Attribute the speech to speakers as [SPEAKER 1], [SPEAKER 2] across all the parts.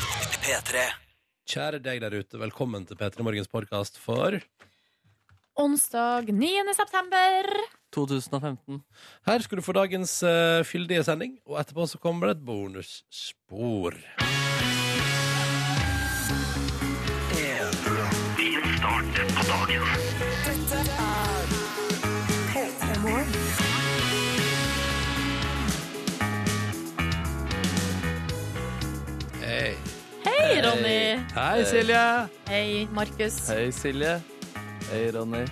[SPEAKER 1] P3.
[SPEAKER 2] Kjære deg der ute, velkommen til P3 Morgens podkast for
[SPEAKER 3] Onsdag 9. september.
[SPEAKER 4] 2015.
[SPEAKER 2] Her skal du få dagens eh, fyldige sending, og etterpå så kommer det et bonusspor. Hei.
[SPEAKER 3] Hei, Ronny.
[SPEAKER 2] Hei, Silje.
[SPEAKER 3] Hei, Markus.
[SPEAKER 4] Hei, Silje. Hei, Ronny.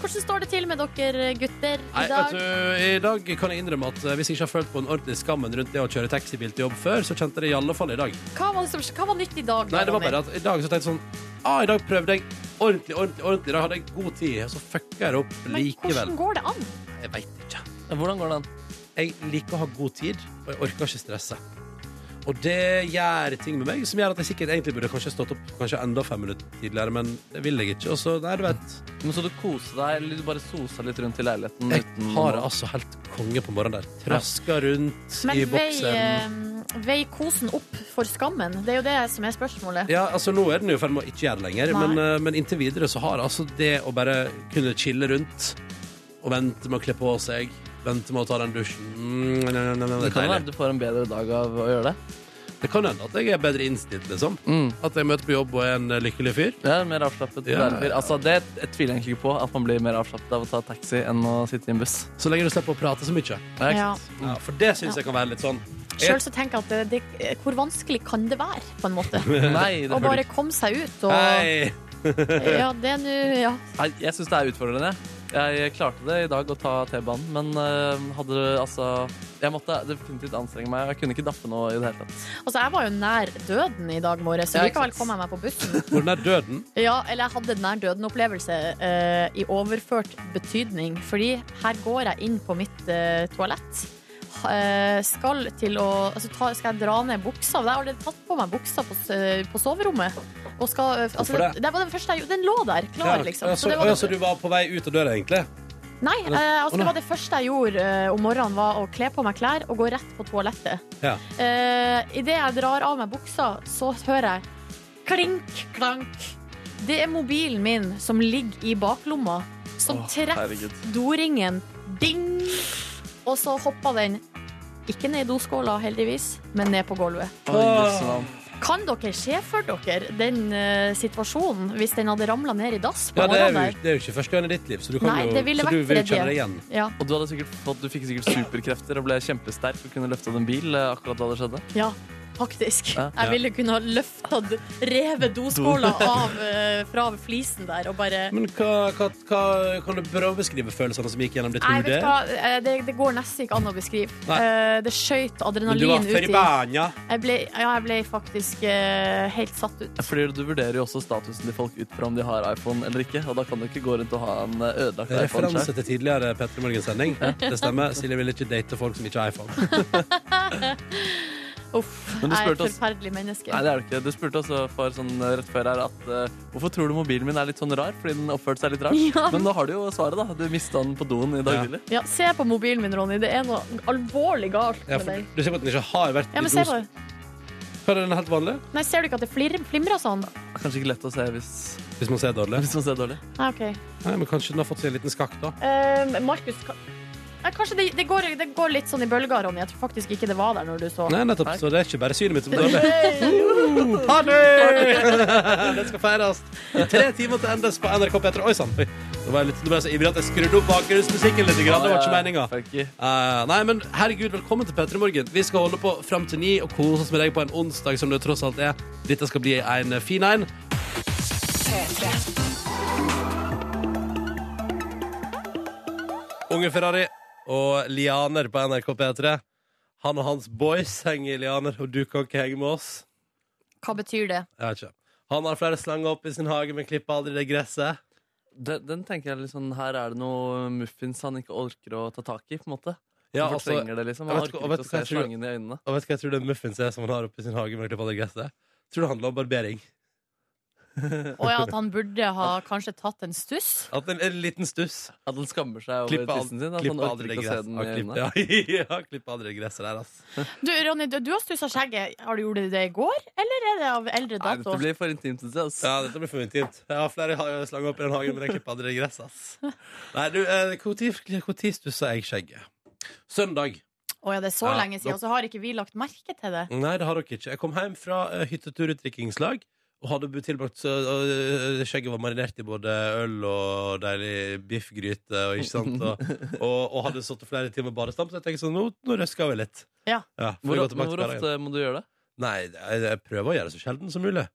[SPEAKER 3] Hvordan står det til med dere gutter
[SPEAKER 2] Nei,
[SPEAKER 3] i
[SPEAKER 2] vet
[SPEAKER 3] dag?
[SPEAKER 2] du, I dag kan jeg innrømme at eh, hvis jeg ikke har følt på den ordentlige skammen rundt det å kjøre taxibil til jobb før, så kjente jeg det i alle fall i dag.
[SPEAKER 3] Hva var, det som- hva var nytt i dag? da,
[SPEAKER 2] Nei, det var
[SPEAKER 3] Ronny?
[SPEAKER 2] bare at i dag så tenkte jeg sånn ah, I dag prøvde jeg ordentlig, ordentlig, ordentlig. I dag hadde jeg god tid, og så fucka jeg det opp
[SPEAKER 3] Men
[SPEAKER 2] likevel.
[SPEAKER 3] hvordan går det an?
[SPEAKER 2] Jeg veit ikke.
[SPEAKER 4] Hvordan går det an?
[SPEAKER 2] Jeg liker å ha god tid, og jeg orker ikke stresse. Og det gjør ting med meg som gjør at jeg sikkert egentlig burde kanskje stått opp kanskje enda fem minutter tidligere, men det vil jeg ikke. Og så, nei, du vet
[SPEAKER 4] Men Så du koste deg, eller du bare sosa litt rundt i leiligheten?
[SPEAKER 2] Jeg har det altså helt konge på morgenen der. Traska rundt i
[SPEAKER 3] Men vei,
[SPEAKER 2] boksen.
[SPEAKER 3] eh, vei kosen opp for skammen. Det er jo det som er spørsmålet.
[SPEAKER 2] Ja, altså Nå er den jo i ferd med å ikke gjøre det lenger,
[SPEAKER 3] Nei.
[SPEAKER 2] men, eh, men inntil videre så har altså det å bare kunne chille rundt og vente med å kle på seg, vente med å ta den dusjen mm, nei, nei, nei, nei,
[SPEAKER 4] Det kan jo
[SPEAKER 2] deilig.
[SPEAKER 4] være du får en bedre dag av å gjøre det.
[SPEAKER 2] Det kan hende at jeg er bedre innstilt, liksom.
[SPEAKER 4] Mm.
[SPEAKER 2] At jeg møter på jobb og er en eh, lykkelig fyr.
[SPEAKER 4] Det er mer avslappet.
[SPEAKER 2] Ja,
[SPEAKER 4] verden. Altså, det jeg tviler jeg egentlig ikke på, at man blir mer avslappet av å ta taxi enn å sitte i en buss.
[SPEAKER 2] Så lenge du slipper å prate så mye.
[SPEAKER 4] Det er ikke
[SPEAKER 3] Ja.
[SPEAKER 4] sant.
[SPEAKER 2] Ja, for det syns jeg kan være litt sånn.
[SPEAKER 3] Sjøl så tenker jeg at det, det, hvor vanskelig kan det være, på en måte?
[SPEAKER 4] Nei, det
[SPEAKER 3] Å
[SPEAKER 4] burde
[SPEAKER 3] bare komme seg ut og
[SPEAKER 2] Hei!
[SPEAKER 3] Ja, det er nå Ja.
[SPEAKER 4] Nei, jeg syns det er utfordrende. Jeg klarte det i dag å ta T-banen, men eh, hadde du altså Jeg måtte definitivt anstrenge meg. Jeg kunne ikke daffe nå i det hele tatt.
[SPEAKER 3] Altså, jeg var jo nær døden i dag morges, så
[SPEAKER 4] Ja, ikke
[SPEAKER 3] likevel
[SPEAKER 4] sant.
[SPEAKER 3] kom jeg meg på bussen.
[SPEAKER 2] Hvor den er døden?
[SPEAKER 3] Ja, eller jeg hadde en nær døden-opplevelse eh, i overført betydning. Fordi her går jeg inn på mitt eh, toalett. Eh, skal til å altså, ta, Skal jeg dra ned buksa? Jeg har allerede tatt på meg buksa på, s- eh, på soverommet. Og skal, eh, altså,
[SPEAKER 2] Hvorfor
[SPEAKER 3] det?
[SPEAKER 2] det?
[SPEAKER 3] det var den første jeg gjorde. Den lå der, klar,
[SPEAKER 2] Ja,
[SPEAKER 3] liksom.
[SPEAKER 2] ja, så,
[SPEAKER 3] det
[SPEAKER 2] å,
[SPEAKER 3] var
[SPEAKER 2] ja, så du var på vei ut av døra, egentlig?
[SPEAKER 3] Nei, eh, altså,
[SPEAKER 2] Å, nei.
[SPEAKER 3] det var det første jeg gjorde eh, om morgenen, var å kle på meg klær og gå rett på toalettet.
[SPEAKER 2] Ja.
[SPEAKER 3] Eh, Idet jeg drar av meg buksa, så hører jeg klink, klank. Det er mobilen min som ligger i baklomma, som
[SPEAKER 4] Å,
[SPEAKER 3] treffer
[SPEAKER 4] herregud.
[SPEAKER 3] doringen. Ding! Og så hoppa den. Ikke ned i doskåla, heldigvis, men ned på gulvet.
[SPEAKER 4] Oi, jøsse navn.
[SPEAKER 3] Kan dere se for dere den eh, situasjonen hvis den hadde ramla ned i dass på
[SPEAKER 2] Ja, det er, jo,
[SPEAKER 3] morgenen?
[SPEAKER 2] det er jo ikke første gang i ditt liv, så du, kan
[SPEAKER 3] Nei,
[SPEAKER 2] jo,
[SPEAKER 3] det ville
[SPEAKER 2] så du
[SPEAKER 3] vært
[SPEAKER 2] vil
[SPEAKER 3] tredje.
[SPEAKER 2] kjenne det igjen.
[SPEAKER 3] der? Ja,
[SPEAKER 4] Og du, hadde sikkert fått, du fikk sikkert superkrefter og ble kjempesterk og kunne løftet en bil eh, akkurat da det skjedde.
[SPEAKER 3] Ja, faktisk.
[SPEAKER 4] Ja.
[SPEAKER 2] Ja.
[SPEAKER 3] Jeg ville kunne ha løfta, revet doskåla av, eh, fra flisen der og bare
[SPEAKER 2] Men hva, hva, hva kan du prøve å beskrive følelsene som gikk gjennom ditt
[SPEAKER 3] Nei, vet
[SPEAKER 2] hode?
[SPEAKER 3] du hva, Eh, det, det går nesten ikke an å beskrive.
[SPEAKER 2] Nei.
[SPEAKER 3] Eh, Det skøyt
[SPEAKER 2] Men Du var
[SPEAKER 3] adrenalin ut i
[SPEAKER 2] forbanna.
[SPEAKER 3] jeg ble, Ja, jeg ble faktisk eh, helt satt ut.
[SPEAKER 4] Fordi Du vurderer jo også statusen til folk ut fra om de har iPhone eller ikke. Og da kan du ikke gå rundt og ha en eh, ødelagt iPhone.
[SPEAKER 2] Referanse
[SPEAKER 4] selv.
[SPEAKER 2] til tidligere Petter Morgen-sending. Det stemmer. Silje vil ikke date folk som ikke har iPhone.
[SPEAKER 3] Uff,
[SPEAKER 4] Men du
[SPEAKER 3] jeg er et
[SPEAKER 4] spurte oss-
[SPEAKER 3] forferdelig menneske.
[SPEAKER 4] Nei, det er det ikke. Du spurte også for sånn eh, rett før her at eh, hvorfor tror du mobilen min er litt sånn rar? Fordi den oppførte seg litt rart.
[SPEAKER 3] Ja.
[SPEAKER 4] Men nå har du jo svaret, da. Du mista den på doen i dag
[SPEAKER 2] Ja.
[SPEAKER 4] tidlig.
[SPEAKER 3] Ja, se på mobilen min, Ronny. Det er noe alvorlig galt
[SPEAKER 2] Ja,
[SPEAKER 3] med
[SPEAKER 2] for,
[SPEAKER 3] deg.
[SPEAKER 2] du ser på at den ikke har vært
[SPEAKER 3] Ja, men
[SPEAKER 2] i
[SPEAKER 3] se
[SPEAKER 2] dos-
[SPEAKER 3] på
[SPEAKER 2] Hva er den helt vanlig?
[SPEAKER 3] Nei, ser du ikke at det flir, flimrer sånn?
[SPEAKER 4] Kanskje ikke lett å se hvis,
[SPEAKER 2] Hvis man ser dårlig.
[SPEAKER 4] hvis man ser dårlig.
[SPEAKER 3] Nei, OK.
[SPEAKER 2] Nei, men Kanskje den har fått seg en liten skakk, da.
[SPEAKER 3] Eh, Markus kan- Nei, Kanskje det, det, går, det går litt sånn i bølger, Ronny. Jeg tror faktisk ikke det var der når du så.
[SPEAKER 2] Nei, nettopp, Så det er ikke bare synet mitt som er dårlig.
[SPEAKER 3] Hey!
[SPEAKER 2] Ha det! det skal feires. I tre timer til endes på NRK P3. Oi sann. Oi. Nå ble jeg litt- nå ble jeg så ivrig at jeg skrudde opp bakgrunnsmusikken litt. grann. Det var ikke meninga.
[SPEAKER 4] Funky.
[SPEAKER 2] Eh, nei, men herregud, velkommen til Petter i morgen. Vi skal holde på fram til ni og kose oss med deg på en onsdag som det tross alt er. Dette skal bli en eh, fin en. Unge Ferrari og Lianer på NRK P3. Han og hans boys henger i Lianer, og du kan ikke henge med oss.
[SPEAKER 3] Hva betyr det?
[SPEAKER 2] Jeg vet ikke. Han har flere slanger opp i sin hage, men klipper aldri det gresset.
[SPEAKER 4] Den, den tenker jeg liksom, Her er det noe muffins han ikke orker å ta tak i. på en måte
[SPEAKER 2] Ja,
[SPEAKER 4] Han
[SPEAKER 2] altså,
[SPEAKER 4] fortrenger det liksom
[SPEAKER 2] jeg
[SPEAKER 4] Han
[SPEAKER 2] vet ikke-
[SPEAKER 4] orker ikke
[SPEAKER 2] jeg
[SPEAKER 4] å
[SPEAKER 2] vet
[SPEAKER 4] se
[SPEAKER 2] ikke hva jeg tror-
[SPEAKER 4] slangen i øynene.
[SPEAKER 2] og vet du hva jeg tror det muffins er som han har oppe i sin hage, men klipper aldri gresset? Jeg Tror det handler om barbering.
[SPEAKER 3] Og ja, at han burde ha kanskje tatt en stuss.
[SPEAKER 2] At en, en liten stuss.
[SPEAKER 4] At han skammer seg over
[SPEAKER 2] Klippe alt-
[SPEAKER 4] tissen sin. At han
[SPEAKER 2] klippe alt
[SPEAKER 4] orker
[SPEAKER 2] det
[SPEAKER 4] ikke å se
[SPEAKER 2] gress-
[SPEAKER 4] den
[SPEAKER 2] ja,
[SPEAKER 4] i
[SPEAKER 2] klippe-
[SPEAKER 4] øynene.
[SPEAKER 2] Ja, ja, klippe andre gresset der, ass.
[SPEAKER 3] Du, Ronny, du, du har stussa skjegget. Har du gjort det i går, eller er det av eldre
[SPEAKER 4] Nei,
[SPEAKER 3] dato?
[SPEAKER 4] dette blir for intimt. synes jeg, ass.
[SPEAKER 2] Ja, dette blir for intimt. Jeg har flere ha- slanger opp i den hagen, men jeg klipper aldri gress, ass. Nei, du, eh, hvor tid- hvor tid stussa jeg skjegget? Søndag.
[SPEAKER 3] Å ja, det er så
[SPEAKER 2] Ja,
[SPEAKER 3] lenge siden, og så har ikke vi lagt merke til det.
[SPEAKER 2] Nei, det har dere ikke. Jeg kom hjem fra eh, hyttetur i trikkingslag. Og hadde bu- tilbrakt så, og, eh, Skjegget var marinert i både øl og deilig biffgryte. Og, ikke sant? Og, og, og hadde sittet flere timer i badestamp, så jeg tenkte sånn, nå, nå røsker vi litt.
[SPEAKER 3] Ja.
[SPEAKER 2] får
[SPEAKER 4] Hvor,
[SPEAKER 2] jeg gå
[SPEAKER 4] ofte,
[SPEAKER 2] tilbake til
[SPEAKER 4] hvor
[SPEAKER 2] hverdagen.
[SPEAKER 4] ofte må du gjøre det?
[SPEAKER 2] Nei, jeg, jeg prøver å gjøre det så sjelden som mulig.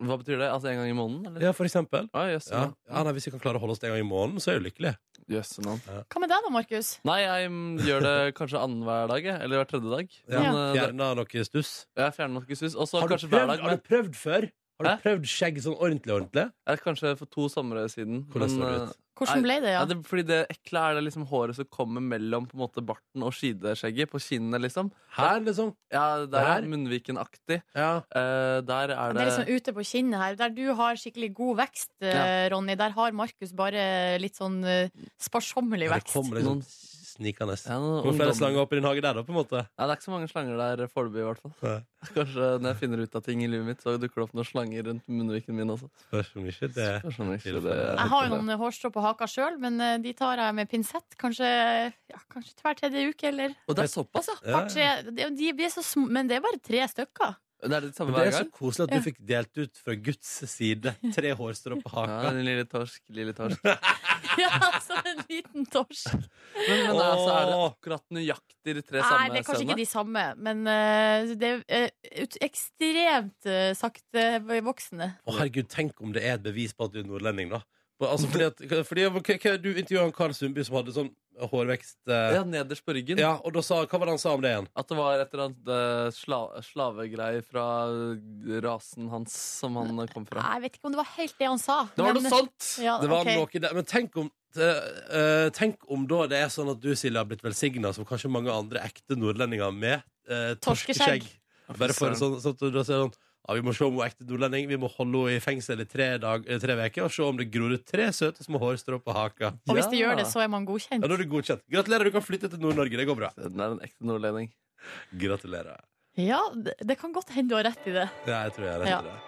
[SPEAKER 4] Hva betyr det? Altså En gang i måneden? Eller?
[SPEAKER 2] Ja, for eksempel. Sånn,
[SPEAKER 4] Ah, jøss,
[SPEAKER 2] Ja.
[SPEAKER 4] ja.
[SPEAKER 2] Ja, nei, hvis vi kan klare å holde oss det en gang i måneden, så er jeg jo lykkelig.
[SPEAKER 4] Jøss, navn.
[SPEAKER 3] Hva med deg da, Markus?
[SPEAKER 4] Nei, jeg mm, gjør det kanskje annenhver dag. jeg, Eller hver tredje dag.
[SPEAKER 2] Ja.
[SPEAKER 4] Men, eh, det-
[SPEAKER 2] Fjerna noe stuss.
[SPEAKER 4] jeg fjerner nok ikke sus. Og så
[SPEAKER 2] Har du,
[SPEAKER 4] kanskje hver
[SPEAKER 2] prøvd,
[SPEAKER 4] dag.
[SPEAKER 2] har
[SPEAKER 4] Men,
[SPEAKER 2] du prøvd før? Har du
[SPEAKER 4] Hæ?
[SPEAKER 2] prøvd skjegg sånn ordentlig, ordentlig?
[SPEAKER 4] eh, kanskje for to somre siden. men,
[SPEAKER 2] Hvordan ser det
[SPEAKER 4] eh,
[SPEAKER 2] ut?
[SPEAKER 3] Hvordan
[SPEAKER 4] Nei,
[SPEAKER 3] ble det, ja?
[SPEAKER 4] Ja, det, fordi det ekle er det liksom håret som kommer mellom på en måte barten og skideskjegget på kinnene. liksom
[SPEAKER 2] Her, liksom?
[SPEAKER 4] Ja, Der er
[SPEAKER 2] Der?
[SPEAKER 4] Munnviken-aktig.
[SPEAKER 2] Ja.
[SPEAKER 4] Eh, der er
[SPEAKER 3] Det
[SPEAKER 4] det
[SPEAKER 3] er liksom ute på kinnet her. Der du har skikkelig god vekst, eh, Ronny, der har Markus bare litt sånn eh, sparsommelig
[SPEAKER 2] Ja, Det
[SPEAKER 3] vekst.
[SPEAKER 2] kommer liksom
[SPEAKER 4] Noen-
[SPEAKER 2] snikende.
[SPEAKER 4] ja, noen
[SPEAKER 2] Kommer flere
[SPEAKER 4] ungdommer.
[SPEAKER 2] slanger opp i din hage der, da, på en måte?
[SPEAKER 4] Nei, det er ikke så mange slanger der foreløpig, i hvert fall.
[SPEAKER 2] Nei.
[SPEAKER 4] Kanskje når jeg finner ut av ting i livet mitt, så dukker det opp noen slanger rundt munnviken min også.
[SPEAKER 2] Spørs om ikke det
[SPEAKER 4] Jeg skjønner ikke
[SPEAKER 2] Jeg
[SPEAKER 4] det.
[SPEAKER 3] Jeg har jo noen hårstrå på haka sjøl, men eh, de tar jeg med pinsett. Kanskje, ja, kanskje hver tredje uke, eller altså,
[SPEAKER 4] Og det er såpass, ja!
[SPEAKER 2] Ja.
[SPEAKER 3] par, tre. De, de blir så sm men det er bare tre stykker.
[SPEAKER 4] Det er det samme
[SPEAKER 2] Men det
[SPEAKER 4] hver
[SPEAKER 2] er så
[SPEAKER 4] gang.
[SPEAKER 2] koselig at du
[SPEAKER 3] Ja.
[SPEAKER 2] fikk delt ut fra Guds side tre hårstrå på
[SPEAKER 4] Ja,
[SPEAKER 2] haka.
[SPEAKER 4] den lille torsk, lille torsk.
[SPEAKER 3] ja, som en liten torsk.
[SPEAKER 4] Men, men altså, er det
[SPEAKER 2] Åh.
[SPEAKER 4] akkurat nøyaktig de tre
[SPEAKER 3] Nei,
[SPEAKER 4] samme
[SPEAKER 3] det er kanskje
[SPEAKER 4] scenene?
[SPEAKER 3] ikke de samme, men eh, det er eh, ut- ekstremt eh, sakte voksende.
[SPEAKER 2] Å, herregud, tenk om det er et bevis på at du er nordlending, da. På- Altså, fordi at, fordi, ok, ok, du intervjua han Karl Sundby som hadde sånn hårvekst eh,
[SPEAKER 4] Ja, nederst på ryggen.
[SPEAKER 2] Ja, og da sa, hva var det han sa om det igjen?
[SPEAKER 4] At det var et eller annet eh, sla slavegreier fra rasen hans som han eh, kom fra.
[SPEAKER 3] Nei, Jeg vet ikke om det var helt det han sa.
[SPEAKER 4] Det var
[SPEAKER 3] men-
[SPEAKER 4] noe sånt!
[SPEAKER 3] Ja,
[SPEAKER 2] Det var
[SPEAKER 3] ok.
[SPEAKER 2] noe der. Men tenk om, eh, eh, tenk om da det er sånn at du, Silje, har blitt velsigna som kanskje mange andre ekte nordlendinger med eh, torskeskjegg.
[SPEAKER 3] Torskeskjegg.
[SPEAKER 2] Bare for
[SPEAKER 4] Fy
[SPEAKER 2] sånn, sånn at du da sier sånn ja, Vi må se om hun er ekte nordlending. Vi må holde henne i fengsel i tre dag- eh, tre uker og se om det gror ut tre søte små hårstrå på haka.
[SPEAKER 3] Og hvis de
[SPEAKER 4] Ja.
[SPEAKER 3] gjør det, så er man
[SPEAKER 2] Ja,
[SPEAKER 3] godkjent.
[SPEAKER 2] da er du godkjent. Gratulerer, du kan flytte til Nord-Norge. Det går bra.
[SPEAKER 4] Den er en ekte nordlending.
[SPEAKER 2] Gratulerer.
[SPEAKER 3] Ja, det det kan godt hende du har rett i det.
[SPEAKER 2] Ja, jeg tror jeg er rett
[SPEAKER 3] Ja.
[SPEAKER 2] i det.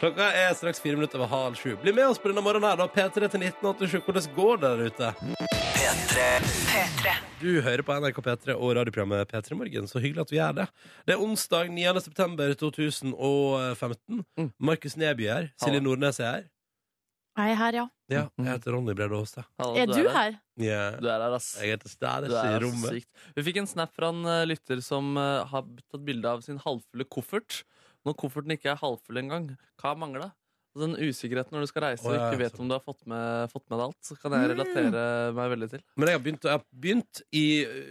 [SPEAKER 2] Klokka er straks fire minutter over halv sju. Bli med oss på denne morgenen her, da. P3 til 1987. Hvordan går det der ute? Du hører på NRK P3 og radioprogrammet P3 Morgen. Så hyggelig at du gjør det. Det er onsdag 9. september 2015.
[SPEAKER 4] Mm.
[SPEAKER 2] Markus Neby er her. Silje
[SPEAKER 4] Hallo.
[SPEAKER 2] Nordnes er her.
[SPEAKER 3] Jeg er her, ja.
[SPEAKER 2] Ja,
[SPEAKER 4] Mm.
[SPEAKER 2] jeg heter Ronny Brede Aastad.
[SPEAKER 4] Hallo,
[SPEAKER 3] Er du
[SPEAKER 4] der.
[SPEAKER 3] her?
[SPEAKER 2] Ja.
[SPEAKER 4] Du er her, ass.
[SPEAKER 2] Jeg heter Stæres
[SPEAKER 4] Du
[SPEAKER 2] i
[SPEAKER 4] er så
[SPEAKER 2] rommet.
[SPEAKER 4] sykt. Vi fikk en snap fra en eh, lytter som eh, har tatt bilde av sin halvfulle koffert. Når kofferten ikke er halvfull engang, hva mangler? Altså, Den usikkerheten når du skal reise
[SPEAKER 2] Å, ja,
[SPEAKER 4] og ikke
[SPEAKER 2] sånn.
[SPEAKER 4] vet om du har fått med, fått med deg alt, så kan jeg relatere meg veldig til.
[SPEAKER 2] Men jeg har begynt, jeg har begynt i,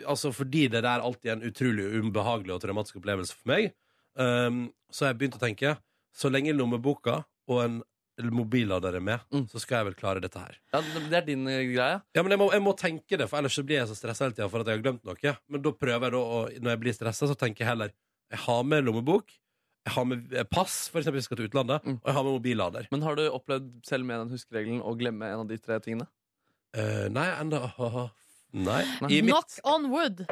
[SPEAKER 2] altså fordi det der alltid er en utrolig ubehagelig og traumatisk opplevelse for meg, ehm, så har jeg begynt å tenke så lenge lommeboka og en mobillader er med,
[SPEAKER 4] Mm.
[SPEAKER 2] så skal jeg vel klare dette her.
[SPEAKER 4] Ja, det det er din eh, greie.
[SPEAKER 2] Ja, men jeg må, jeg må tenke det, for ellers så blir jeg så stressa hele tida for at jeg har glemt noe. Men da prøver jeg da å Når jeg blir stressa, så tenker jeg heller Jeg har med lommebok, jeg har med eh, pass, for eksempel hvis jeg skal til utlandet,
[SPEAKER 4] Mm.
[SPEAKER 2] og jeg har med mobillader.
[SPEAKER 4] Men har du opplevd, selv med den huskeregelen, å glemme en av de tre tingene?
[SPEAKER 2] Eh, nei, enda haha. Nei.
[SPEAKER 4] Nei.
[SPEAKER 2] I mitt,
[SPEAKER 3] Knock on wood!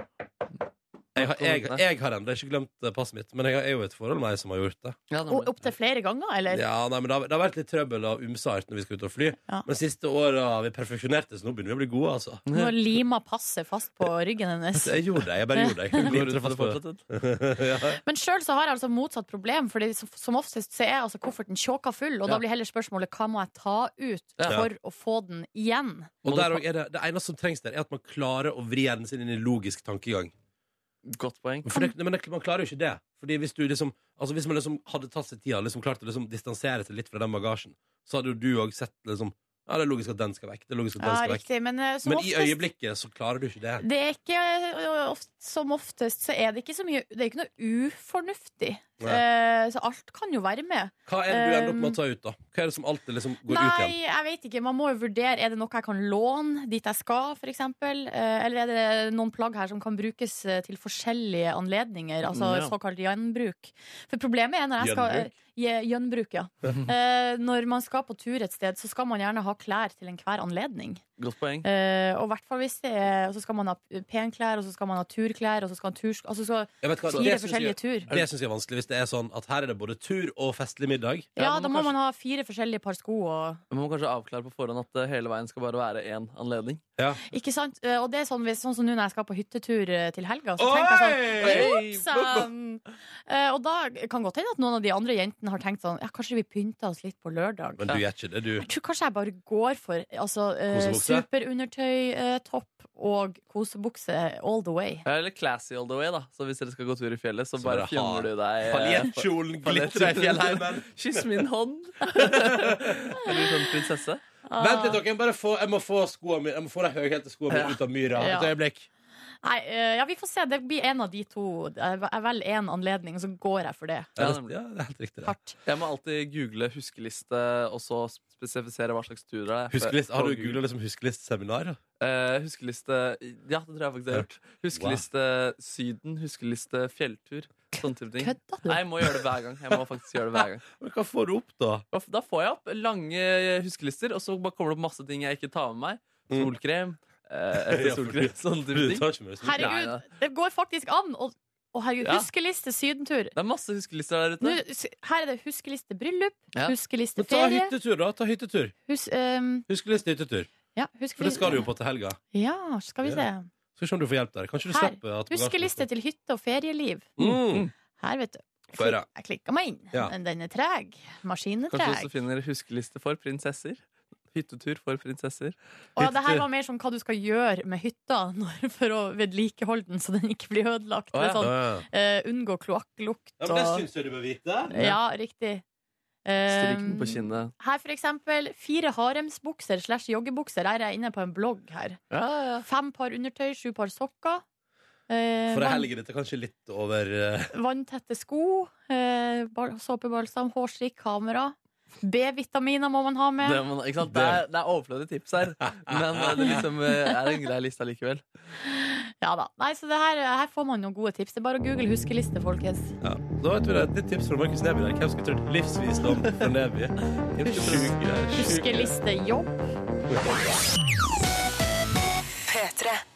[SPEAKER 2] jeg, har- jeg, jeg har enda ikke glemt eh, passet mitt, men jeg har- er jo i et forhold med ei som har gjort det.
[SPEAKER 4] Ja,
[SPEAKER 3] Og Opptil flere ganger, eller?
[SPEAKER 2] Ja, nei, men det har, det har vært litt trøbbel og ymsart når vi skal ut og fly.
[SPEAKER 3] Ja.
[SPEAKER 2] Men siste åra har vi perfeksjonert det, så nå begynner vi å bli gode, altså.
[SPEAKER 3] Nå lima passet fast på ryggen hennes.
[SPEAKER 2] Jeg gjorde det. Jeg bare gjorde det. Jeg
[SPEAKER 4] Går ut for
[SPEAKER 2] limte
[SPEAKER 4] det
[SPEAKER 2] fast på det.
[SPEAKER 4] fortsatt, vet du.
[SPEAKER 3] Men sjøl har jeg altså motsatt problem, Fordi som- som oftest så er altså kofferten tjåka full, og
[SPEAKER 4] Ja.
[SPEAKER 3] da blir heller spørsmålet hva må jeg ta ut
[SPEAKER 4] Ja.
[SPEAKER 3] for å få den igjen?
[SPEAKER 2] Og der også er det, det eneste som trengs der, er at man klarer å vri hjernen sin inn i logisk tankegang.
[SPEAKER 4] Godt poeng.
[SPEAKER 2] Men For det, men det, man klarer jo ikke det. Fordi hvis, du liksom, altså hvis man liksom hadde tatt seg tida og liksom klart å liksom distansere seg litt fra den bagasjen, så hadde jo du òg sett liksom Ja, det er logisk at den skal vekk. Det er logisk at den
[SPEAKER 3] Ja,
[SPEAKER 2] skal vekk.
[SPEAKER 3] riktig. Men, eh, som
[SPEAKER 2] Men i
[SPEAKER 3] oftest-
[SPEAKER 2] øyeblikket så klarer du ikke det.
[SPEAKER 3] eh, det er ikke, ø, ø, oft, som oftest så er det ikke så mye Det er ikke noe ufornuftig
[SPEAKER 2] Ja.
[SPEAKER 3] Eh, så alt kan jo være med.
[SPEAKER 2] Hva er det du ender opp
[SPEAKER 3] Um,
[SPEAKER 2] med å ta ut, da? Hva er det som alltid liksom går ut igjen?
[SPEAKER 3] Nei, jeg vet ikke. Man må jo vurdere Er det noe jeg kan låne dit jeg skal, f.eks.? Eller er det noen plagg her som kan brukes eh, til forskjellige anledninger? Altså
[SPEAKER 4] Ja.
[SPEAKER 3] såkalt gjenbruk. For problemet er når jeg skal
[SPEAKER 2] Gjenbruk? Mhm.
[SPEAKER 3] Gje- Gjenbruk, ja. Eh, når man skal på tur et sted, så skal man gjerne ha klær til enhver anledning.
[SPEAKER 4] Godt poeng.
[SPEAKER 3] Eh, og i hvert fall hvis det er Og så skal man ha penklær, og så skal man ha turklær, og så skal man tursk... Altså så
[SPEAKER 2] Jeg vet hva, det
[SPEAKER 3] fire
[SPEAKER 2] synes jeg-
[SPEAKER 3] forskjellige tur.
[SPEAKER 2] Det syns jeg er vanskelig hvis det er sånn at her er det både tur og festlig middag.
[SPEAKER 3] Ja,
[SPEAKER 4] Ja,
[SPEAKER 3] da
[SPEAKER 4] men
[SPEAKER 3] må
[SPEAKER 4] kanskje-
[SPEAKER 3] man ha fire forskjellige par sko og
[SPEAKER 4] Man må kanskje avklare på forhånd at eh, hele veien skal bare være én anledning.
[SPEAKER 3] Ikke sant? Eh, Og det er sånn, hvis- sånn som nå når jeg skal på hyttetur eh, til helga, så tenker jeg sånn
[SPEAKER 2] Oi!
[SPEAKER 4] Oi!
[SPEAKER 3] Sann. Eh, og da kan godt hende at noen av de andre jentene har tenkt sånn Ja, kanskje vi pynter oss litt på lørdag.
[SPEAKER 2] Men du gjør ikke det, du.
[SPEAKER 3] Jeg tror kanskje jeg bare går for altså, eh,
[SPEAKER 2] Kosebukse?
[SPEAKER 3] superundertøy, eh, topp og kosebukse all the way.
[SPEAKER 4] Ja, Eller classy all the way, da. Så hvis dere skal gå tur i fjellet, så
[SPEAKER 2] Så
[SPEAKER 4] bare
[SPEAKER 2] bare ha-
[SPEAKER 4] fjonger du deg eh,
[SPEAKER 2] Paljettkjolen glitrer i fjellheimen.
[SPEAKER 4] Kyss min hånd! Eller sånn prinsesse.
[SPEAKER 2] Vent litt, dere. Jeg, må bare få, jeg må få skoene mine Jeg må få de høyhælte skoene mine ut av myra.
[SPEAKER 3] Ja.
[SPEAKER 2] Et øyeblikk.
[SPEAKER 3] Nei, eh, ja, vi får se. Det blir en av de to. Jeg vel- jeg velger én anledning, og så går jeg for det.
[SPEAKER 2] Ja,
[SPEAKER 4] Ja,
[SPEAKER 2] det, ja, det er helt riktig. det.
[SPEAKER 3] Hardt.
[SPEAKER 4] Jeg må alltid google huskeliste og så spesifisere hva slags tur det er.
[SPEAKER 2] Huskelist, har
[SPEAKER 4] På
[SPEAKER 2] du
[SPEAKER 4] Google.
[SPEAKER 2] googla liksom huskelseseminar?
[SPEAKER 4] Eh, huskeliste Ja, det tror jeg faktisk jeg har hørt. Huskeliste Syden, huskeliste fjelltur. Sånne type ting.
[SPEAKER 3] Kødda du?
[SPEAKER 4] Nei, jeg må gjøre det hver gang. Jeg må faktisk gjøre det hver gang
[SPEAKER 2] Men Hva får du opp, da?
[SPEAKER 4] Og f- Da får jeg opp lange eh, huskelister, og så bare kommer det opp masse ting jeg ikke tar med meg.
[SPEAKER 2] Mm.
[SPEAKER 4] Solkrem. Eh, etter
[SPEAKER 2] Ja, for
[SPEAKER 4] solkrem, sånne
[SPEAKER 2] Du
[SPEAKER 4] type ting.
[SPEAKER 2] tar ikke med deg
[SPEAKER 4] Nei,
[SPEAKER 3] Herregud,
[SPEAKER 4] nei.
[SPEAKER 3] det går faktisk an. Å, å, herregud,
[SPEAKER 4] Ja.
[SPEAKER 3] huskeliste sydentur.
[SPEAKER 4] Det er masse huskelister der
[SPEAKER 3] Nå,
[SPEAKER 4] ute.
[SPEAKER 3] s- her er det huskeliste bryllup,
[SPEAKER 4] Ja.
[SPEAKER 3] huskeliste
[SPEAKER 2] Men ta
[SPEAKER 3] ferie
[SPEAKER 2] hyttetur, da. Ta hyttetur.
[SPEAKER 3] hus, ehm,
[SPEAKER 2] Huskeliste hyttetur.
[SPEAKER 3] ja,
[SPEAKER 2] For det skal du jo
[SPEAKER 3] huskeliste
[SPEAKER 2] på til helga.
[SPEAKER 3] Ja, skal vi se.
[SPEAKER 2] Skal vi se om du får hjelp der. Kanskje du
[SPEAKER 3] Her.
[SPEAKER 2] slipper at
[SPEAKER 3] Huskeliste til hytte og ferieliv.
[SPEAKER 2] Mm.
[SPEAKER 3] Her, vet du.
[SPEAKER 2] Få høre.
[SPEAKER 3] Jeg klikka meg inn,
[SPEAKER 2] Ja.
[SPEAKER 3] men den er treg. Maskinen er
[SPEAKER 4] Kanskje du også
[SPEAKER 3] treg.
[SPEAKER 4] finner huskeliste for prinsesser. Hyttetur for prinsesser.
[SPEAKER 3] Og ja, det her
[SPEAKER 2] hytte-
[SPEAKER 3] var mer som hva du skal gjøre med hytta når, for å vedlikeholde den så den ikke blir ødelagt.
[SPEAKER 4] Å,
[SPEAKER 3] Det er
[SPEAKER 4] ja.
[SPEAKER 3] sånn,
[SPEAKER 2] Ja, Eh,
[SPEAKER 3] eh, unngå kloakklukt
[SPEAKER 2] men det
[SPEAKER 3] og
[SPEAKER 2] syns jeg du bør vite.
[SPEAKER 3] Ja, riktig.
[SPEAKER 2] Eh,
[SPEAKER 4] Stryken
[SPEAKER 3] Um,
[SPEAKER 4] på kinnet.
[SPEAKER 3] her for eksempel fire haremsbukser slash joggebukser. Her er jeg inne på en blogg her. Fem par undertøy, sju par sokker. Eh,
[SPEAKER 2] For ei
[SPEAKER 3] vann-
[SPEAKER 2] helg er dette kanskje litt over eh,
[SPEAKER 3] Vanntette sko, eh, bal- såpebalsam, hårstrikk, kamera. B-vitaminer må man ha med.
[SPEAKER 4] Det, må- ikke sant? Det, er, det er overflødige tips her, men eh, det liksom, eh, er en grei liste likevel.
[SPEAKER 3] Ja da. Nei, så det her, her får man noen gode tips. Det er bare å google huskeliste, folkens.
[SPEAKER 2] ja. Da vet vi det. Et nytt tips fra Markus Neby der. Hvem skulle trodd livsvisdom fra Neby? Sjuke greier. Sjuke greier.
[SPEAKER 3] Huskeliste jobb.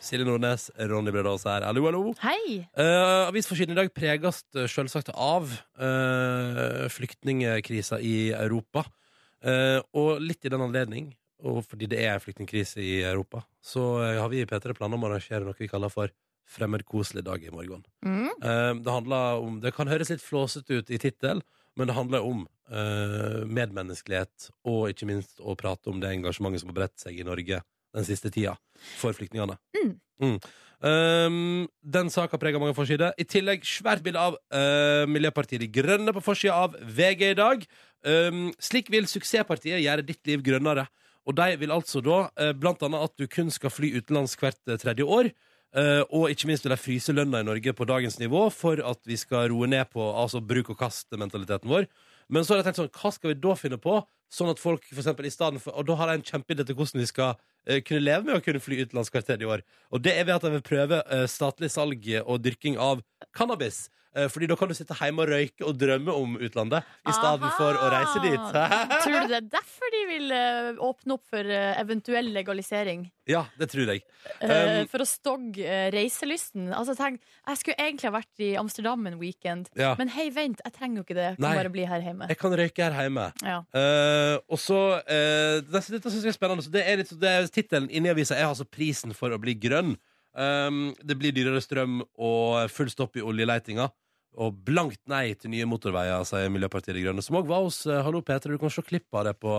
[SPEAKER 2] Silje Nordnes, Ronny Bredås her. Hallo, hallo.
[SPEAKER 3] Hei!
[SPEAKER 2] Uh, Avisforsiden i dag preges eh, selvsagt av eh, flyktningkrisa i Europa. Eh, og litt i den anledning, og fordi det er flyktningkrise i Europa, så eh, har vi i P3 planer om å arrangere noe vi kaller for Fremmedkoselig dag i morgen.
[SPEAKER 3] Mm.
[SPEAKER 2] Eh, det handler om Det kan høres litt flåsete ut i tittel, men det handler om eh, medmenneskelighet og ikke minst å prate om det engasjementet som har bredt seg i Norge den siste tida for flyktningene.
[SPEAKER 3] Mm.
[SPEAKER 2] Um, den saka preger mange forsider. I tillegg svært bilde av eh, Miljøpartiet De Grønne på forsida av VG i dag. Um, slik vil suksesspartiet gjøre ditt liv grønnere. Og de vil altså da eh, blant annet at du kun skal fly utenlands hvert eh, tredje år. Eh, og ikke minst vil de fryse lønna i Norge på dagens nivå for at vi skal roe ned på altså bruk og kast-mentaliteten vår. Men så har jeg tenkt sånn, hva skal vi da finne på? Sånn at folk for eksempel, i stedet for Og da har jeg en kjempeidé til hvordan vi skal eh, kunne leve med å kunne fly utenlands hvert tredje år. Og det er ved at jeg vil prøve eh, statlig salg og dyrking av cannabis. Eh, Fordi da kan du sitte hjemme og røyke og drømme om utlandet i stedet
[SPEAKER 3] Aha!
[SPEAKER 2] for å reise dit.
[SPEAKER 3] Tror du det er derfor de vil eh, åpne opp for eh, eventuell legalisering?
[SPEAKER 2] ja, det tror jeg.
[SPEAKER 3] Eh,
[SPEAKER 2] Um,
[SPEAKER 3] for å stogge eh, reiselysten? Altså, tenk, jeg skulle egentlig ha vært i Amsterdam en weekend,
[SPEAKER 2] Ja.
[SPEAKER 3] men hei, vent, jeg trenger jo ikke det. Jeg kan
[SPEAKER 2] Nei.
[SPEAKER 3] bare bli her hjemme.
[SPEAKER 2] Jeg kan røyke her hjemme.
[SPEAKER 3] Ja.
[SPEAKER 2] Eh, og så eh, Dette syns jeg er spennende. Så det er, litt- det er Tittelen inni avisa er altså 'Prisen for å bli grønn'. Um, det blir dyrere strøm og full stopp i oljeletinga. Og blankt nei til nye motorveier, sier Miljøpartiet De Grønne, som òg var hos eh, Hallo Peter. Du kan se klipp av det på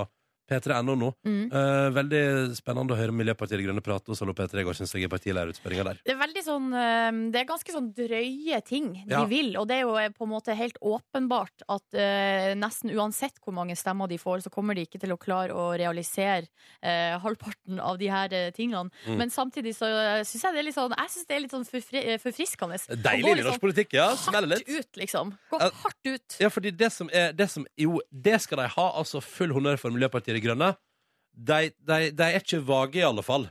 [SPEAKER 2] P3.no nå.
[SPEAKER 3] Mm.
[SPEAKER 2] Eh, veldig spennende å høre Miljøpartiet De Grønne prate hos Hallo P3 i går, syns jeg, i partilærerutspørringa der.
[SPEAKER 3] Det er veldig sånn eh, Det er ganske sånn drøye ting de
[SPEAKER 2] Ja.
[SPEAKER 3] vil, og det er jo eh, på en måte helt åpenbart at eh, nesten uansett hvor mange stemmer de får, så kommer de ikke til å klare å realisere eh, halvparten av de her eh, tingene.
[SPEAKER 2] Mm.
[SPEAKER 3] Men samtidig så syns jeg det er litt sånn Jeg synes det er litt sånn forfri, eh, forfriskende. Å
[SPEAKER 2] Deilig
[SPEAKER 3] gå
[SPEAKER 2] inn i norsk
[SPEAKER 3] litt
[SPEAKER 2] politikk, ja.
[SPEAKER 3] sånn
[SPEAKER 2] Smeller litt.
[SPEAKER 3] Hardt ut, liksom. Gå
[SPEAKER 2] Ja.
[SPEAKER 3] hardt ut.
[SPEAKER 2] Ja, fordi det som er det som, Jo, det skal de ha. Altså full honnør for Miljøpartiet De Grønne. De, de, de er ikke vage, i alle fall.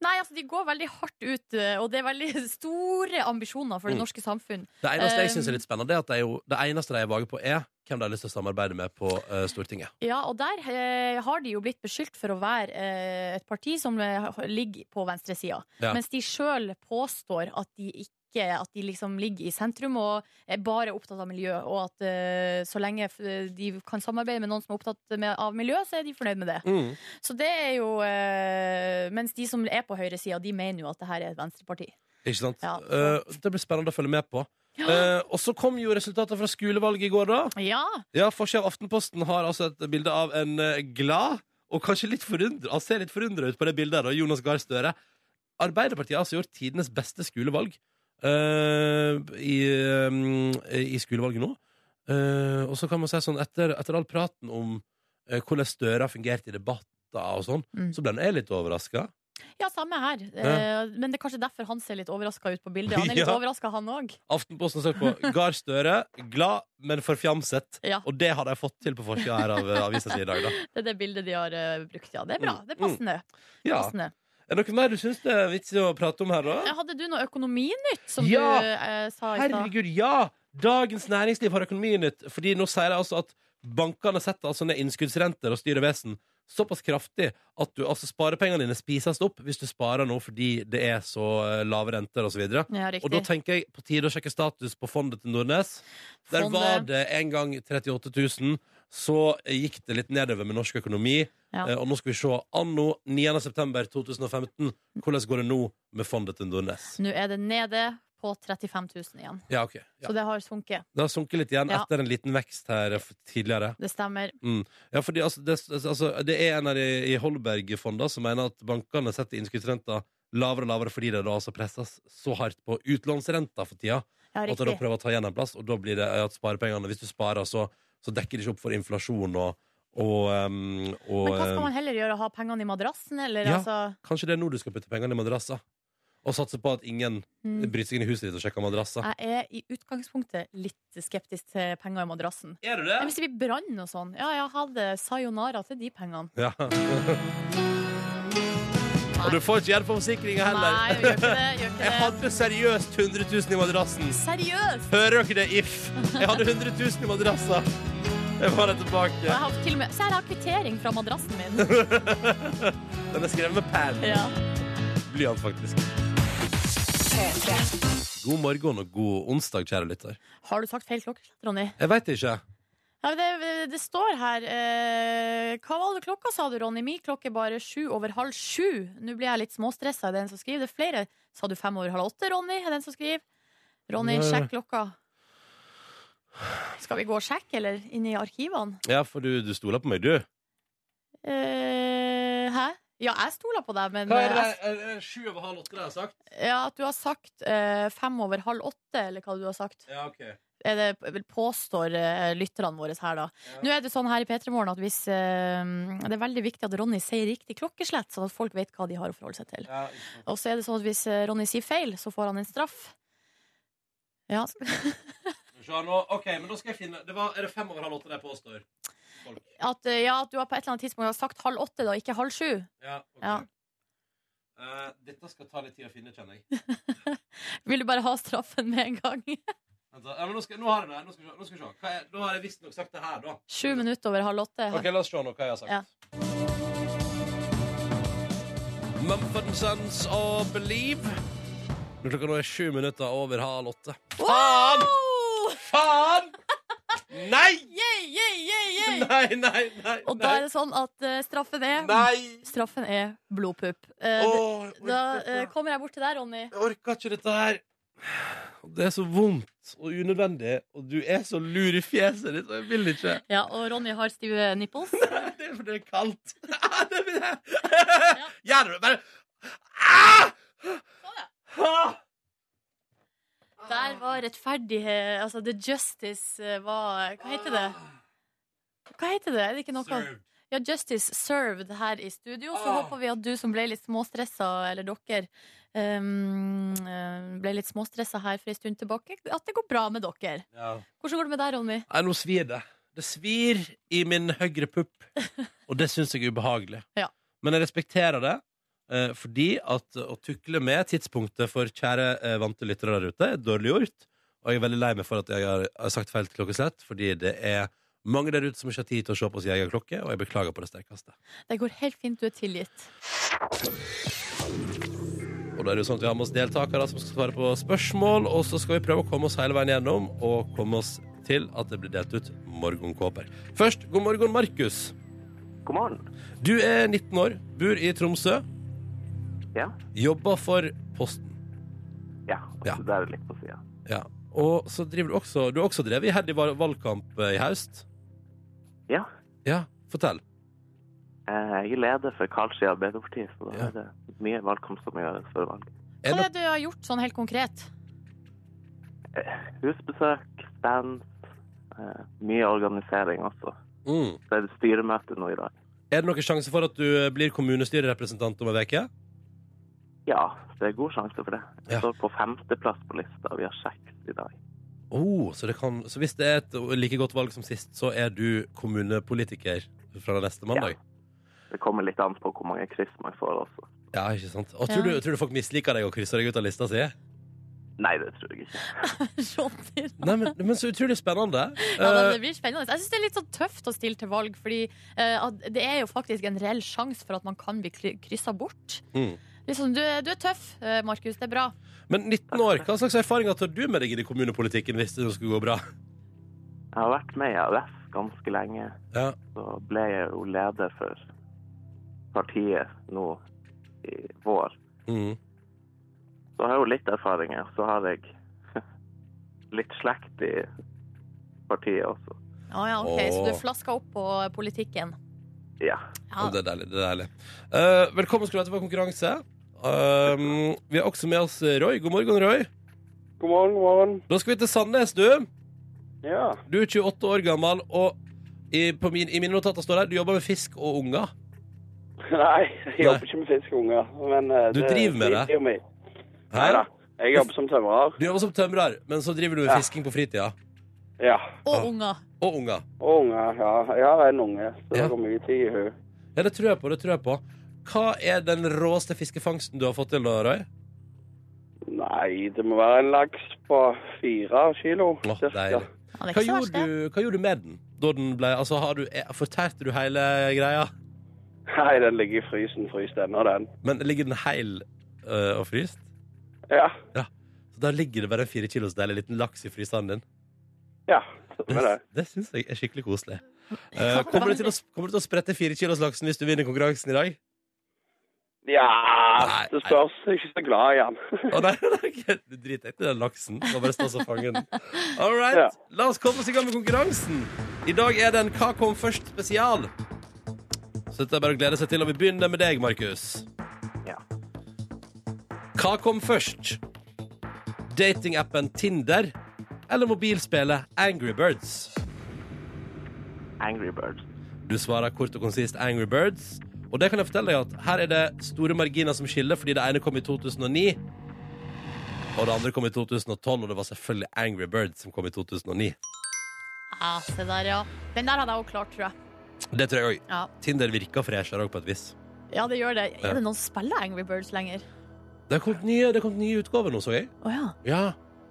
[SPEAKER 3] Nei, altså, de går veldig hardt ut, eh, og det er veldig store ambisjoner for det
[SPEAKER 2] Mm.
[SPEAKER 3] norske samfunn.
[SPEAKER 2] Det eneste jeg
[SPEAKER 3] Um,
[SPEAKER 2] synes er litt spennende, er at de er jo, det eneste de er vage på, er hvem de har lyst til å samarbeide med på eh, Stortinget.
[SPEAKER 3] Ja, og der eh, har de jo blitt beskyldt for å være eh, et parti som eh, ligger på venstresida.
[SPEAKER 2] Ja.
[SPEAKER 3] Mens de sjøl påstår at de ikke at de liksom ligger i sentrum og er bare opptatt av miljø. Og at eh, så lenge f- de kan samarbeide med noen som er opptatt med, av miljø, så er de fornøyd med det.
[SPEAKER 2] Mm.
[SPEAKER 3] Så det er jo eh, Mens de som er på høyresida, de mener jo at det her er et venstreparti.
[SPEAKER 2] Ikke sant?
[SPEAKER 3] Ja.
[SPEAKER 2] Eh, det blir spennende å følge med på. Eh, og så kom jo resultatet fra skolevalget i går, da.
[SPEAKER 3] Ja!
[SPEAKER 2] Ja, Forsida av Aftenposten har altså et bilde av en eh, glad og kanskje litt forundra Han ser litt forundra ut på det bildet, da, Jonas Gahr Støre. Arbeiderpartiet har altså gjort tidenes beste skolevalg eh, i, eh, i skolevalget nå. Eh, og så kan man si sånn, etter, etter all praten om eh, hvordan Støre har fungert i debatter og sånn,
[SPEAKER 3] Mm.
[SPEAKER 2] så ble nå jeg litt overraska.
[SPEAKER 3] ja, samme her. Eh, men det er kanskje derfor han ser litt overraska ut på bildet. Han er litt
[SPEAKER 2] Ja.
[SPEAKER 3] overraska, han òg.
[SPEAKER 2] Aftenposten søkte på Gahr Støre, glad, men forfjamset.
[SPEAKER 3] Ja.
[SPEAKER 2] Og det har de fått til på forsida her av eh, avisa si i dag, da.
[SPEAKER 3] Det er det bildet de har eh, brukt, ja. Det er bra. Det er passende.
[SPEAKER 2] Mm. Ja.
[SPEAKER 3] passende.
[SPEAKER 2] Er det noe mer du syns det er vits i å prate om her, da?
[SPEAKER 3] Hadde du noe økonominytt som
[SPEAKER 2] Ja.
[SPEAKER 3] du eh, sa i stad?
[SPEAKER 2] Herregud, ja! Dagens Næringsliv har økonominytt. Fordi nå sier de altså at bankene setter altså ned innskuddsrenter og styrer vesen såpass kraftig at du, altså sparepengene dine spises opp hvis du sparer nå fordi det er så eh, lave renter osv. Og,
[SPEAKER 3] Ja,
[SPEAKER 2] og da
[SPEAKER 3] riktig.
[SPEAKER 2] tenker jeg på tide å sjekke status på fondet til Nordnes. Der
[SPEAKER 3] Fondet.
[SPEAKER 2] var det en gang 38 000. Så gikk det litt nedover med norsk økonomi.
[SPEAKER 3] Ja.
[SPEAKER 2] Eh, Og nå skal vi se anno 9.9.2015. Hvordan går det nå med fondet til Nordnes?
[SPEAKER 3] Nå er det nede på 35 000 igjen.
[SPEAKER 2] Ja, ok. Ja.
[SPEAKER 3] Så det har sunket.
[SPEAKER 2] Det har sunket litt igjen
[SPEAKER 3] Ja.
[SPEAKER 2] etter en liten vekst her f- tidligere.
[SPEAKER 3] Det stemmer.
[SPEAKER 2] Ja, fordi altså, det, altså, det er en her i, i Holberg-fonda som mener at bankene setter innskuddsrenta lavere og lavere fordi det da altså presses så hardt på utlånsrenta for tida.
[SPEAKER 3] Ja,
[SPEAKER 2] Og at de da
[SPEAKER 3] riktig.
[SPEAKER 2] prøver å ta igjen en plass, og da blir det eh, at sparepengene Hvis du sparer, så, så dekker det ikke opp for inflasjon og, og, um, og
[SPEAKER 3] Men hva skal
[SPEAKER 2] um,
[SPEAKER 3] man heller gjøre? Ha pengene i madrassen, eller
[SPEAKER 2] Ja.
[SPEAKER 3] altså
[SPEAKER 2] Kanskje det er nå du skal putte pengene i madrasser? Og satse på at ingen
[SPEAKER 3] mm.
[SPEAKER 2] bryter seg inn i huset ditt og sjekker madrasser?
[SPEAKER 3] Jeg er i utgangspunktet litt skeptisk til penger i madrassen.
[SPEAKER 2] Er du det?
[SPEAKER 3] Men hvis det blir brann og sånn, ja, jeg hadde sayonara til de pengene.
[SPEAKER 2] Ja. Og du får ikke hjelp av forsikringa heller.
[SPEAKER 3] Nei, gjør ikke det. Gjør
[SPEAKER 2] Jeg
[SPEAKER 3] ikke det.
[SPEAKER 2] hadde seriøst 100 000 i madrassen.
[SPEAKER 3] Seriøst!
[SPEAKER 2] Hører dere det, if? Jeg hadde 100 000 i madrassa. Jeg var der
[SPEAKER 3] Og jeg
[SPEAKER 2] tilbake.
[SPEAKER 3] har til og med, så her har jeg kvittering fra madrassen min.
[SPEAKER 2] Den er skrevet med penn.
[SPEAKER 3] Ja.
[SPEAKER 2] Blyant, faktisk. God morgen og god onsdag, kjære lytter.
[SPEAKER 3] Har du sagt feil klokkeslett, Ronny?
[SPEAKER 2] Jeg veit ikke.
[SPEAKER 3] Ja, det, det står her eh, Hva var det klokka, sa du, Ronny? Min klokke er bare sju over halv sju. Nå blir jeg litt småstressa, er det en som skriver. Det er flere. Sa du fem over halv åtte, Ronny? Er det en som skriver? Ronny,
[SPEAKER 2] Nei.
[SPEAKER 3] sjekk klokka. Skal vi gå og sjekke, eller? Inne i arkivene?
[SPEAKER 2] Ja, for du, du stoler på meg, du.
[SPEAKER 3] Eh, hæ? Ja, jeg stoler på deg, men eh,
[SPEAKER 2] Sju over halv åtte, det har jeg sagt?
[SPEAKER 3] jeg- ja, at du har sagt eh, fem over halv åtte, eller hva du har sagt.
[SPEAKER 2] Ja, ok.
[SPEAKER 3] er det, vel påstår eh, lytterne våre her, da.
[SPEAKER 2] Ja.
[SPEAKER 3] Nå er det sånn her i P3 Morgen at hvis eh, Det er veldig viktig at Ronny sier riktig klokkeslett, sånn at folk vet hva de har å forholde seg til. Og så er det sånn at hvis eh, Ronny sier feil, så får han en straff. Ja,
[SPEAKER 2] OK, men da skal jeg finne Er det fem over halv åtte de påstår?
[SPEAKER 3] at, eh, ja, at du har på et eller annet tidspunkt har sagt halv åtte, da, ikke halv sju.
[SPEAKER 2] Ja, ok.
[SPEAKER 3] Ja.
[SPEAKER 2] Eh, dette skal ta litt tid å finne, kjenner jeg.
[SPEAKER 3] Vil du bare ha straffen med en gang?
[SPEAKER 2] Vent da. Ja, men nå, skal, nå har jeg det. Nå skal, vi se- nå skal vi se. Hva er, nå har jeg visstnok sagt det her, da.
[SPEAKER 3] Sju minutter over halv åtte.
[SPEAKER 2] Ok, La oss se nå hva jeg har sagt.
[SPEAKER 3] Ja.
[SPEAKER 2] Mumford Sons og Believe. Når klokka nå er sju minutter over halv åtte. Faen!
[SPEAKER 3] Wow!
[SPEAKER 2] Faen! Nei!
[SPEAKER 3] Yeah, yeah, yeah, yeah!
[SPEAKER 2] Nei, nei, nei.
[SPEAKER 3] Og da er det sånn at eh, straffen er
[SPEAKER 2] Nei!
[SPEAKER 3] Straffen er blodpupp. Eh,
[SPEAKER 2] Åh, jeg orker
[SPEAKER 3] da eh,
[SPEAKER 2] ikke.
[SPEAKER 3] kommer jeg bort til deg, Ronny.
[SPEAKER 2] jeg orker ikke dette her. Og Det er så vondt og unødvendig, og du er så lur i fjeset ditt, og jeg vil ikke.
[SPEAKER 3] Ja, og Ronny har stive nipples.
[SPEAKER 2] Det er fordi det er kaldt. det vil jeg. Gjør det bare ah!
[SPEAKER 3] Sånn,
[SPEAKER 2] Ah!
[SPEAKER 3] Der var rettferdighet Altså, the justice eh, var Hva heter det? Hva heter det? Er det ikke noe?
[SPEAKER 2] Ah, Served.
[SPEAKER 3] Ja, Justice served her i studio. Så
[SPEAKER 2] Ah.
[SPEAKER 3] håper vi at du som ble litt småstressa, eller dere ehm, eh, ble litt småstressa her for en stund tilbake, at det går bra med dere.
[SPEAKER 2] Ja.
[SPEAKER 3] Hvordan går det med deg, Ronny?
[SPEAKER 2] Nei, nå svir det. Det svir i min høyre pupp, og det syns jeg er ubehagelig.
[SPEAKER 3] Ja.
[SPEAKER 2] Men jeg respekterer det, eh, fordi at å tukle med tidspunktet for kjære eh, vante lyttere der ute er dårlig gjort. Og jeg er veldig lei meg for at jeg har, har sagt feil til klokkeslett, fordi det er mange der ute som ikke har tid til å se på sin egen klokke, og jeg beklager på det sterkeste.
[SPEAKER 3] Det går helt fint, du er tilgitt.
[SPEAKER 2] Og da er det jo sånn at vi har med oss deltakere som skal svare på spørsmål, og så skal vi prøve å komme oss hele veien gjennom, og komme oss til at det blir delt ut morgenkåper. Først, god morgen, Markus.
[SPEAKER 1] God morgen.
[SPEAKER 2] Du er 19 år, bor i Tromsø,
[SPEAKER 1] Ja.
[SPEAKER 2] jobber for Posten.
[SPEAKER 1] Ja.
[SPEAKER 2] Ja.
[SPEAKER 1] Det er litt på sida.
[SPEAKER 2] Ja. Og så driver du også Du har også drevet iherdig val- valgkamp eh, i høst.
[SPEAKER 1] Ja.
[SPEAKER 2] Ja, fortell.
[SPEAKER 1] eh, Jeg er leder for Karlskia Arbeiderpartiet, så da
[SPEAKER 2] Ja.
[SPEAKER 1] er det mye valgkamp som gjøres før valg.
[SPEAKER 2] Er det
[SPEAKER 3] Hva er det du har gjort sånn helt konkret?
[SPEAKER 1] Husbesøk, stands, eh, mye organisering også.
[SPEAKER 2] mm.
[SPEAKER 1] Så er det styremøte nå i dag.
[SPEAKER 2] Er det noen sjanse for at du eh, blir kommunestyrerepresentant om ei uke?
[SPEAKER 1] Ja, det er god sjanse for det. Jeg
[SPEAKER 2] Ja.
[SPEAKER 1] står på femteplass på lista, vi har seks i dag.
[SPEAKER 2] Oh, så, det kan- så hvis det er et like godt valg som sist, så er du kommunepolitiker fra neste mandag?
[SPEAKER 1] Det kommer litt an på hvor mange kryss man får også.
[SPEAKER 2] Ja, ikke sant? Og tror,
[SPEAKER 3] Ja.
[SPEAKER 2] du, tror du folk misliker deg og krysser deg ut av lista si?
[SPEAKER 1] Nei, det tror jeg ikke.
[SPEAKER 3] Ronny,
[SPEAKER 2] Nei, men, men så utrolig spennende.
[SPEAKER 3] Ja, men
[SPEAKER 2] Eh,
[SPEAKER 3] det blir spennende. Jeg syns det er litt sånn tøft å stille til valg, fordi eh, at det er jo faktisk en reell sjanse for at man kan bli kry- kryssa bort.
[SPEAKER 2] Mm.
[SPEAKER 3] Liksom, du, er- du er tøff, eh, Markus. Det er bra.
[SPEAKER 2] Men 19 år, hva slags erfaringer tar du med deg inn i kommunepolitikken hvis det skulle gå bra?
[SPEAKER 1] Jeg har vært med i AUF ganske lenge.
[SPEAKER 2] Ja.
[SPEAKER 1] Så ble jeg jo leder for partiet nå i vår.
[SPEAKER 2] Mm.
[SPEAKER 1] Så har jeg jo litt erfaringer. Så har jeg litt slekt i partiet også.
[SPEAKER 3] Ja, ja, ok, Så du
[SPEAKER 2] Åh.
[SPEAKER 3] er flaska opp på politikken.
[SPEAKER 1] Ja.
[SPEAKER 3] Ja.
[SPEAKER 2] Det er deilig. det er deilig Eh, Velkommen skal du være til vår konkurranse. Um, vi har også med oss Roy. God morgen, Roy.
[SPEAKER 5] God morgen, god morgen.
[SPEAKER 2] Da skal vi til Sandnes, du.
[SPEAKER 5] Ja.
[SPEAKER 2] Du er 28 år gammel, og i, på min, i mine notater står det du jobber med fisk og unger.
[SPEAKER 5] Nei, jeg
[SPEAKER 2] Nei.
[SPEAKER 5] jobber ikke med fiskeunger. Men eh,
[SPEAKER 2] Du driver med det?
[SPEAKER 5] driter meg.
[SPEAKER 2] Hæ?
[SPEAKER 5] Nei da. Jeg jobber som tømrer.
[SPEAKER 2] Du jobber som tømrer, men så driver du med
[SPEAKER 5] Ja.
[SPEAKER 2] fisking på fritida.
[SPEAKER 5] Ja.
[SPEAKER 3] Og
[SPEAKER 2] Ja.
[SPEAKER 3] unger.
[SPEAKER 2] Og unger.
[SPEAKER 5] Og unger, ja. Jeg har en unge, så
[SPEAKER 2] Ja.
[SPEAKER 5] det går mye tid i henne.
[SPEAKER 2] Ja, det tror jeg på. det tror jeg på Hva er den råeste fiskefangsten du har fått til, da, Roy?
[SPEAKER 5] Nei, det må være en laks på fire kilo.
[SPEAKER 2] Åh,
[SPEAKER 5] cirka.
[SPEAKER 2] deilig.
[SPEAKER 3] Ja, det er
[SPEAKER 2] Hva
[SPEAKER 3] ikke så verst,
[SPEAKER 2] gjorde,
[SPEAKER 3] det.
[SPEAKER 2] du, hva gjorde du med den? Da den ble, altså, har du, eh, fortærte du hele greia?
[SPEAKER 5] Nei, den ligger i frysen. Fryst ennå, den.
[SPEAKER 2] Men ligger den heil eh, og fryst?
[SPEAKER 5] Ja.
[SPEAKER 2] Så da ligger det bare en fire kilos deilig liten laks i fryseren din.
[SPEAKER 5] Ja.
[SPEAKER 2] Det,
[SPEAKER 5] Stemmer det.
[SPEAKER 2] det syns jeg er skikkelig koselig. Eh, kommer, du til å, kommer du til å sprette fire kilos laksen hvis du vinner konkurransen i dag?
[SPEAKER 5] Ja
[SPEAKER 2] Nei,
[SPEAKER 5] Det spørs. Jeg er ikke så glad i den.
[SPEAKER 2] Å nei, nei, nei, du driter ikke i den laksen. Du må bare stå og fange den. All
[SPEAKER 5] Ja.
[SPEAKER 2] right, la oss komme oss i gang med konkurransen. I dag er den Hva kom først? spesial. Så dette er bare å glede seg til, og vi begynner med deg, Markus.
[SPEAKER 1] Ja.
[SPEAKER 2] Hva kom først? Datingappen Tinder eller mobilspillet Angry Birds?
[SPEAKER 1] Angry Birds.
[SPEAKER 2] Du svarer kort og konsist Angry Birds. Og det kan jeg fortelle deg at her er det store marginer som skiller, fordi det ene kom i 2009, og det andre kom i 2012, og det var selvfølgelig Angry Birds som kom i 2009.
[SPEAKER 3] Ja, se der, ja. Den der hadde jeg også klart, tror jeg.
[SPEAKER 2] Det tror jeg òg.
[SPEAKER 3] Ja.
[SPEAKER 2] Tinder virker freshere òg, på et vis.
[SPEAKER 3] ja, det gjør det.
[SPEAKER 2] Ja.
[SPEAKER 3] Er det noen som spiller Angry Birds lenger?
[SPEAKER 2] Det har kommet nye, det har kommet nye utgaver nå, så jeg.
[SPEAKER 3] Å ja.
[SPEAKER 2] Ja,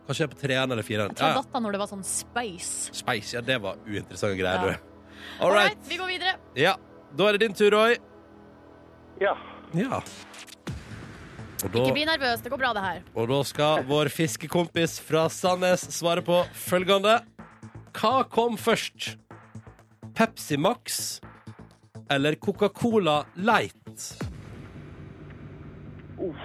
[SPEAKER 2] Kanskje jeg er på treeren eller fireren.
[SPEAKER 3] Jeg tror jeg
[SPEAKER 2] Ja,
[SPEAKER 3] datt av når det var sånn space.
[SPEAKER 2] Space, ja, det var uinteressante greier,
[SPEAKER 3] Ja.
[SPEAKER 2] du. All right.
[SPEAKER 3] vi går videre.
[SPEAKER 2] Ja, da er det din tur, Roy.
[SPEAKER 5] Ja.
[SPEAKER 2] Ja. Og da,
[SPEAKER 3] Ikke bli nervøs, det går bra, det her.
[SPEAKER 2] og da skal vår fiskekompis fra Sandnes svare på følgende. Hva kom først? Pepsi Max eller Coca-Cola Light?
[SPEAKER 5] Uff.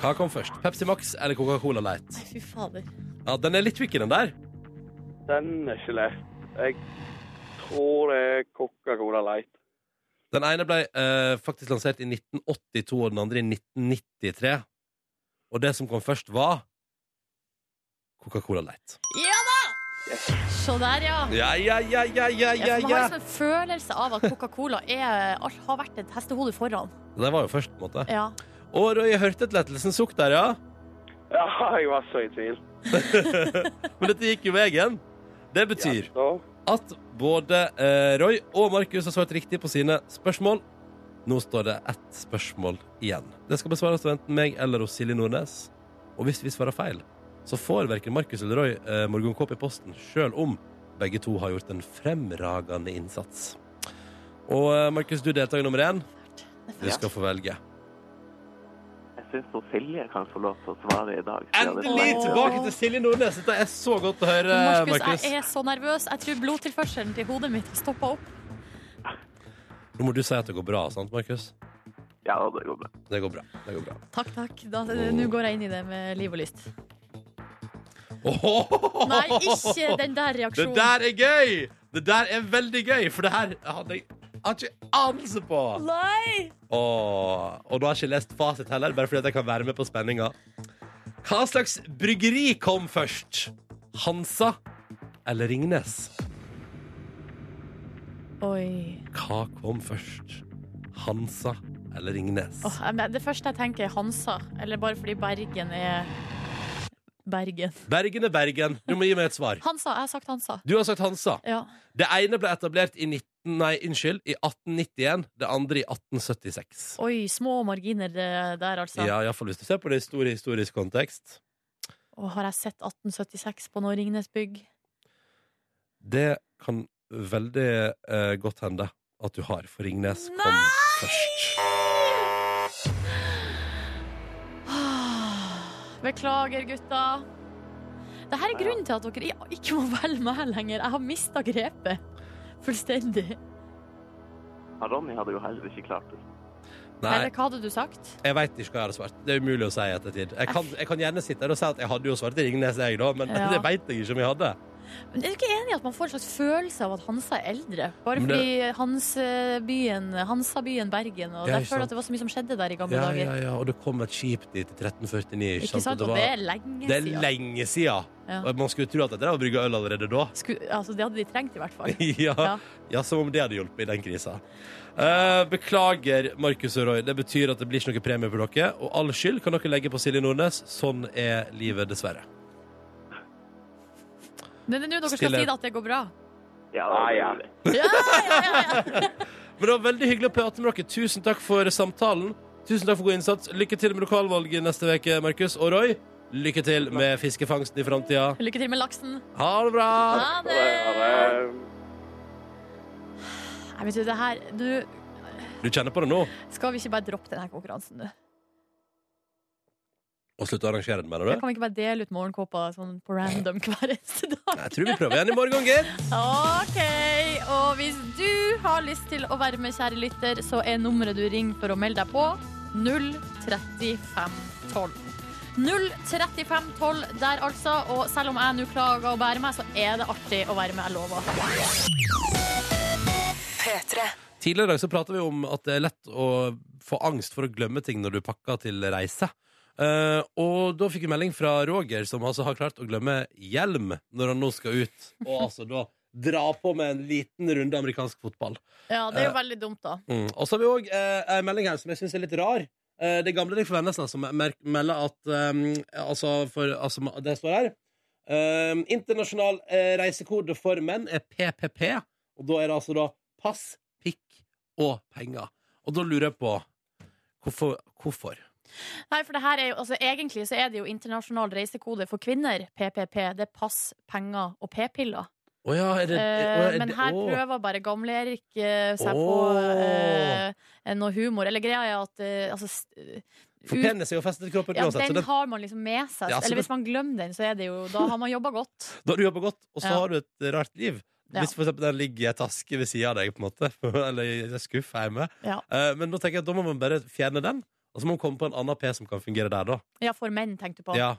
[SPEAKER 2] Hva kom først? Pepsi Max eller Coca-Cola Light?
[SPEAKER 3] Nei, fy fader.
[SPEAKER 2] Ja, Den er litt tricky, den der.
[SPEAKER 5] Den er ikke lett. Jeg tror det er Coca-Cola Light.
[SPEAKER 2] Den ene ble eh, faktisk lansert i 1982, og den andre i 1993. Og det som kom først, var Coca-Cola Light.
[SPEAKER 3] Ja da! Se der, ja.
[SPEAKER 2] Ja, ja, ja, ja, ja,
[SPEAKER 3] Ja,
[SPEAKER 2] ja,
[SPEAKER 3] for man
[SPEAKER 2] ja.
[SPEAKER 3] har liksom en følelse av at Coca-Cola er, alt har vært et hestehode foran.
[SPEAKER 2] Den var jo først, på en måte.
[SPEAKER 3] Ja.
[SPEAKER 2] Og Roy, jeg hørte et lettelsens sukk der, ja.
[SPEAKER 5] Ja, jeg var så i tvil.
[SPEAKER 2] Men dette gikk jo veien. Det betyr
[SPEAKER 5] Så,
[SPEAKER 2] at både eh, Roy og Markus har svart riktig på sine spørsmål. Nå står det ett spørsmål igjen. Det skal besvares av enten meg eller hos Silje Nordnes. Og hvis vi svarer feil, så får verken Markus eller Roy eh, morgenkåpe i posten, sjøl om begge to har gjort en fremragende innsats. Og eh, Markus, du er deltaker nummer én. Du
[SPEAKER 5] Ja.
[SPEAKER 2] skal få velge.
[SPEAKER 1] Jeg syns Silje kan få lov til å svare i dag. siden det er
[SPEAKER 2] Endelig
[SPEAKER 1] så lenge siden.
[SPEAKER 2] tilbake til Silje Nordnes! Dette er så godt å høre,
[SPEAKER 3] Markus,
[SPEAKER 2] eh, Markus.
[SPEAKER 3] jeg er så nervøs. Jeg tror blodtilførselen til hodet mitt har stoppa opp.
[SPEAKER 2] Nå må du si at det går bra, sant, Markus?
[SPEAKER 1] Ja, det går bra.
[SPEAKER 2] Det går bra. Det går bra.
[SPEAKER 3] Takk, takk. Da- Nå går jeg inn i det med liv og lyst.
[SPEAKER 2] Åhåhåhå!
[SPEAKER 3] Nei, ikke den der
[SPEAKER 2] Det
[SPEAKER 3] reaksjonen.
[SPEAKER 2] der er gøy! Det der er veldig gøy, for det her hadde jeg hadde ikke anelse på.
[SPEAKER 3] Nei!
[SPEAKER 2] Åh, og da har jeg ikke lest fasit heller, bare fordi at jeg kan være med på spenninga. Hva slags bryggeri kom først? Hansa eller Ringnes?
[SPEAKER 3] Oi.
[SPEAKER 2] Hva kom først? Hansa eller Ringnes?
[SPEAKER 3] Åh, jeg- men det første jeg tenker, er Hansa. Eller bare fordi Bergen er Bergen.
[SPEAKER 2] Bergen er Bergen. Du må gi meg et svar.
[SPEAKER 3] Hansa. Jeg har sagt Hansa.
[SPEAKER 2] Du har sagt Hansa.
[SPEAKER 3] Ja.
[SPEAKER 2] Det ene ble etablert i 19... Nei, unnskyld, i 1891. Det andre i 1876.
[SPEAKER 3] Oi, små marginer det der, altså.
[SPEAKER 2] Ja, iallfall hvis du ser på det i stor historisk kontekst.
[SPEAKER 3] Og har jeg sett 1876 på Norringnes bygg?
[SPEAKER 2] Det kan veldig eh, godt hende at du har, for Ringnes kom
[SPEAKER 3] Nei!
[SPEAKER 2] først.
[SPEAKER 3] Ah, Beklager, gutta. Dette er grunnen til at dere i- ikke må velge meg lenger. Jeg har mista grepet fullstendig.
[SPEAKER 1] Ja, Ronny hadde jo heller ikke klart det.
[SPEAKER 3] Eller
[SPEAKER 2] Nei,
[SPEAKER 3] hva hadde du sagt?
[SPEAKER 2] jeg veit ikke hva jeg hadde svart. Det er umulig å si i ettertid. Jeg kan, jeg kan gjerne sitte her og si at jeg hadde jo svart Ringnes, jeg, da, men
[SPEAKER 3] Ja.
[SPEAKER 2] det veit jeg ikke om jeg hadde.
[SPEAKER 3] Men Er du ikke enig i at man får en slags følelse av at Hansa er eldre? Bare
[SPEAKER 2] Men det-
[SPEAKER 3] fordi Hansabyen, Hansabyen Bergen og
[SPEAKER 2] Ja,
[SPEAKER 3] Jeg
[SPEAKER 2] ikke sant.
[SPEAKER 3] føler at det var så mye som skjedde der i gamle
[SPEAKER 2] Ja,
[SPEAKER 3] dager.
[SPEAKER 2] ja, ja, og det kom et skip dit i 1349, ikke,
[SPEAKER 3] Ikke sant?
[SPEAKER 2] Og
[SPEAKER 3] Og det er lenge
[SPEAKER 2] det er
[SPEAKER 3] siden.
[SPEAKER 2] lenge sia.
[SPEAKER 3] Ja.
[SPEAKER 2] Og Man skulle tro at de drev og brygga øl allerede da.
[SPEAKER 3] Sku- altså, det hadde de trengt, i hvert fall.
[SPEAKER 2] ja.
[SPEAKER 3] Ja.
[SPEAKER 2] ja, som om det hadde hjulpet i den krisa. Eh, beklager, Markus og Roy. Det betyr at det blir ikke noe premie for dere. Og all skyld kan dere legge på Silje Nordnes. Sånn er livet, dessverre.
[SPEAKER 3] Men det er nå dere skal
[SPEAKER 2] Stille.
[SPEAKER 3] si det at det går bra.
[SPEAKER 1] Ja,
[SPEAKER 5] Ah,
[SPEAKER 1] det
[SPEAKER 5] ja.
[SPEAKER 1] var det.
[SPEAKER 3] Ja, ja, ja, ja.
[SPEAKER 2] Men det var veldig hyggelig å prate med dere. Tusen takk for samtalen. Tusen takk for god innsats. Lykke til med lokalvalget neste uke, Markus og Roy. Lykke til med fiskefangsten i framtida.
[SPEAKER 3] Lykke til med laksen.
[SPEAKER 2] Ha det bra!
[SPEAKER 3] Ha
[SPEAKER 5] det
[SPEAKER 3] det!
[SPEAKER 5] er,
[SPEAKER 3] Nei, vet du, det her Du,
[SPEAKER 2] Du kjenner på det nå,
[SPEAKER 3] skal vi ikke bare droppe denne konkurransen, du?
[SPEAKER 2] og slutte å arrangere den, mener
[SPEAKER 3] Jeg
[SPEAKER 2] du?
[SPEAKER 3] kan vi ikke bare dele ut morgenkåpa sånn på random hver eneste dag?
[SPEAKER 2] Jeg tror vi prøver igjen i morgen, gitt.
[SPEAKER 3] OK. Og hvis du har lyst til å være med, kjære lytter, så er nummeret du ringer for å melde deg på, 03512. 03512 der, altså. Og selv om jeg nå klager og bærer meg, så er det artig å være med, jeg lover.
[SPEAKER 2] Tidligere i dag så pratet vi om at det er lett å få angst for å glemme ting når du pakker til reise. Eh, og da fikk vi melding fra Roger, som altså har klart å glemme hjelm når han nå skal ut. Og altså da dra på med en liten runde amerikansk fotball.
[SPEAKER 3] Ja, det
[SPEAKER 5] Eh.
[SPEAKER 3] er jo veldig dumt, da.
[SPEAKER 2] Mm. Og så har vi òg eh, en melding her som jeg syns er litt rar. Eh, det gamle Rik for Vennesla som mer melder at eh, Altså, for, altså det står her eh, Internasjonal eh, reisekode for menn er PPP, og da er det altså da pass, pikk og penger. Og da lurer jeg på hvorfor, hvorfor?
[SPEAKER 3] Nei, for det her er jo, altså Egentlig så er det jo internasjonal reisekode for kvinner, PPP. Det er pass, penger og p-piller.
[SPEAKER 2] Å ja, er det, å,
[SPEAKER 3] Eh,
[SPEAKER 2] er
[SPEAKER 3] men
[SPEAKER 2] det-
[SPEAKER 3] her
[SPEAKER 2] å.
[SPEAKER 3] prøver bare gamle-Erik eh, seg på
[SPEAKER 2] Åh.
[SPEAKER 3] eh, noe humor. Eller greia er at eh, altså, s-
[SPEAKER 2] For
[SPEAKER 3] ut,
[SPEAKER 2] penis er jo festet i kroppen
[SPEAKER 3] ja,
[SPEAKER 2] uansett, så
[SPEAKER 3] Den
[SPEAKER 2] den,
[SPEAKER 3] har man liksom med seg.
[SPEAKER 2] Ja, så
[SPEAKER 3] Eller
[SPEAKER 2] det-
[SPEAKER 3] hvis man glemmer den, så er det jo Da har man jobba godt.
[SPEAKER 2] da har du jobba godt, og så
[SPEAKER 3] Ja.
[SPEAKER 2] har du et rart liv.
[SPEAKER 3] Ja.
[SPEAKER 2] Hvis for eksempel den ligger i ei taske ved sida av deg, på en måte, eller i en skuff hjemme,
[SPEAKER 3] Ja.
[SPEAKER 2] Eh, Men nå tenker jeg at da må man bare fjerne den, Og så må hun komme på en annen P som kan fungere der, da.
[SPEAKER 3] Ja, for menn, tenkte du på. Ja.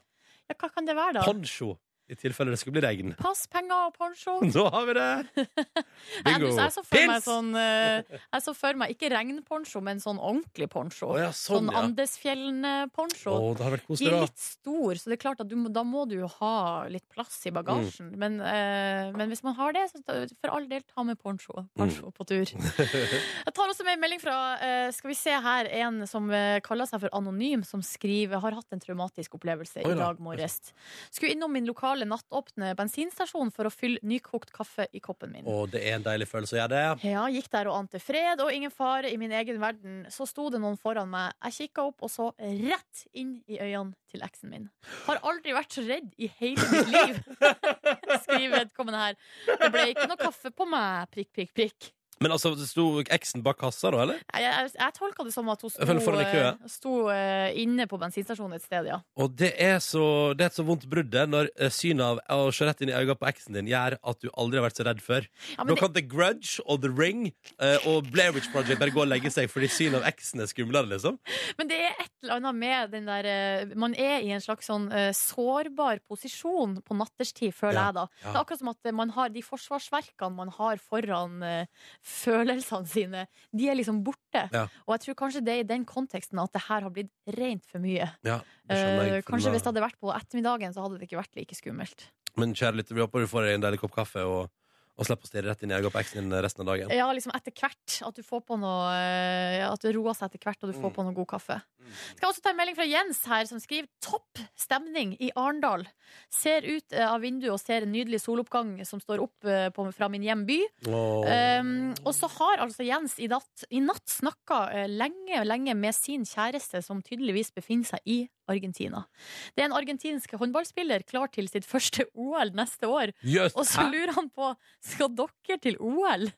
[SPEAKER 2] Ja,
[SPEAKER 3] hva kan det være, da?
[SPEAKER 2] Poncho, i tilfelle det skulle bli regn.
[SPEAKER 3] Pass, penger og pensjon.
[SPEAKER 2] Da har vi det!
[SPEAKER 3] Jeg,
[SPEAKER 2] Bingo.
[SPEAKER 3] jeg så for meg sånn eh, Jeg så for meg ikke regnponcho, men sånn ordentlig poncho.
[SPEAKER 2] Å ja, sånn,
[SPEAKER 3] Sånn
[SPEAKER 2] ja.
[SPEAKER 3] Andesfjellene-poncho.
[SPEAKER 2] Å, det har vært
[SPEAKER 3] De
[SPEAKER 2] koselig,
[SPEAKER 3] er
[SPEAKER 2] da.
[SPEAKER 3] litt store, så det er klart at du, må- da må du jo ha litt plass i bagasjen.
[SPEAKER 2] Mm.
[SPEAKER 3] Men, eh, men hvis man har det, så ta- for all del ta med poncho,
[SPEAKER 2] Mm.
[SPEAKER 3] poncho på tur. Jeg tar også med en melding fra eh, Skal vi se her, en som eh, kaller seg for Anonym, som skriver har hatt en traumatisk opplevelse
[SPEAKER 2] Oi
[SPEAKER 3] i
[SPEAKER 2] da.
[SPEAKER 3] dag morges. Skulle innom min lokale nattåpne bensinstasjon for å fylle nykokt kaffe i koppen min.
[SPEAKER 2] Å, det er en deilig følelse å gjøre det.
[SPEAKER 3] Ja, gikk der og ante fred og ingen fare i min egen verden. Så sto det noen foran meg. Jeg kikka opp og så rett inn i øynene til eksen min. Har aldri vært så redd i hele mitt liv, skriver vedkommende her. Det ble ikke noe kaffe på meg, prikk, prikk, prikk.
[SPEAKER 2] Men altså, det sto eksen bak kassa, da, eller?
[SPEAKER 3] Jeg, jeg, jeg tolka det som at hun sto,
[SPEAKER 2] Jeg føler foran i
[SPEAKER 3] eh,
[SPEAKER 2] køen.
[SPEAKER 3] sto eh, inne på bensinstasjonen et sted, ja.
[SPEAKER 2] Og det er, så, det er et så vondt brudd det, når eh, synet av å se rett inn i øynene på eksen din gjør at du aldri har vært så redd før.
[SPEAKER 3] ja men
[SPEAKER 2] Da
[SPEAKER 3] det,
[SPEAKER 2] kan The Grudge og The Ring eh, og Blair Witch Project bare gå og legge seg fordi synet av eksen er skumlere, liksom.
[SPEAKER 3] Men det er et eller annet med den der eh, Man er i en slags sånn eh, sårbar posisjon på natterstid, føler
[SPEAKER 2] Ja,
[SPEAKER 3] jeg da.
[SPEAKER 2] ja.
[SPEAKER 3] Det er akkurat som at eh, man har de forsvarsverkene man har foran eh, følelsene sine, de er liksom borte.
[SPEAKER 2] Ja.
[SPEAKER 3] Og jeg tror kanskje det er i den konteksten at det her har blitt rent for mye.
[SPEAKER 2] Ja, det skjønner
[SPEAKER 3] Eh,
[SPEAKER 2] jeg.
[SPEAKER 3] kanskje hvis det hadde vært på ettermiddagen, så hadde det ikke vært like skummelt.
[SPEAKER 2] Men kjære lytter, vi håper du får deg en deilig kopp kaffe og, og slipper å stirre rett inn i øynene på eksen din resten av dagen.
[SPEAKER 3] Ja, liksom etter hvert. At du får på noe eh, At det roer seg etter hvert, og du får på noe god kaffe. Skal også ta en melding fra Jens her, som skriver 'Topp stemning i Arendal'. Ser ut eh, av vinduet og ser en nydelig soloppgang som står opp eh, på, fra min hjemby.
[SPEAKER 2] Åh.
[SPEAKER 3] Um, og så har altså Jens i natt, i natt snakka eh, lenge lenge med sin kjæreste, som tydeligvis befinner seg i Argentina. Det er en argentinsk håndballspiller klar til sitt første OL neste år.
[SPEAKER 2] Jøss,
[SPEAKER 3] Og så
[SPEAKER 2] hæ?
[SPEAKER 3] lurer han på skal dere til OL.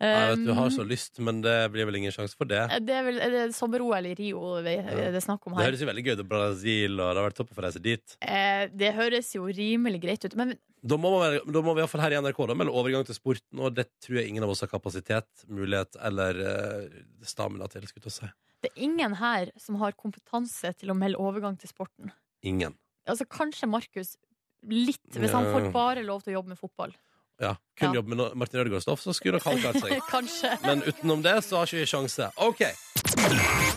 [SPEAKER 2] Jeg vet du
[SPEAKER 3] Um,
[SPEAKER 2] har så lyst, men det blir vel ingen sjanse for det.
[SPEAKER 3] det er vel er det sommer-OL i Rio vi- eh,
[SPEAKER 2] Ja.
[SPEAKER 3] det er snakk om
[SPEAKER 2] Det
[SPEAKER 3] her.
[SPEAKER 2] høres jo veldig gøy ut. Brasil, og det har vært toppen for å reise dit.
[SPEAKER 3] Eh, det høres jo rimelig greit ut. Men
[SPEAKER 2] Da må, man, være- da må vi i hvert fall her i NRK da, melde overgang til sporten, og det tror jeg ingen av oss har kapasitet, mulighet eller eh, stamina til, skulle jeg til å si.
[SPEAKER 3] det er ingen her som har kompetanse til å melde overgang til sporten.
[SPEAKER 2] Ingen.
[SPEAKER 3] Altså Kanskje Markus litt, hvis han
[SPEAKER 2] Ja.
[SPEAKER 3] får bare lov til å jobbe med fotball.
[SPEAKER 2] Ja, kun
[SPEAKER 3] Ja.
[SPEAKER 2] jobbe med no- Martin Ødegaard Stoff, så skulle nok han klart seg.
[SPEAKER 3] Kanskje.
[SPEAKER 2] Men utenom det så har ikke vi sjanse. OK.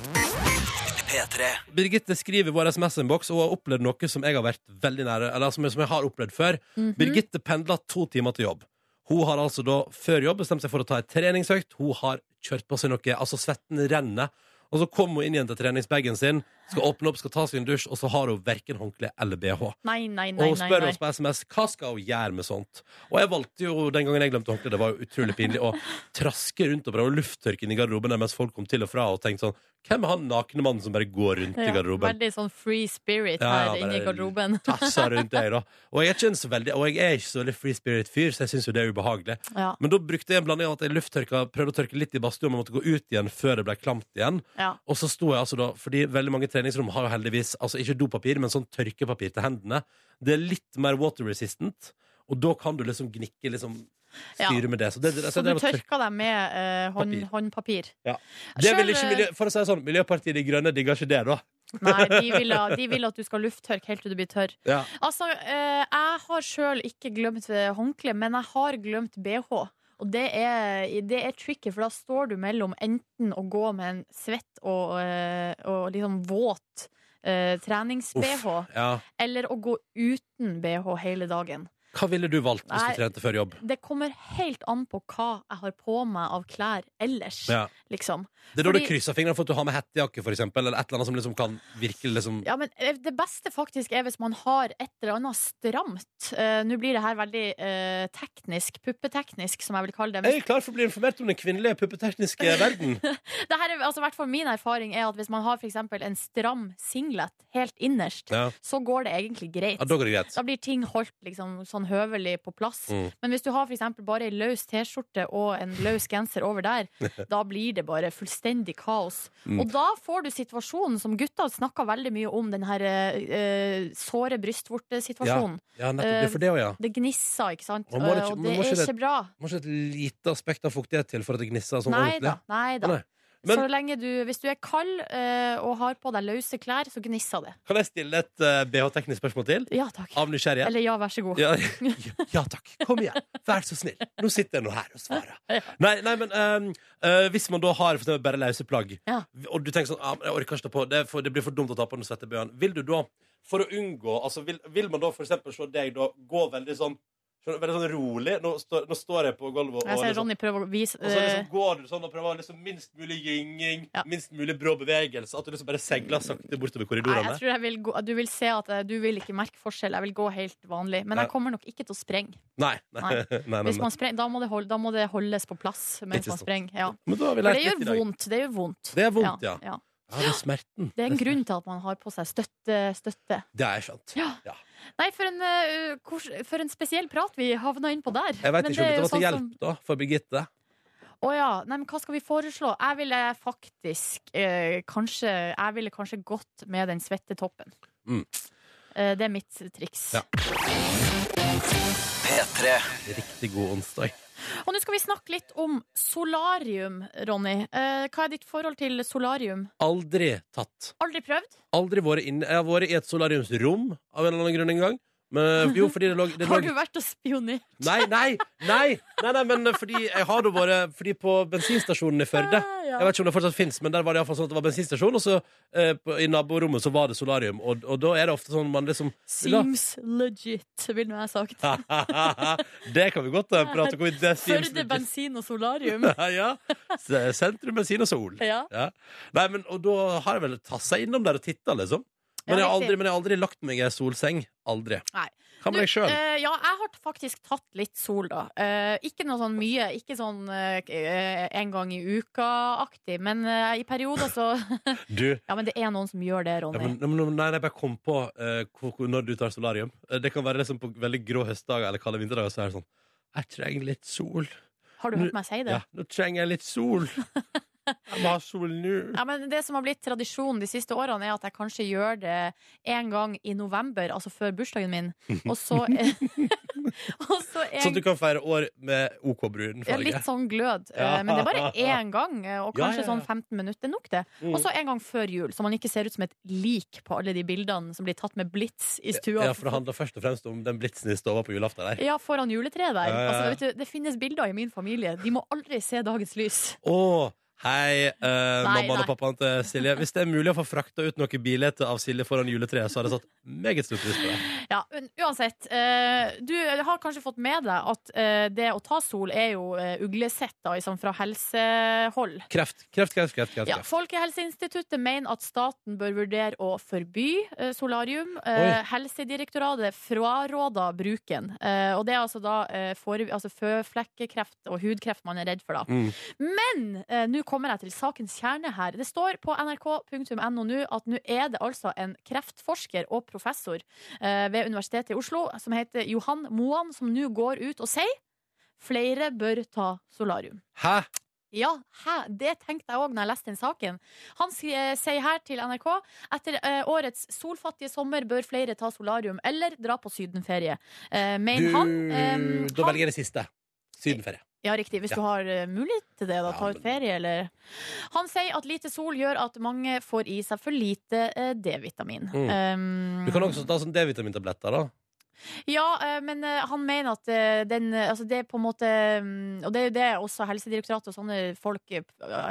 [SPEAKER 2] Birgitte skriver i vår SMS-innboks og har opplevd noe som jeg har vært veldig nære Eller som jeg, som jeg har opplevd før.
[SPEAKER 3] Mhm.
[SPEAKER 2] Birgitte pendler to timer til jobb. Hun har altså da før jobb bestemt seg for å ta ei treningsøkt. Hun har kjørt på seg noe, altså svetten renner. Og så kommer hun inn igjen til treningsbagen sin, skal åpne opp, skal ta seg en dusj, og så har hun verken håndkle eller bh.
[SPEAKER 3] Nei, nei,
[SPEAKER 2] Og
[SPEAKER 3] nei.
[SPEAKER 2] hun
[SPEAKER 3] nei,
[SPEAKER 2] spør
[SPEAKER 3] nei.
[SPEAKER 2] oss på SMS hva skal hun gjøre med sånt. Og jeg valgte jo den gangen jeg glemte håndkle, det var jo utrolig pinlig, å traske rundt og prøve å lufttørke inn i garderoben der mens folk kom til og fra og tenkte sånn Hvem er han nakne mannen som bare går rundt i
[SPEAKER 3] Ja,
[SPEAKER 2] garderoben?
[SPEAKER 3] veldig sånn free spirit
[SPEAKER 2] Ja, ja,
[SPEAKER 3] her inne i
[SPEAKER 2] bare-
[SPEAKER 3] garderoben.
[SPEAKER 2] Tassa rundt deg, da. Og jeg er ikke en så veldig, og jeg er ikke så veldig free spirit-fyr, så jeg syns jo det er ubehagelig.
[SPEAKER 3] Ja,
[SPEAKER 2] Men da brukte jeg en blanding av at jeg lufttørka, prøvde å tørke litt i badstua, men måtte gå ut igjen før det ble klamt igjen.
[SPEAKER 3] ja.
[SPEAKER 2] Og så sto jeg altså da, fordi veldig mange treningsrom har jo heldigvis altså ikke dopapir, men sånn tørkepapir til hendene. Det er litt mer water resistant, og da kan du liksom gnikke, liksom styre
[SPEAKER 3] Ja.
[SPEAKER 2] med det. Så, det, Altså, det,
[SPEAKER 3] Så du
[SPEAKER 2] det, var tørk-
[SPEAKER 3] tørka deg med eh, hånd,
[SPEAKER 2] Papir.
[SPEAKER 3] håndpapir?
[SPEAKER 2] det
[SPEAKER 3] Selv,
[SPEAKER 2] vil ikke miljø, For å si det sånn, Miljøpartiet De Grønne digger ikke det, da.
[SPEAKER 3] Nei, de vil, ha- de vil at du skal lufttørke helt til du blir tørr.
[SPEAKER 2] Ja.
[SPEAKER 3] Altså, eh, jeg har sjøl ikke glemt eh, håndkle, men jeg har glemt bh. Og det er, det er tricky, for da står du mellom enten å gå med en svett og, eh, og liksom våt eh, trenings-bh,
[SPEAKER 2] ja.
[SPEAKER 3] eller å gå uten bh hele dagen.
[SPEAKER 2] Hva ville du valgt hvis
[SPEAKER 3] Nei.
[SPEAKER 2] du trente før jobb?
[SPEAKER 3] Det kommer helt an på hva jeg har på meg av klær ellers,
[SPEAKER 2] Ja.
[SPEAKER 3] liksom.
[SPEAKER 2] Det er da
[SPEAKER 3] Fordi-
[SPEAKER 2] du krysser fingrene for at du har med hettejakke, for eksempel, eller et eller annet som liksom kan virke liksom
[SPEAKER 3] Ja, men eh, det beste faktisk er hvis man har et eller annet stramt. Eh, Nå blir det her veldig eh, teknisk, puppeteknisk, som jeg vil kalle det. Men
[SPEAKER 2] Jeg er klar for å bli informert om den kvinnelige puppetekniske verden.
[SPEAKER 3] det her er, altså, i hvert fall min erfaring er at hvis man har for eksempel en stram singlet helt innerst,
[SPEAKER 2] Ja,
[SPEAKER 3] så går det egentlig greit.
[SPEAKER 2] ja Da går det greit.
[SPEAKER 3] Da blir ting holdt liksom, sånn høvelig på plass.
[SPEAKER 2] Mm.
[SPEAKER 3] Men hvis du har for eksempel bare ei løs T-skjorte og en løs genser over der, da blir det bare fullstendig kaos.
[SPEAKER 2] Mm.
[SPEAKER 3] Og da får du situasjonen som gutta snakker veldig mye om, den her eh, såre brystvortesituasjonen.
[SPEAKER 2] Ja, nettopp. Det er for det òg, ja.
[SPEAKER 3] Det gnisser, ikke sant?
[SPEAKER 2] Og må det
[SPEAKER 3] Eh,
[SPEAKER 2] ikke-
[SPEAKER 3] og
[SPEAKER 2] men
[SPEAKER 3] det
[SPEAKER 2] må
[SPEAKER 3] er
[SPEAKER 2] ikke det-
[SPEAKER 3] ikke bra.
[SPEAKER 2] Må ikke et lite aspekt av fuktighet til for at det gnisser sånn
[SPEAKER 3] Nei da.
[SPEAKER 2] ordentlig?
[SPEAKER 3] Nei da.
[SPEAKER 2] Å, nei. Men-
[SPEAKER 3] Så lenge du, hvis du er kald eh, og har på deg løse klær, så gnisser det.
[SPEAKER 2] Kan jeg stille et eh, BH-teknisk spørsmål til?
[SPEAKER 3] Ja takk.
[SPEAKER 2] Av nysgjerrighet?
[SPEAKER 3] Eller ja, vær så god.
[SPEAKER 2] Ja, ja takk. Kom igjen. Vær så snill. Nå sitter jeg nå her og svarer. Nei, nei men ehm, eh, hvis man da har for eksempel bare løse plagg,
[SPEAKER 3] Ja.
[SPEAKER 2] og du tenker sånn ah, men Jeg orker ikke ta på, det, er for, det blir for dumt å ta på den svette bøyen. Vil du da, for å unngå altså, vil, vil man da for eksempel se deg da gå veldig sånn skjønner du, Veldig sånn rolig? Nå, står- nå står jeg på gulvet og
[SPEAKER 3] Jeg ser
[SPEAKER 2] liksom,
[SPEAKER 3] Ronny prøve å vise
[SPEAKER 2] og så liksom
[SPEAKER 3] eh,
[SPEAKER 2] går du sånn og prøver liksom minst mulig gynging,
[SPEAKER 3] Ja.
[SPEAKER 2] minst mulig brå bevegelse. At du liksom bare segler sakte bortover
[SPEAKER 3] Nei,
[SPEAKER 2] korridorene.
[SPEAKER 3] jeg tror jeg vil gå, du vil se at eh, du vil ikke merke forskjell. Jeg vil gå helt vanlig. Men
[SPEAKER 2] Nei.
[SPEAKER 3] jeg kommer nok ikke til å sprenge.
[SPEAKER 2] Nei, nei, nei, nei, nei,
[SPEAKER 3] Hvis man spreng da, må det hold, da må det holdes på plass mens
[SPEAKER 2] Ikke
[SPEAKER 3] man
[SPEAKER 2] sant.
[SPEAKER 3] sprenger. Ja.
[SPEAKER 2] Men da har vi
[SPEAKER 3] For
[SPEAKER 2] lært
[SPEAKER 3] det gjør
[SPEAKER 2] litt i dag.
[SPEAKER 3] vondt. Det gjør vondt.
[SPEAKER 2] Det er vondt, ja.
[SPEAKER 3] ja.
[SPEAKER 2] Ja, det er smerten.
[SPEAKER 3] Det er en grunn til at man har på seg støtte. støtte.
[SPEAKER 2] Det er skjønt.
[SPEAKER 3] Ja. Nei, for en, eh, kors- for en spesiell prat vi havna inn på der.
[SPEAKER 2] Jeg vet
[SPEAKER 3] Men
[SPEAKER 2] ikke om
[SPEAKER 3] er
[SPEAKER 2] dette
[SPEAKER 3] jo
[SPEAKER 2] var til
[SPEAKER 3] sånn
[SPEAKER 2] hjelp
[SPEAKER 3] som-
[SPEAKER 2] da, for Birgitte.
[SPEAKER 3] Å ja. Nei, men hva skal vi foreslå? Jeg ville faktisk eh, kanskje Jeg ville kanskje gått med den svette toppen.
[SPEAKER 2] Mm.
[SPEAKER 3] Eh, det er mitt triks.
[SPEAKER 2] Ja. Riktig god onsdag.
[SPEAKER 3] Og nå skal vi snakke litt om solarium, Ronny. Eh, hva er ditt forhold til solarium?
[SPEAKER 2] Aldri tatt.
[SPEAKER 3] Aldri prøvd?
[SPEAKER 2] Aldri vært inne. Jeg har vært i et solariumsrom av en eller annen grunn en gang. Men, jo, fordi det lå, det lå
[SPEAKER 3] Har du vært og spionert?
[SPEAKER 2] nei, nei, nei, nei, nei, men fordi jeg har da vært Fordi på bensinstasjonen i Førde
[SPEAKER 3] Ah, Ja.
[SPEAKER 2] Jeg vet ikke om det fortsatt finnes, men der var det i hvert fall sånn at det var bensinstasjon, og så eh, på, i naborommet så var det solarium, og, og da er det ofte sånn man liksom
[SPEAKER 3] Seems legit, ville nå jeg sagt.
[SPEAKER 2] Det kan vi godt eh, prate om i det
[SPEAKER 3] Førde bensin og solarium.
[SPEAKER 2] ja. S- eh, Sentrum, bensin og sol.
[SPEAKER 3] Ja.
[SPEAKER 2] Ja. Nei, men, og da har jeg vel tassa innom der og titta, liksom. Men
[SPEAKER 3] Ja,
[SPEAKER 2] jeg, har
[SPEAKER 3] riktig.
[SPEAKER 2] aldri, men jeg har aldri lagt meg i ei solseng. Aldri.
[SPEAKER 3] Nei.
[SPEAKER 2] Hva med
[SPEAKER 3] Du,
[SPEAKER 2] deg sjøl?
[SPEAKER 3] eh, ja, jeg har faktisk tatt litt sol, da. Eh, ikke noe sånn mye, ikke sånn eh, eh, en gang i uka-aktig, men eh, i perioder så
[SPEAKER 2] Du, ja,
[SPEAKER 3] Ja, men det er noen som gjør det, Ronny.
[SPEAKER 2] men, men, nei, nei, jeg bare kom på eh, hvor, hvor, når du tar solarium. Eh, Det kan være liksom på veldig grå høstdager eller kalde vinterdager. Så er det sånn Jeg trenger litt sol.
[SPEAKER 3] Har du hørt meg si det?
[SPEAKER 2] Ja, nå trenger jeg litt sol. Jeg må ha sol nå.
[SPEAKER 3] Ja, men Det som har blitt tradisjon de siste årene, er at jeg kanskje gjør det en gang i november, altså før bursdagen min, og så Og så
[SPEAKER 2] Sånn at
[SPEAKER 3] en
[SPEAKER 2] du kan feire år med OK brun
[SPEAKER 3] ja,
[SPEAKER 2] farge.
[SPEAKER 3] litt sånn glød,
[SPEAKER 2] Ja.
[SPEAKER 3] eh, men det er bare én gang, eh, og
[SPEAKER 2] Ja, ja,
[SPEAKER 3] kanskje
[SPEAKER 2] Mm. ja.
[SPEAKER 3] sånn 15 minutter. Det er nok, det. Og så en gang før jul, så man ikke ser ut som et lik på alle de bildene som blir tatt med blits i stua.
[SPEAKER 2] Ja, for det handler først og fremst om den blitsen i stova på julaften der.
[SPEAKER 3] Ja, foran juletreet der.
[SPEAKER 2] Ja, ja, ja.
[SPEAKER 3] Altså, vet du, det finnes bilder i min familie. De må aldri se dagens lys.
[SPEAKER 2] Å, hei, eh, mammaen
[SPEAKER 3] nei.
[SPEAKER 2] og pappaen til Silje. Hvis det er mulig å få frakta ut noen bilheter av Silje foran juletreet, så har jeg satt meget stor pris på det.
[SPEAKER 3] Ja, men uansett. eh, du har kanskje fått med deg at eh, det å ta sol er jo eh, uglesett da, liksom fra helsehold.
[SPEAKER 2] Kreft, kreft, kreft, kreft. kreft,
[SPEAKER 3] Ja,
[SPEAKER 2] kreft.
[SPEAKER 3] Folkehelseinstituttet mener at staten bør vurdere å forby eh, solarium. Eh, Helsedirektoratet fraråder bruken. Eh, og det er altså da eh, fore, altså føflekkekreft og hudkreft man er redd for, da.
[SPEAKER 2] Mm.
[SPEAKER 3] Men eh, nå kommer jeg til sakens kjerne her. Det står på nrk.no nå at nå er det altså en kreftforsker og professor eh, ved Universitetet i Oslo som heter Johan Moan, som nå går ut og sier flere bør ta solarium.
[SPEAKER 2] Hæ?
[SPEAKER 3] Ja, hæ? det tenkte jeg òg når jeg leste den saken. Han skri- eh, sier her til NRK etter eh, årets solfattige sommer bør flere ta solarium eller dra på sydenferie. Eh,
[SPEAKER 2] Du,
[SPEAKER 3] mener han. Eh,
[SPEAKER 2] da
[SPEAKER 3] han-
[SPEAKER 2] velger jeg det siste. Sydenferie.
[SPEAKER 3] ja, riktig. Hvis
[SPEAKER 2] Ja.
[SPEAKER 3] du har eh, mulighet til det,
[SPEAKER 2] Ja,
[SPEAKER 3] da. Ta
[SPEAKER 2] men-
[SPEAKER 3] ut ferie, eller Han sier at lite sol gjør at mange får i seg for lite eh, D-vitamin. Um,
[SPEAKER 2] Mm. Du kan også ta sånn D-vitamintabletter, da.
[SPEAKER 3] Ja, eh, men eh, han mener at eh, den eh, Altså, det er på en måte mm, Og det er jo det også Helsedirektoratet og sånne folk eh,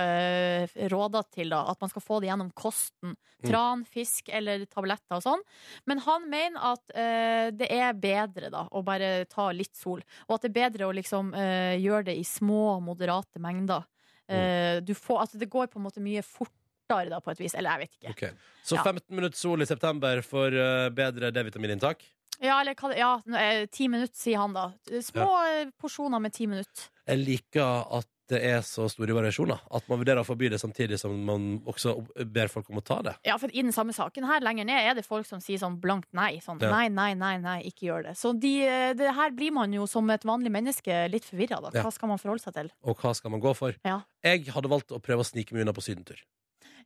[SPEAKER 3] eh, råder til, da. At man skal få det gjennom kosten.
[SPEAKER 2] Mm.
[SPEAKER 3] Tran, fisk eller tabletter og sånn. Men han mener at eh, det er bedre, da, å bare ta litt sol. Og at det er bedre å liksom eh, gjøre det i små, moderate mengder.
[SPEAKER 2] Mm.
[SPEAKER 3] Eh, du får Altså, det går på en måte mye fortere, da, på et vis. Eller jeg vet ikke.
[SPEAKER 2] Ok. Så
[SPEAKER 3] Ja.
[SPEAKER 2] 15 minutter sol i september for eh, bedre D-vitamininntak.
[SPEAKER 3] Ja, eller hva det- ja, nå, eh, ti minutter, sier han da. Små eh, porsjoner med ti minutter.
[SPEAKER 2] Jeg liker at det er så store variasjoner. At man vurderer å forby det samtidig som man også ber folk om å ta det.
[SPEAKER 3] Ja, for i den samme saken her lenger ned er det folk som sier sånn blankt nei. Sånn
[SPEAKER 2] Ja.
[SPEAKER 3] nei, nei, nei, nei, ikke gjør det. Så de, eh, det her blir man jo som et vanlig menneske litt forvirra, da.
[SPEAKER 2] Ja.
[SPEAKER 3] Hva skal man forholde seg til?
[SPEAKER 2] Og hva skal man gå for?
[SPEAKER 3] Ja.
[SPEAKER 2] Jeg hadde valgt å prøve å snike meg unna på sydentur.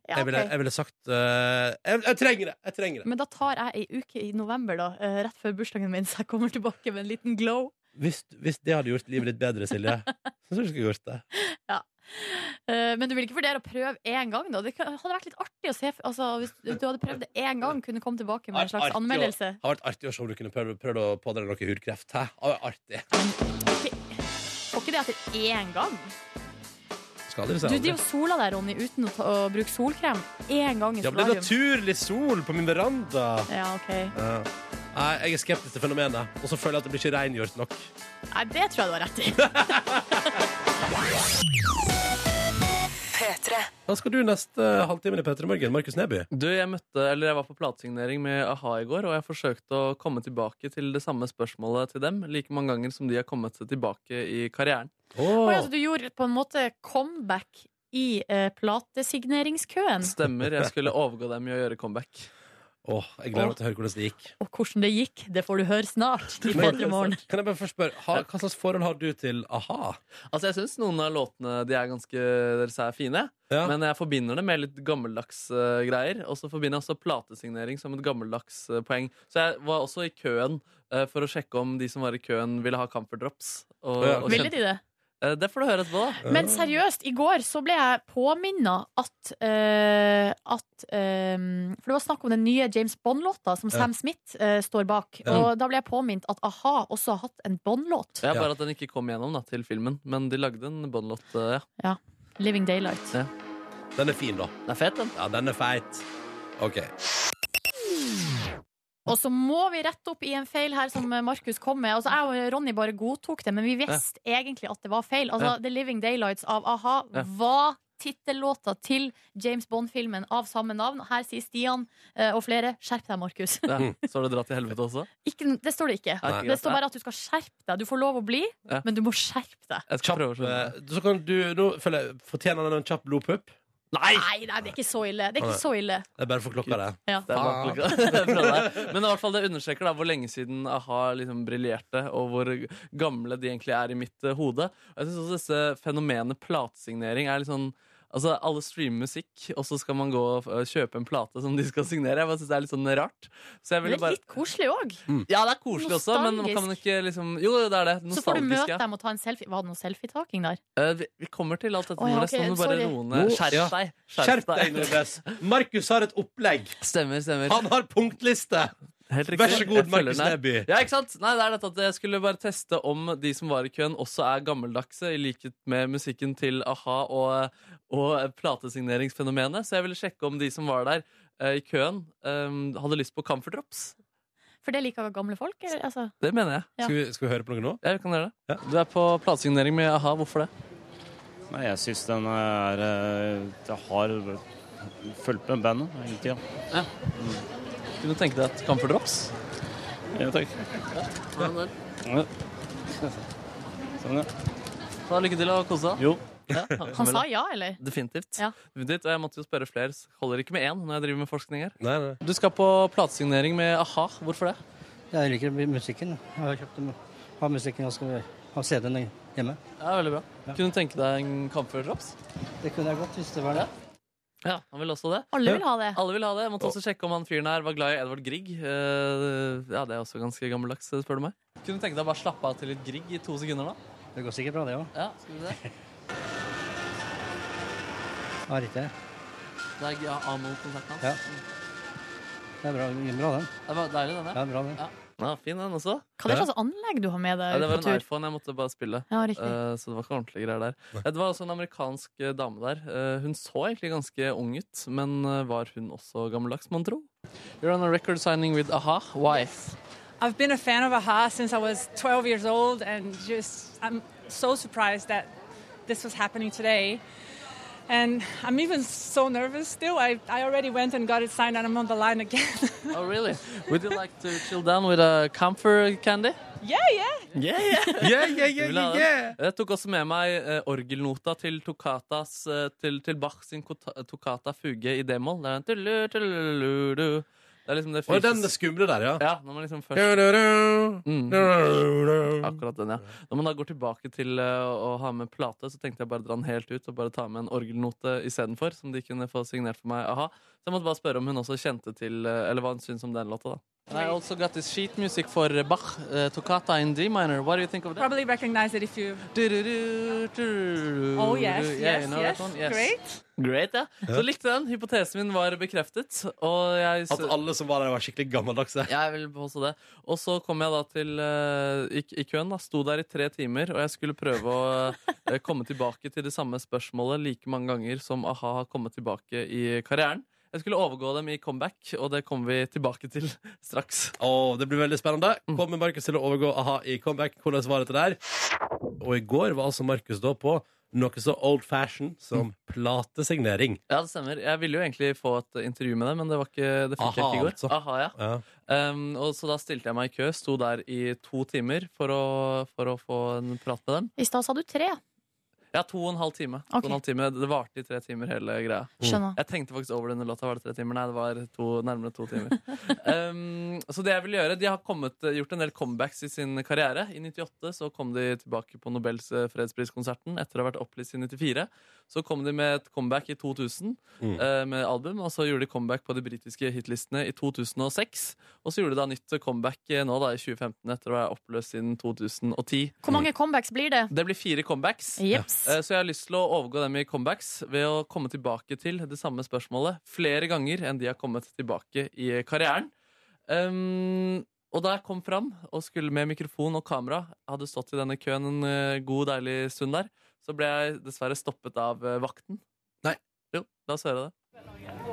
[SPEAKER 3] Ja,
[SPEAKER 2] jeg, ville,
[SPEAKER 3] ok. Mm.
[SPEAKER 2] jeg ville sagt eh, jeg, jeg trenger det! Jeg trenger det.
[SPEAKER 3] Men da tar jeg ei uke i november, da, eh, rett før bursdagen min, så jeg kommer tilbake med en liten glow.
[SPEAKER 2] Hvis, hvis det hadde gjort livet ditt bedre, Silje, så syns jeg du skulle gjort det.
[SPEAKER 3] Eh, Men du vil ikke vurdere å prøve én gang, da? Det kan- hadde vært litt artig å se altså, Hvis du hadde prøvd det én gang, kunne komme tilbake med en slags
[SPEAKER 2] Artig å-
[SPEAKER 3] anmeldelse.
[SPEAKER 2] Det har vært artig å se om du kunne prøvd, prøvd å pådra deg noe hudkreft. Hæ? Ah, Artig.
[SPEAKER 3] Får ikke det etter én gang?
[SPEAKER 2] Skal dere
[SPEAKER 3] Du
[SPEAKER 2] si
[SPEAKER 3] driver og sola deg, Ronny, uten å, ta, å bruke solkrem én gang i
[SPEAKER 2] Ja, men det er
[SPEAKER 3] solarium.
[SPEAKER 2] naturlig sol på min veranda.
[SPEAKER 3] Ja, ok.
[SPEAKER 2] Ja. Nei, jeg er skeptisk til fenomenet, og så føler jeg at det blir ikke rengjort nok.
[SPEAKER 3] Nei, det tror jeg du har rett i.
[SPEAKER 2] Hva skal du neste halvtime i P3 Morgen? Markus Neby?
[SPEAKER 4] Du, jeg møtte, eller jeg var på platesignering med a-ha i går, og jeg forsøkte å komme tilbake til det samme spørsmålet til dem like mange ganger som de har kommet seg tilbake i karrieren.
[SPEAKER 3] Oi, altså, du gjorde på en måte comeback i eh,
[SPEAKER 2] Mm.
[SPEAKER 3] platesigneringskøen.
[SPEAKER 4] Stemmer, jeg skulle overgå dem i å gjøre comeback.
[SPEAKER 2] Åh, jeg gleder meg til å høre hvordan det gikk.
[SPEAKER 3] Og hvordan det gikk, det får du høre snart i
[SPEAKER 2] Men-
[SPEAKER 3] P3 Morgen.
[SPEAKER 2] Kan jeg bare først spørre, ha, Hva slags forhold har du til a-ha?
[SPEAKER 4] Altså, jeg syns noen av låtene de er ganske deres er fine,
[SPEAKER 2] Ja.
[SPEAKER 4] men jeg forbinder det med litt gammeldags eh, greier. Og så forbinder jeg også platesignering som et gammeldags eh, poeng. Så jeg var også i køen eh, for å sjekke om de som var i køen, ville ha Comfort Drops. Og,
[SPEAKER 2] Ja.
[SPEAKER 4] og
[SPEAKER 3] Ville
[SPEAKER 4] kjente,
[SPEAKER 3] de det?
[SPEAKER 4] Eh, det får du høre etterpå, da.
[SPEAKER 3] Men seriøst, i går så ble jeg påminna at, eh, at eh, For det var snakk om den nye James Bond-låta som Sam Smith eh, står bak.
[SPEAKER 2] Ja.
[SPEAKER 3] Og da ble jeg påminnet at a-ha også har hatt en Bond-låt.
[SPEAKER 4] Ja,
[SPEAKER 2] Ja.
[SPEAKER 4] bare at den ikke kom gjennom da, til filmen, men de lagde en Bond-låt. eh, ja.
[SPEAKER 3] Living Daylight.
[SPEAKER 4] Ja.
[SPEAKER 2] Den er fin, da.
[SPEAKER 4] Den er fet, den.
[SPEAKER 2] Ja, den er feit. OK.
[SPEAKER 3] Og så må vi rette opp i en feil her som Markus kom med. Altså, jeg og Ronny bare godtok det, men vi visste egentlig at det var feil. Altså,
[SPEAKER 4] Ja.
[SPEAKER 3] The Living Daylights av a-ha
[SPEAKER 4] Ja.
[SPEAKER 3] var tittellåta til James Bond-filmen av samme navn. Her sier Stian eh, og flere skjerp deg, Markus.
[SPEAKER 4] Ja. Så har du dratt til helvete også?
[SPEAKER 3] Ikke, det står det ikke.
[SPEAKER 4] Nei.
[SPEAKER 3] Det står bare at du skal skjerpe deg. Du får lov å bli,
[SPEAKER 4] Ja.
[SPEAKER 3] men du må skjerpe deg.
[SPEAKER 4] Jeg skal
[SPEAKER 2] Kjapp,
[SPEAKER 4] prøve å skjønne.
[SPEAKER 2] eh, så kan du, nå føler jeg, Fortjener den en kjapp blodpupp?
[SPEAKER 4] Nei!
[SPEAKER 3] Nei, nei, det er ikke så ille. Det er ikke så ille.
[SPEAKER 2] Det er bare for klokka, det.
[SPEAKER 3] Ja.
[SPEAKER 4] Det er
[SPEAKER 2] Ah.
[SPEAKER 4] bare klokka. Bra der. Men i hvert fall det understreker da hvor lenge siden a-ha liksom briljerte, og hvor gamle de egentlig er i mitt eh, hode. Og jeg synes også disse fenomenet platesignering er litt sånn Altså, Alle streamer musikk, og så skal man gå og eh, kjøpe en plate som de skal signere. Jeg bare synes Det er litt sånn rart. Så jeg
[SPEAKER 3] Det
[SPEAKER 4] ville
[SPEAKER 3] er
[SPEAKER 4] bare... Mm.
[SPEAKER 3] litt koselig òg.
[SPEAKER 4] Ja, det er koselig også, men kan man ikke liksom Jo, det er det.
[SPEAKER 3] Så får du
[SPEAKER 4] Nostalgisk.
[SPEAKER 3] møte
[SPEAKER 4] Ja.
[SPEAKER 3] dem og ta en selfie. Var det noe selfietaking der?
[SPEAKER 4] Eh, vi, vi kommer til alt dette,
[SPEAKER 3] Å, ja,
[SPEAKER 4] Nordnes.
[SPEAKER 3] ok,
[SPEAKER 4] Nå må du bare
[SPEAKER 3] sorry.
[SPEAKER 4] roe ned.
[SPEAKER 2] Nå-
[SPEAKER 4] Skjerp
[SPEAKER 2] ja.
[SPEAKER 4] deg.
[SPEAKER 2] Skjerp deg, Nordnes! Markus har et opplegg.
[SPEAKER 4] Stemmer, stemmer.
[SPEAKER 2] Han har punktliste!
[SPEAKER 4] Helt riktig.
[SPEAKER 2] Vær så god,
[SPEAKER 4] Jeg følger
[SPEAKER 2] Markus
[SPEAKER 4] den her.
[SPEAKER 2] Neby.
[SPEAKER 4] Ja, ikke sant? Nei, det er dette at Jeg skulle bare teste om de som var i køen, også er gammeldagse, i likhet med musikken til a-ha og, og platesigneringsfenomenet. Så jeg ville sjekke om de som var der eh, i køen, eh, hadde lyst på Comfort Drops.
[SPEAKER 3] For det liker gamle folk? Eller? Altså,
[SPEAKER 4] Det mener jeg.
[SPEAKER 3] Ja.
[SPEAKER 2] Skal, vi, skal vi høre på noe nå?
[SPEAKER 4] Ja, vi kan gjøre det. Du er på platesignering med a-ha. Hvorfor det?
[SPEAKER 6] Nei, jeg syns den er eh, Jeg har fulgt med bandet hele tida.
[SPEAKER 4] Kunne du tenke deg et Comfort Drops?
[SPEAKER 6] Ja, takk. Ja. Sånn, ja.
[SPEAKER 4] Da Lykke til og kos deg.
[SPEAKER 6] Jo.
[SPEAKER 4] Ja,
[SPEAKER 3] han sa ja, eller?
[SPEAKER 4] Definitivt.
[SPEAKER 3] Ja.
[SPEAKER 4] Definitivt. Og jeg måtte jo spørre flere. så Holder ikke med én når jeg driver med forskning her.
[SPEAKER 2] Nei, nei.
[SPEAKER 4] Du skal på platesignering med a-ha. Hvorfor det?
[SPEAKER 7] Jeg liker musikken. Jeg har kjøpt den. Har musikken jeg skal ha CD-en hjemme.
[SPEAKER 4] Ja, veldig bra. Kunne du tenke deg en Comfort-drops?
[SPEAKER 7] Det kunne jeg godt hvis det var det.
[SPEAKER 4] Ja, han ville også det.
[SPEAKER 3] Alle vil ha det.
[SPEAKER 4] Alle vil ha det. Jeg måtte også sjekke om han fyren her var glad i Edvard Grieg. Eh, ja, det er også ganske gammeldags, spør du meg. Kunne du tenke deg å bare slappe av til litt Grieg i to sekunder, da?
[SPEAKER 7] Det går sikkert bra, det òg.
[SPEAKER 4] Ja, skal vi se.
[SPEAKER 7] Har ikke det.
[SPEAKER 4] Det er ja, Amol-konserten hans.
[SPEAKER 7] Ja. Det er bra, bra den.
[SPEAKER 4] Det var deilig, den
[SPEAKER 7] Ja,
[SPEAKER 4] der.
[SPEAKER 7] bra den.
[SPEAKER 4] Ja, fin den også.
[SPEAKER 3] Hva er det slags anlegg du har med
[SPEAKER 4] Ja,
[SPEAKER 3] deg
[SPEAKER 4] det
[SPEAKER 3] ut
[SPEAKER 4] var
[SPEAKER 3] på
[SPEAKER 4] en
[SPEAKER 3] tur?
[SPEAKER 4] iPhone jeg måtte bare spille.
[SPEAKER 3] Ja, riktig.
[SPEAKER 4] Eh, Så det var ikke ordentlige greier der. Eh, Det var også en amerikansk eh, dame der. Eh, Hun så egentlig ganske ung ut, men eh, var hun også gammeldags, mon tro? You're on a record signing with a-ha. Why?
[SPEAKER 8] I've been a fan of AHA since I was 12 years old, and just I'm so surprised that this was happening today. And I'm even so nervous still. I, I already went and got it signed, and I'm on the line again.
[SPEAKER 4] Oh, really? Would you like to chill down with a comfort candy?
[SPEAKER 8] yeah, yeah.
[SPEAKER 4] Yeah, yeah.
[SPEAKER 2] Yeah, yeah,
[SPEAKER 4] Du
[SPEAKER 2] yeah,
[SPEAKER 4] vil ha
[SPEAKER 2] yeah,
[SPEAKER 4] det?
[SPEAKER 2] yeah.
[SPEAKER 4] Jeg tok også med meg eh, orgelnota til Toccatas eh, til, til Bach sin kota- toccata fuge i d-moll. Det er en tullu, tullu, du. Det er liksom det
[SPEAKER 2] Og den
[SPEAKER 4] friseste-
[SPEAKER 2] skumle der, ja.
[SPEAKER 4] Ja, når man liksom først
[SPEAKER 2] Mm.
[SPEAKER 4] Akkurat den, ja. Når man da går tilbake til eh, å ha med plate, så tenkte jeg bare dra den helt ut og bare ta med en orgelnote istedenfor, som de kunne få signert for meg. Aha. Så jeg måtte bare spørre om hun også kjente til eh, Eller hva hun syntes om den låta, da. And I also got this sheet music for uh, Bach, uh, Toccata in D minor. What do you think of that?
[SPEAKER 8] Probably recognize it if you.
[SPEAKER 4] Oh
[SPEAKER 8] Oh, yes,
[SPEAKER 4] yeah,
[SPEAKER 8] yes,
[SPEAKER 4] you know
[SPEAKER 8] yes.
[SPEAKER 4] that one? Yes.
[SPEAKER 8] Great.
[SPEAKER 4] Great, ja. Så likte den. Hypotesen min var bekreftet. Og jeg,
[SPEAKER 2] At alle som var der, var skikkelig gammeldagse.
[SPEAKER 4] jeg vil påstå det. Og så kom jeg da til eh, i, i køen, da. Sto der i tre timer, og jeg skulle prøve å eh, komme tilbake til det samme spørsmålet like mange ganger som a-ha har kommet tilbake i karrieren. Jeg skulle overgå dem i comeback, og det kommer vi tilbake til straks.
[SPEAKER 2] Åh, det blir veldig spennende. Kommer Markus til å overgå a-ha i comeback? Hvordan var dette der? Og i går var altså Markus da på noe så old fashion som platesignering.
[SPEAKER 4] Ja, det stemmer. Jeg ville jo egentlig få et intervju med deg, men det, var ikke, det fikk
[SPEAKER 2] Aha,
[SPEAKER 4] jeg ikke i går.
[SPEAKER 2] altså.
[SPEAKER 4] Aha, ja.
[SPEAKER 2] Ja.
[SPEAKER 4] Um, og så da stilte jeg meg i kø, sto der i to timer for å, for å få en prat med dem.
[SPEAKER 3] I stad sa du
[SPEAKER 4] Mm.
[SPEAKER 3] tre.
[SPEAKER 4] Ja, to og en halv time. To
[SPEAKER 3] Ok.
[SPEAKER 4] og en halv time. Det varte i tre timer, hele greia.
[SPEAKER 3] Skjønner.
[SPEAKER 4] Jeg tenkte faktisk over denne låta. Var det tre timer? Nei, det var to, nærmere to timer. um, så det jeg vil gjøre, De har kommet, eh, gjort en del comebacks i sin karriere. I 98 så kom de tilbake på Nobels eh, fredspriskonserten etter å ha vært opplyst i 94. Så kom de med et comeback i 2000
[SPEAKER 2] Mm.
[SPEAKER 4] eh, med album, og så gjorde de comeback på de britiske hitlistene i 2006. Og så gjorde de da nytt comeback eh, nå da i 2015 etter å være oppløst siden 2010.
[SPEAKER 3] Hvor mange comebacks blir det?
[SPEAKER 4] Det blir fire comebacks.
[SPEAKER 3] Jeps.
[SPEAKER 4] Eh, Så jeg har lyst til å overgå dem i comebacks ved å komme tilbake til det samme spørsmålet flere ganger enn de har kommet tilbake i karrieren. Um, og da jeg kom fram og skulle med mikrofon og kamera, hadde stått i denne køen en eh, god, deilig stund der, så ble jeg dessverre stoppet av eh, vakten.
[SPEAKER 2] Nei.
[SPEAKER 4] Jo, la oss høre det.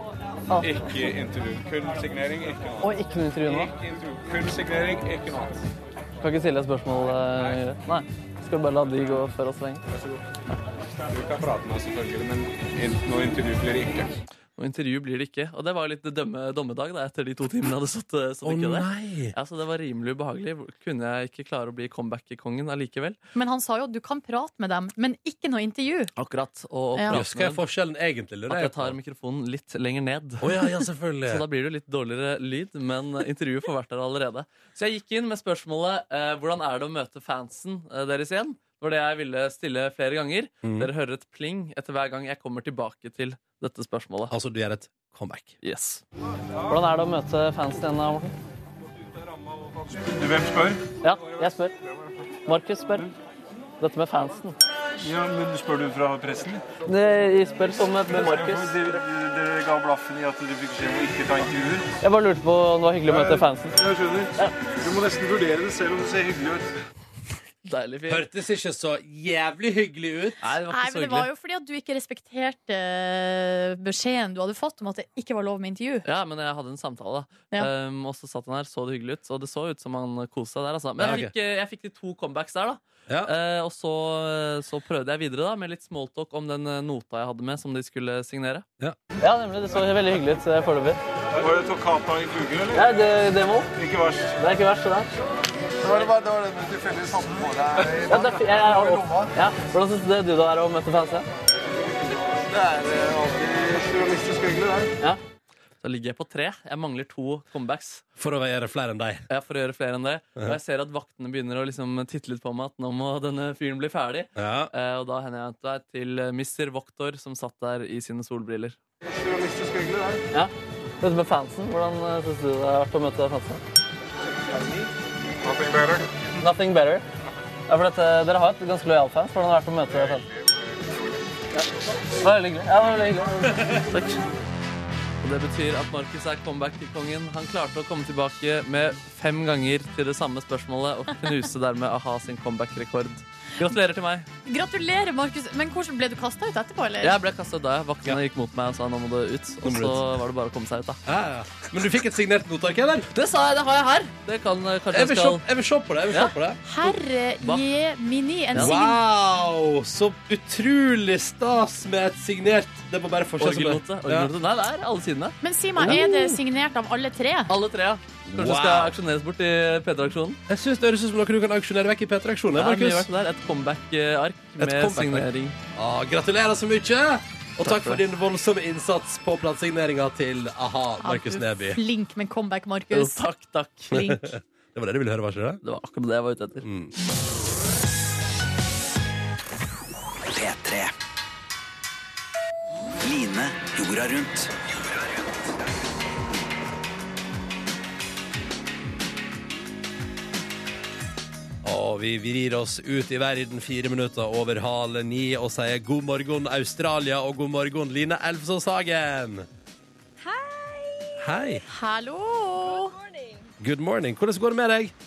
[SPEAKER 9] Ikke intervju. Kun signering, ikke noe.
[SPEAKER 4] Og Ah. ikke noe intervju
[SPEAKER 9] Ikke intervju. Kun signering, ikke noe. annet.
[SPEAKER 4] Kan ikke stille deg spørsmål. eh, Nei. Skal bare la de gå før oss lenge?
[SPEAKER 9] Du kan prate med oss selvfølgelig, men in- noe intervju blir det ikke.
[SPEAKER 4] Og intervju blir det ikke. Og det var jo litt dømme, dommedag da, etter de to timene jeg hadde stått, stått
[SPEAKER 2] Å
[SPEAKER 4] i kø der.
[SPEAKER 2] nei!
[SPEAKER 4] Ja, så Det var rimelig ubehagelig. Kunne jeg ikke klare å bli comeback-kongen allikevel?
[SPEAKER 3] Men han sa jo du kan prate med dem, men ikke noe intervju.
[SPEAKER 4] Akkurat. Og
[SPEAKER 3] Ja.
[SPEAKER 4] prate
[SPEAKER 2] Jøss, hva er
[SPEAKER 4] med dem.
[SPEAKER 2] forskjellen egentlig? lurer
[SPEAKER 4] At
[SPEAKER 2] jeg
[SPEAKER 4] jeg tar
[SPEAKER 2] på?
[SPEAKER 4] mikrofonen litt lenger ned.
[SPEAKER 2] Å ja, ja,
[SPEAKER 4] Så da
[SPEAKER 2] selvfølgelig.
[SPEAKER 4] blir det jo litt dårligere lyd, men intervjuet får vært der allerede. Så jeg gikk inn med spørsmålet eh, hvordan er det å møte fansen eh, deres igjen? Det var det jeg ville stille flere ganger.
[SPEAKER 2] Mm.
[SPEAKER 4] Dere hører et pling etter hver gang jeg kommer tilbake til dette spørsmålet.
[SPEAKER 2] Altså, du gjør et comeback.
[SPEAKER 4] Yes. Hvordan er det å møte fansen igjen, Morten?
[SPEAKER 9] Hvem spør?
[SPEAKER 4] Ja, jeg spør. Markus spør. Dette med fansen.
[SPEAKER 9] Ja, men Spør du fra pressen?
[SPEAKER 4] Jeg spør sammen med Markus.
[SPEAKER 9] Dere ga blaffen i at du fikk skjedd å ikke ta intervjuer.
[SPEAKER 4] Jeg bare lurte på om det var hyggelig å møte fansen.
[SPEAKER 9] Jeg skjønner. Du må nesten vurdere det selv om det ser hyggelig ut.
[SPEAKER 4] Deilig fyr.
[SPEAKER 2] Hørtes ikke så jævlig hyggelig ut.
[SPEAKER 4] Nei, det var
[SPEAKER 3] Nei,
[SPEAKER 4] ikke så
[SPEAKER 3] men Det var
[SPEAKER 4] hyggelig.
[SPEAKER 3] jo fordi at du ikke respekterte eh, beskjeden du hadde fått om at det ikke var lov med intervju.
[SPEAKER 4] Ja, men jeg hadde en samtale, da.
[SPEAKER 3] Ja.
[SPEAKER 4] Um, og så satt han her, så det hyggelig ut. Og det så ut som han koste seg der, altså. Men
[SPEAKER 2] Ja,
[SPEAKER 4] jeg fikk, eh, jeg fikk de to comebacks der, da.
[SPEAKER 2] Ja.
[SPEAKER 4] Eh, og så, så prøvde jeg videre da med litt smalltalk om den eh, nota jeg hadde med, som de skulle signere.
[SPEAKER 2] Ja.
[SPEAKER 4] nemlig. Det så veldig hyggelig ut eh, foreløpig.
[SPEAKER 9] Var det Toccata i Google, eller?
[SPEAKER 4] Nei, det, det må.
[SPEAKER 9] Ikke verst.
[SPEAKER 4] Det er ikke verst, det der.
[SPEAKER 9] Det var det bare det var det med tilfeldig sammen på deg.
[SPEAKER 4] Ja, det er fi- jeg er opp- ja. Hvordan syns du det er å møte fansen?
[SPEAKER 9] Det er eh, alltid journalistisk hyggelig, det.
[SPEAKER 4] Da ligger jeg på tre. Jeg mangler to comebacks.
[SPEAKER 2] For å gjøre flere enn deg.
[SPEAKER 4] Ja, for å gjøre flere enn det. Og jeg ser at vaktene begynner å liksom titte litt på meg at nå må denne fyren bli ferdig.
[SPEAKER 2] Ja.
[SPEAKER 4] Eh, og da henvendte jeg meg til eh, Mr. Voktor, som satt der i sine solbriller.
[SPEAKER 9] Journalistisk hyggelig, det.
[SPEAKER 4] Dette med fansen, hvordan syns du det har vært å møte fansen?
[SPEAKER 9] Nothing better.
[SPEAKER 4] Nothing better. Ja, for dette, dere har et ganske lojal fans. Hvordan har det vært å møte fansen? Ja. Det var veldig hyggelig. Ja, det var veldig hyggelig. Takk. Og det betyr at Markus er comeback-kongen. Han klarte å komme tilbake med fem ganger til det samme spørsmålet og knuse dermed a-ha sin comeback-rekord. Gratulerer til meg.
[SPEAKER 3] Gratulerer, Markus. Men hvordan ble du kasta ut etterpå, eller?
[SPEAKER 4] Jeg ble kastet da. Vaktene gikk mot meg og sa nå må du ut. Og så var det bare å komme seg ut, da.
[SPEAKER 2] Ja, ja. Men du fikk et signert notak, eller?
[SPEAKER 4] Det sa jeg, det har jeg her! Det kan eh, kanskje
[SPEAKER 2] Jeg
[SPEAKER 4] jeg
[SPEAKER 2] vil
[SPEAKER 4] skal
[SPEAKER 2] se, jeg vil se på det. Jeg vil
[SPEAKER 4] Ja.
[SPEAKER 2] se på det.
[SPEAKER 3] Herre
[SPEAKER 4] Hva?
[SPEAKER 3] jemini, en
[SPEAKER 4] Ja.
[SPEAKER 3] sign...
[SPEAKER 2] Wow! Så utrolig stas med et signert Det må bare fortsette med
[SPEAKER 4] Orgelnote. orgelnote. Nei, det er alle sidene.
[SPEAKER 3] Men si meg, er det signert av alle tre?
[SPEAKER 4] Alle tre, ja. Kanskje det skal aksjoneres bort i P3-aksjonen.
[SPEAKER 2] Jeg synes Det høres ut som noe du kan auksjonere vekk i P3-aksjonen.
[SPEAKER 4] Det er mye
[SPEAKER 2] Markus.
[SPEAKER 4] verdt der. Et comeback-ark med
[SPEAKER 2] comeback-ark.
[SPEAKER 4] signering.
[SPEAKER 2] Ah, gratulerer så mye! Og takk,
[SPEAKER 4] for
[SPEAKER 2] for din voldsomme innsats på platesigneringa til a-ha, Markus
[SPEAKER 3] Ja, du er
[SPEAKER 2] Neby.
[SPEAKER 3] Flink med comeback,
[SPEAKER 4] Jo,
[SPEAKER 3] Markus.
[SPEAKER 4] takk, takk. Det
[SPEAKER 3] Flink.
[SPEAKER 2] Det var det du ville høre, var ikke det?
[SPEAKER 4] var akkurat det jeg var ute etter.
[SPEAKER 2] Mm.
[SPEAKER 10] P3. Line jorda rundt.
[SPEAKER 2] og vi vrir oss ut i verden fire minutter over halv ni og sier god morgen, Australia, og god morgen, Line Elfsås Hagen. Hei.
[SPEAKER 3] Hallo!
[SPEAKER 2] Good morning. Hvordan går det med deg?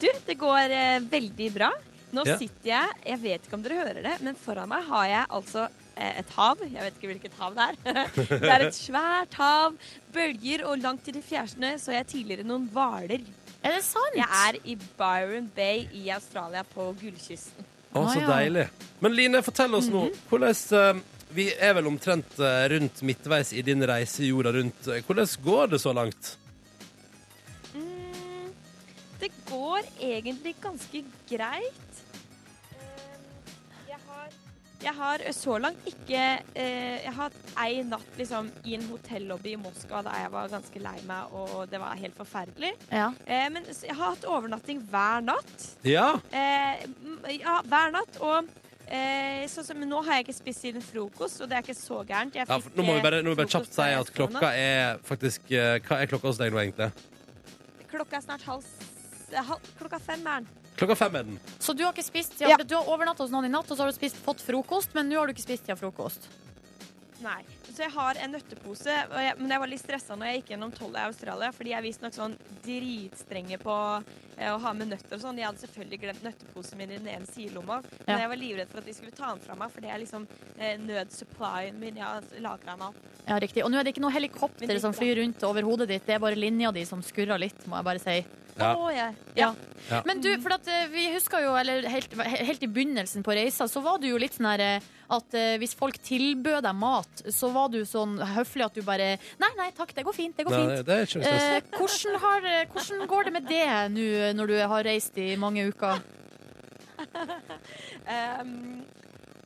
[SPEAKER 10] Du, det går eh, veldig bra. Nå
[SPEAKER 2] Ja.
[SPEAKER 10] sitter jeg, jeg vet ikke om dere hører det, men foran meg har jeg altså eh, et hav. Jeg vet ikke hvilket hav det er. det er et svært hav, bølger, og langt til det fjerste så jeg tidligere noen hvaler.
[SPEAKER 3] Er det sant?
[SPEAKER 10] Jeg er i Byron Bay i Australia, på Gullkysten.
[SPEAKER 2] Å, så
[SPEAKER 3] Ah, ja.
[SPEAKER 2] deilig. Men Line, fortell oss nå hvordan eh, Vi er vel omtrent eh, rundt midtveis i din reise jorda rundt. eh, Hvordan går det så langt?
[SPEAKER 10] Mm, det går egentlig ganske greit. Eh, Jeg har, jeg har så langt ikke eh, Jeg har hatt ei natt liksom, i en hotellobby i Moskva da jeg var ganske lei meg, og det var helt forferdelig.
[SPEAKER 3] Ja.
[SPEAKER 10] Eh, men s- jeg har hatt overnatting hver natt.
[SPEAKER 2] Ja.
[SPEAKER 10] Eh, m- ja, hver natt. Og eh, sånn som nå har jeg ikke spist siden frokost, og det er ikke så gærent. Jeg
[SPEAKER 2] ja
[SPEAKER 10] fikk,
[SPEAKER 2] for, nå må vi
[SPEAKER 10] eh,
[SPEAKER 2] bare, nå må vi bare
[SPEAKER 10] frokost
[SPEAKER 2] kjapt si
[SPEAKER 10] da
[SPEAKER 2] at
[SPEAKER 10] jeg sov
[SPEAKER 2] klokka er faktisk eh, Hva er klokka hos deg nå, egentlig?
[SPEAKER 10] nå. Klokka er snart halv, s- eh, halv Klokka fem er den.
[SPEAKER 2] Klokka fem er den.
[SPEAKER 3] Så du har ikke spist ja,
[SPEAKER 10] Ja.
[SPEAKER 3] for Du har overnatta hos noen i natt, og så har du spist, fått frokost, men nå har du ikke spist til frokost.
[SPEAKER 10] Nei. Så jeg har en nøttepose, og jeg, men jeg var litt stressa når jeg gikk gjennom tollet i Australia, fordi jeg er visstnok sånn dritstrenge på eh, å ha med nøtter og sånn. Jeg hadde selvfølgelig glemt nøtteposen min i den ene sidelomma, men
[SPEAKER 3] Ja.
[SPEAKER 10] jeg var livredd for at de skulle ta den fra meg, for det er liksom eh, nødsupplyen min. Jeg har lagra den opp.
[SPEAKER 3] Ja, riktig. Og nå er det ikke noe helikopter
[SPEAKER 10] Men det-
[SPEAKER 3] som flyr rundt over hodet ditt, det er bare linja di som skurrer litt, må jeg bare si.
[SPEAKER 2] Ja.
[SPEAKER 10] Å, jeg-
[SPEAKER 3] Ja.
[SPEAKER 2] Ja.
[SPEAKER 3] Men
[SPEAKER 10] Mm.
[SPEAKER 3] du, for at eh, vi husker jo, eller helt, helt i begynnelsen på reisa, så var du jo litt sånn her eh, at eh, hvis folk tilbød deg mat, så var du sånn høflig at du bare Nei, nei, takk, det går fint, det går
[SPEAKER 2] Nei,
[SPEAKER 3] fint.
[SPEAKER 2] det- det er ikke noe stress.
[SPEAKER 3] Eh, hvordan, har, eh, hvordan går det med det nå eh, når du har reist i mange uker?
[SPEAKER 10] Ehm,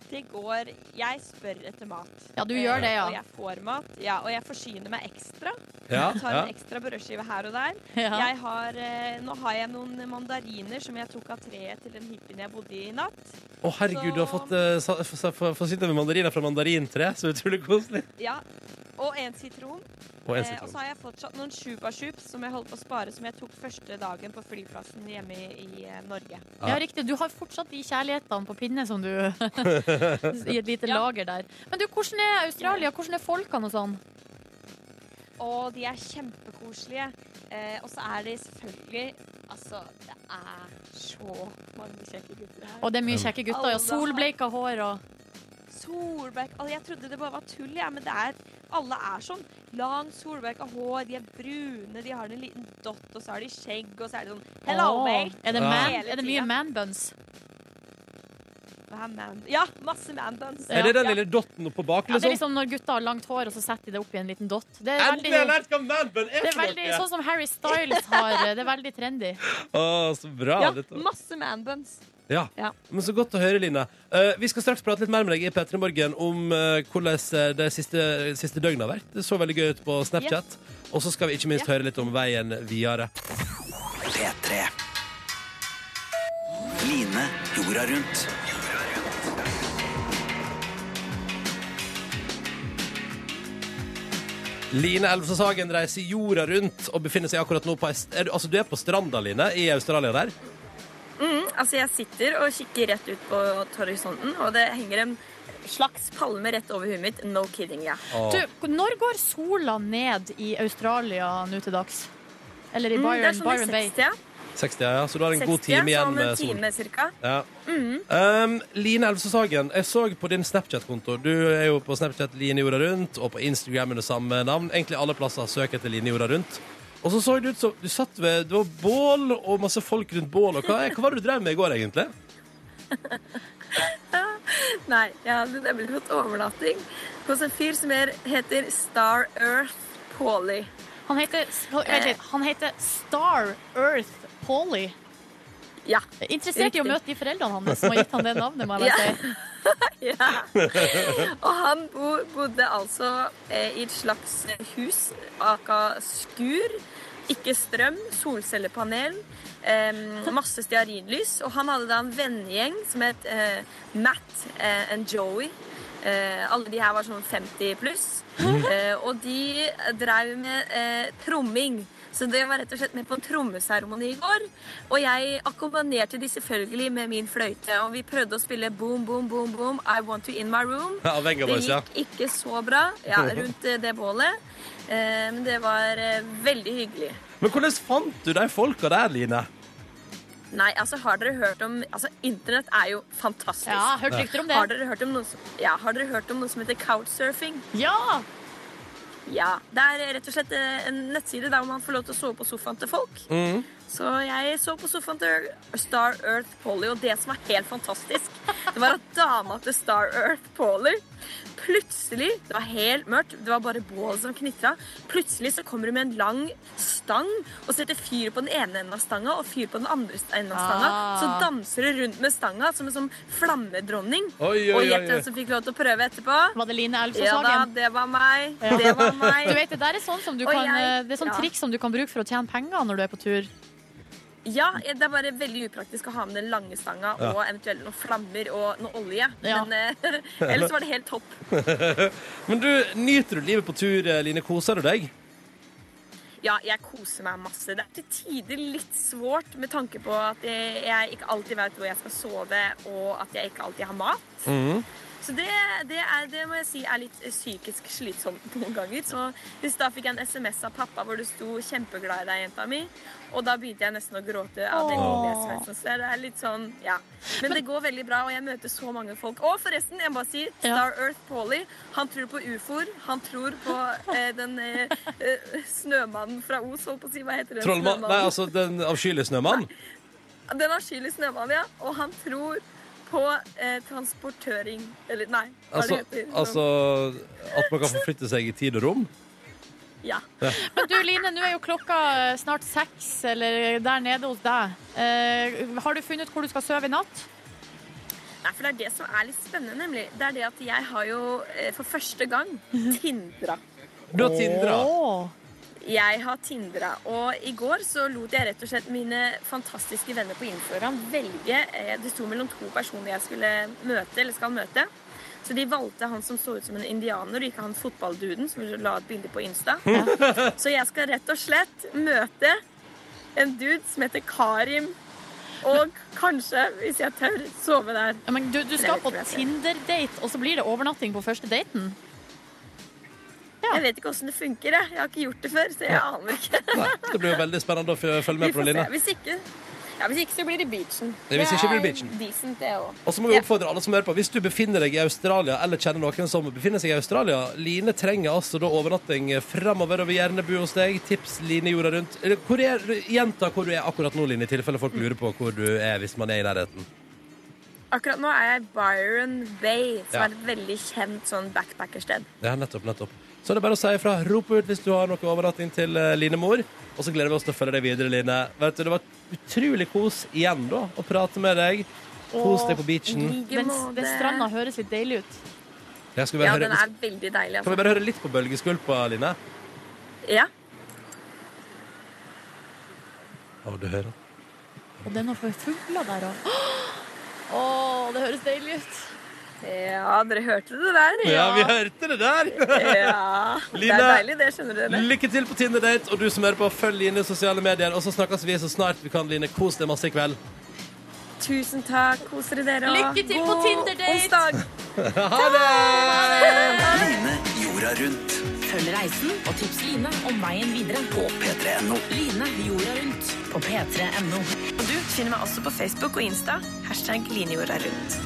[SPEAKER 10] det går Jeg spør etter mat.
[SPEAKER 3] Ja, du gjør det, ja.
[SPEAKER 10] Og jeg får mat. Ja, og jeg forsyner meg ekstra.
[SPEAKER 2] Ja,
[SPEAKER 10] Jeg tar
[SPEAKER 2] ja.
[SPEAKER 10] en ekstra brødskive her og der.
[SPEAKER 3] Ja.
[SPEAKER 10] Jeg har, eh, nå har jeg noen mandariner som jeg tok av treet til den hippien jeg bodde i i natt.
[SPEAKER 2] Å, herregud, du har fått eh, sa- f- sa- f- forsynt deg med mandariner fra mandarintre. Så utrolig koselig.
[SPEAKER 10] Ja, og en sitron.
[SPEAKER 2] Og en
[SPEAKER 10] Eh, og
[SPEAKER 2] sitron.
[SPEAKER 10] så
[SPEAKER 3] altså,
[SPEAKER 10] har jeg fortsatt noen chupa-chups som jeg holdt på å spare, som jeg tok første dagen på flyplassen hjemme i, i eh, Norge.
[SPEAKER 3] Ja, riktig. Du har fortsatt de kjærlighetene på pinne som du I et lite
[SPEAKER 10] Ja.
[SPEAKER 3] lager der. Men du, hvordan er Australia? Hvordan er folkene og sånn?
[SPEAKER 10] Og de er kjempekoselige. Eh, og så er de selvfølgelig Altså, det er så mange kjekke gutter her.
[SPEAKER 3] Og det er mye kjekke gutter. Ja,
[SPEAKER 10] Alle har-
[SPEAKER 3] solbleika hår og
[SPEAKER 10] Solbekk altså, Jeg trodde det bare var tull, jeg, men det er, alle er sånn. Lang solbekk av hår, de er brune, de har en liten dott, og så har de skjegg, og så er det sånn Hello,
[SPEAKER 2] Ah."
[SPEAKER 3] Åh.
[SPEAKER 10] mate!
[SPEAKER 3] Er det,
[SPEAKER 2] Ja.
[SPEAKER 3] man,
[SPEAKER 10] Hele
[SPEAKER 3] er det mye
[SPEAKER 10] tiden.
[SPEAKER 3] manbuns?
[SPEAKER 10] Hva er man ja, masse manbuns.
[SPEAKER 2] Er det den
[SPEAKER 10] Ja.
[SPEAKER 2] lille dotten oppå bak,
[SPEAKER 3] Ja, det er
[SPEAKER 2] liksom?
[SPEAKER 3] liksom når gutter har langt hår, og så setter de det opp i en liten dott. Det er
[SPEAKER 2] Endelig har jeg
[SPEAKER 3] veldig,
[SPEAKER 2] lært hva manbun er
[SPEAKER 3] det er
[SPEAKER 2] for
[SPEAKER 3] veldig
[SPEAKER 2] noe!
[SPEAKER 3] sånn som Harry Styles har. eh, Det er veldig trendy.
[SPEAKER 2] Å, så bra.
[SPEAKER 10] Ja,
[SPEAKER 2] Dette.
[SPEAKER 10] masse manbuns.
[SPEAKER 2] Ja.
[SPEAKER 10] Ja.
[SPEAKER 2] Men så godt å høre, Line. Eh, vi skal straks prate litt mer med deg i P3 Morgen om eh, hvordan eh, det siste, siste døgnet har vært. Det så veldig gøy ut på Snapchat. Og så skal vi ikke minst høre litt om veien videre.
[SPEAKER 11] P3. Line jorda rundt.
[SPEAKER 2] Line Elvsås Hagen reiser jorda rundt og befinner seg akkurat nå på ei st- er, du- Altså, du er på stranda, Line, i Australia der.
[SPEAKER 10] altså, jeg sitter og kikker rett ut på torrisonten, og det henger en slags palme rett over huet mitt. No kidding, ja.
[SPEAKER 2] Å,
[SPEAKER 3] Du, når går sola ned i Australia nå til dags? Eller i
[SPEAKER 10] Mm,
[SPEAKER 3] Byron,
[SPEAKER 10] sånn
[SPEAKER 3] Byron Bay?
[SPEAKER 2] 60, ja, ja. Så du har en god time igjen med solen.
[SPEAKER 10] cirka.
[SPEAKER 2] Ja. Um, Line Elvsås Hagen, jeg så på din Snapchat-konto. Du er jo på Snapchat Line Jorda Rundt, og på Instagram under samme navn. Egentlig alle plasser søk etter Line Jorda Rundt. Og så så det ut som du satt ved Det var bål og masse folk rundt bål. Og hva, hva var det du drev med i går, egentlig?
[SPEAKER 10] Nei, jeg hadde nemlig fått overnatting hos en fyr som er- heter Star Earth Pauly.
[SPEAKER 3] Han heter, vent litt, han heter Star Earth Polly.
[SPEAKER 10] Ja.
[SPEAKER 3] Jeg er Interessert i å
[SPEAKER 10] Riktig.
[SPEAKER 3] møte de foreldrene hans som har gitt han det navnet. må jeg bare si.
[SPEAKER 10] ja. Og han bo, bodde altså eh, i et slags hus, aka skur. Ikke strøm, solcellepanel, eh, masse stearinlys. Og han hadde da en vennegjeng som het eh, Matt eh, and Joey. Eh, alle de her var sånn 50 pluss. Eh, og de drev med eh, tromming. Så det var rett og slett med på en trommeseremoni i går. Og jeg akkompagnerte de selvfølgelig med min fløyte. Og vi prøvde å spille boom, boom, boom, boom, I want you in my room.
[SPEAKER 2] Ja, Venga
[SPEAKER 10] det
[SPEAKER 2] Boys, ja.
[SPEAKER 10] gikk ikke så bra ja, rundt eh, det bålet. Eh, Men det var eh, veldig hyggelig.
[SPEAKER 2] Men hvordan fant du de folka der, Line?
[SPEAKER 10] Nei, altså har dere hørt om Altså, internett er jo fantastisk.
[SPEAKER 3] Ja, hørt rykter om det.
[SPEAKER 10] Har dere hørt om noe som, ja, har dere hørt om noe som heter couchsurfing?
[SPEAKER 3] Ja!
[SPEAKER 10] Ja. Det er rett og slett eh, en nettside der man får lov til å sove på sofaen til folk.
[SPEAKER 3] Mm.
[SPEAKER 10] Så jeg så på sofaen til Star Earth Polly, og det som var helt fantastisk, det var at dama til Star Earth Polly plutselig Det var helt mørkt, det var bare bål som knitra. Plutselig så kommer hun med en lang stang og setter fyr på den ene enden av stanga og fyr på den andre enden av stanga.
[SPEAKER 3] Ah.
[SPEAKER 10] Så danser hun rundt med stanga som en sånn flammedronning.
[SPEAKER 3] Oi, oi,
[SPEAKER 10] og
[SPEAKER 3] oi,
[SPEAKER 10] gjett
[SPEAKER 3] oi.
[SPEAKER 10] hvem som fikk lov til å prøve etterpå?
[SPEAKER 3] Var det Line
[SPEAKER 10] Ja
[SPEAKER 3] Elvsåshagen?
[SPEAKER 10] da, det var meg.
[SPEAKER 3] Ja.
[SPEAKER 10] Det var meg.
[SPEAKER 3] Du vet, det der er sånn som du
[SPEAKER 10] Og
[SPEAKER 3] kan,
[SPEAKER 10] jeg-
[SPEAKER 3] det er sånn
[SPEAKER 10] ja.
[SPEAKER 3] triks som du kan bruke for å tjene penger når du er på tur.
[SPEAKER 10] Ja, det er bare veldig upraktisk å ha med den lange stanga
[SPEAKER 2] Ja.
[SPEAKER 10] og eventuelt noen flammer og noe olje.
[SPEAKER 3] Ja.
[SPEAKER 10] Men eh, ellers var det helt topp.
[SPEAKER 2] Men du, nyter du livet på tur, eh, Line? Koser du deg?
[SPEAKER 10] Ja, jeg koser meg masse. Det er til tider litt svårt med tanke på at eh, jeg ikke alltid vet hvor jeg skal sove, og at jeg ikke alltid har mat. Så det, det, er, det må jeg si er litt eh, psykisk slitsomt noen ganger. Så hvis da fikk jeg en SMS av pappa hvor det sto 'kjempeglad i deg, jenta mi', og da begynte jeg nesten å gråte av den lille
[SPEAKER 3] Åh.
[SPEAKER 10] SMS-en. Så det er litt sånn, ja. Men det går veldig bra, og jeg møter så mange folk. Og forresten, jeg må bare si Star Earth Pauly. Han tror på ufoer. Han tror på eh, den eh, eh, snømannen fra Os, holdt på å si. Hva heter den?
[SPEAKER 2] Trollmann? Nei,
[SPEAKER 10] snømannen?
[SPEAKER 2] altså den avskyelige snømannen?
[SPEAKER 10] Den avskyelige snømannen, ja. Og han tror på eh, transportøring. Eller nei, hva
[SPEAKER 2] Altså,
[SPEAKER 10] det heter.
[SPEAKER 2] altså at man kan forflytte seg i tid og rom?
[SPEAKER 10] Ja.
[SPEAKER 2] Ja.
[SPEAKER 3] Men du Line, nå er jo klokka eh, snart seks, eller eh, der nede hos deg. Eh, har du funnet ut hvor du skal sove i natt?
[SPEAKER 10] Nei, for det er det som er litt spennende, nemlig. Det er det at jeg har jo eh, for første gang Tindra.
[SPEAKER 2] Du har Tindra.
[SPEAKER 10] Jeg har Tindra, og i går så lot jeg rett og slett mine fantastiske venner på Instagram velge eh, Det sto mellom to personer jeg skulle møte, eller skal møte. Så de valgte han som så ut som en indianer, og ikke han fotballduden som la et bilde på Insta. Så jeg skal rett og slett møte en dude som heter Karim, og kanskje, hvis jeg tør, sove der.
[SPEAKER 3] Ja, Men du, du
[SPEAKER 10] Jeg
[SPEAKER 3] skal
[SPEAKER 10] vet
[SPEAKER 3] på
[SPEAKER 10] ikke hva jeg skal gjøre.
[SPEAKER 3] Tinder-date, og så blir det overnatting på første daten?
[SPEAKER 10] Jeg vet ikke åssen det funker. Jeg. jeg har ikke gjort det før, så jeg aner ikke.
[SPEAKER 2] Det blir jo veldig spennende å f- følge
[SPEAKER 10] Vi
[SPEAKER 2] med på,
[SPEAKER 10] får se.
[SPEAKER 2] Line.
[SPEAKER 10] Hvis ikke, ja, hvis ikke så blir det beachen.
[SPEAKER 2] Ja, hvis ikke blir det
[SPEAKER 10] er
[SPEAKER 2] beachen.
[SPEAKER 10] Decent, det òg.
[SPEAKER 2] Og så må vi oppfordre alle som hører på Hvis du befinner deg i Australia eller kjenner noen som befinner seg i Australia Line trenger altså da overnatting fremover og vil gjerne bo hos deg Tips Line jorda rundt Eller, hvor er, Gjenta hvor du er akkurat nå, Line I tilfelle folk lurer på hvor du er hvis man er i nærheten
[SPEAKER 10] Akkurat nå er jeg i Byron Bay, som
[SPEAKER 2] Ja.
[SPEAKER 10] er et veldig kjent sånn backpackersted.
[SPEAKER 2] Ja, nettopp, nettopp Så er det bare å si ifra Rop ut hvis du har noe overnatting til eh, Line Mor Og så gleder vi oss til å følge deg videre, Line Vet du, det var utrolig kos igjen da Å prate med deg Kos deg på beachen
[SPEAKER 3] Den, den stranda høres litt deilig ut.
[SPEAKER 2] Jeg skal
[SPEAKER 10] Ja,
[SPEAKER 2] bare
[SPEAKER 10] den
[SPEAKER 2] høre,
[SPEAKER 10] er veldig deilig. altså.
[SPEAKER 2] Kan vi bare høre litt på bølgeskvulpa, Line?
[SPEAKER 10] Ja.
[SPEAKER 2] Å, du hører
[SPEAKER 3] Og det er noe for fugler der òg. Å, det høres deilig ut.
[SPEAKER 10] ja, dere hørte det der?
[SPEAKER 2] Ja, vi hørte det der
[SPEAKER 10] Ja. Det er
[SPEAKER 2] Line,
[SPEAKER 10] deilig, det. Skjønner dere.
[SPEAKER 2] Lykke til på Tinder-date, og du som hører på, følg Line i sosiale medier. Og så snakkes vi så snart vi kan, Line. Kos deg masse i kveld.
[SPEAKER 10] Tusen takk. Kos dere, dere. og
[SPEAKER 3] Lykke til på
[SPEAKER 10] god
[SPEAKER 3] Tinder-date.
[SPEAKER 10] onsdag.
[SPEAKER 2] ha det!
[SPEAKER 11] Line jorda rundt.
[SPEAKER 12] Følg reisen og tips Line om veien videre på p3.no. Line jorda rundt på p3.no.
[SPEAKER 10] Og du finner meg også på Facebook og Insta. Hashtag linjorda rundt.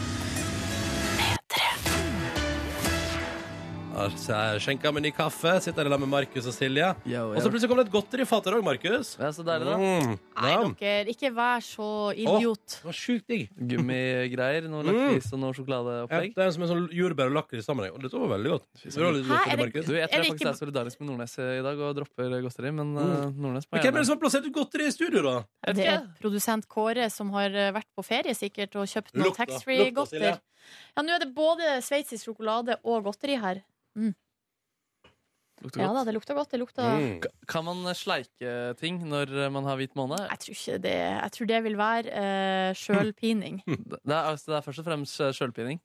[SPEAKER 2] Har seg Skjenka med ny kaffe, sitter her sammen med Markus og Silje. Og så plutselig kom det et godterifat her òg, Markus.
[SPEAKER 4] Ja, så deilig, da.
[SPEAKER 2] Mm.
[SPEAKER 3] Nei,
[SPEAKER 2] Ja.
[SPEAKER 3] dere, ikke vær så idiot.
[SPEAKER 2] Det var sjukt digg.
[SPEAKER 4] Gummigreier. Noe
[SPEAKER 2] Mm.
[SPEAKER 4] lakris og noe
[SPEAKER 2] Ja,
[SPEAKER 4] sjokoladeopplegg.
[SPEAKER 2] det er som en sånn jordbær og lakris sammen. Og dette var veldig godt. Det var litt godt,
[SPEAKER 4] Hæ, er det-
[SPEAKER 2] Markus.
[SPEAKER 4] Du, jeg tror jeg faktisk er solidarisk med Nordnes i dag og dropper godteri, men
[SPEAKER 2] Mm.
[SPEAKER 4] eh, Nordnes må
[SPEAKER 2] Men Hvem er det som har plassert ut godteri i studio, da?
[SPEAKER 3] Det er produsent Kåre som har eh, vært på ferie sikkert og kjøpt noe
[SPEAKER 2] Lukta. Lukta,
[SPEAKER 3] taxfree-godter.
[SPEAKER 2] Silje.
[SPEAKER 3] Ja, nå er det både sveitsisk sjokolade og godteri her. Mm.
[SPEAKER 4] Lukter
[SPEAKER 3] Ja
[SPEAKER 4] godt. Mm.
[SPEAKER 3] da, det lukter godt. Det lukter
[SPEAKER 4] Ka- Kan man sleike ting når man har hvit måned?
[SPEAKER 3] Jeg tror ikke det Jeg tror det vil være uh, sjølpining.
[SPEAKER 4] Det er, altså, det er først og fremst sjølpining.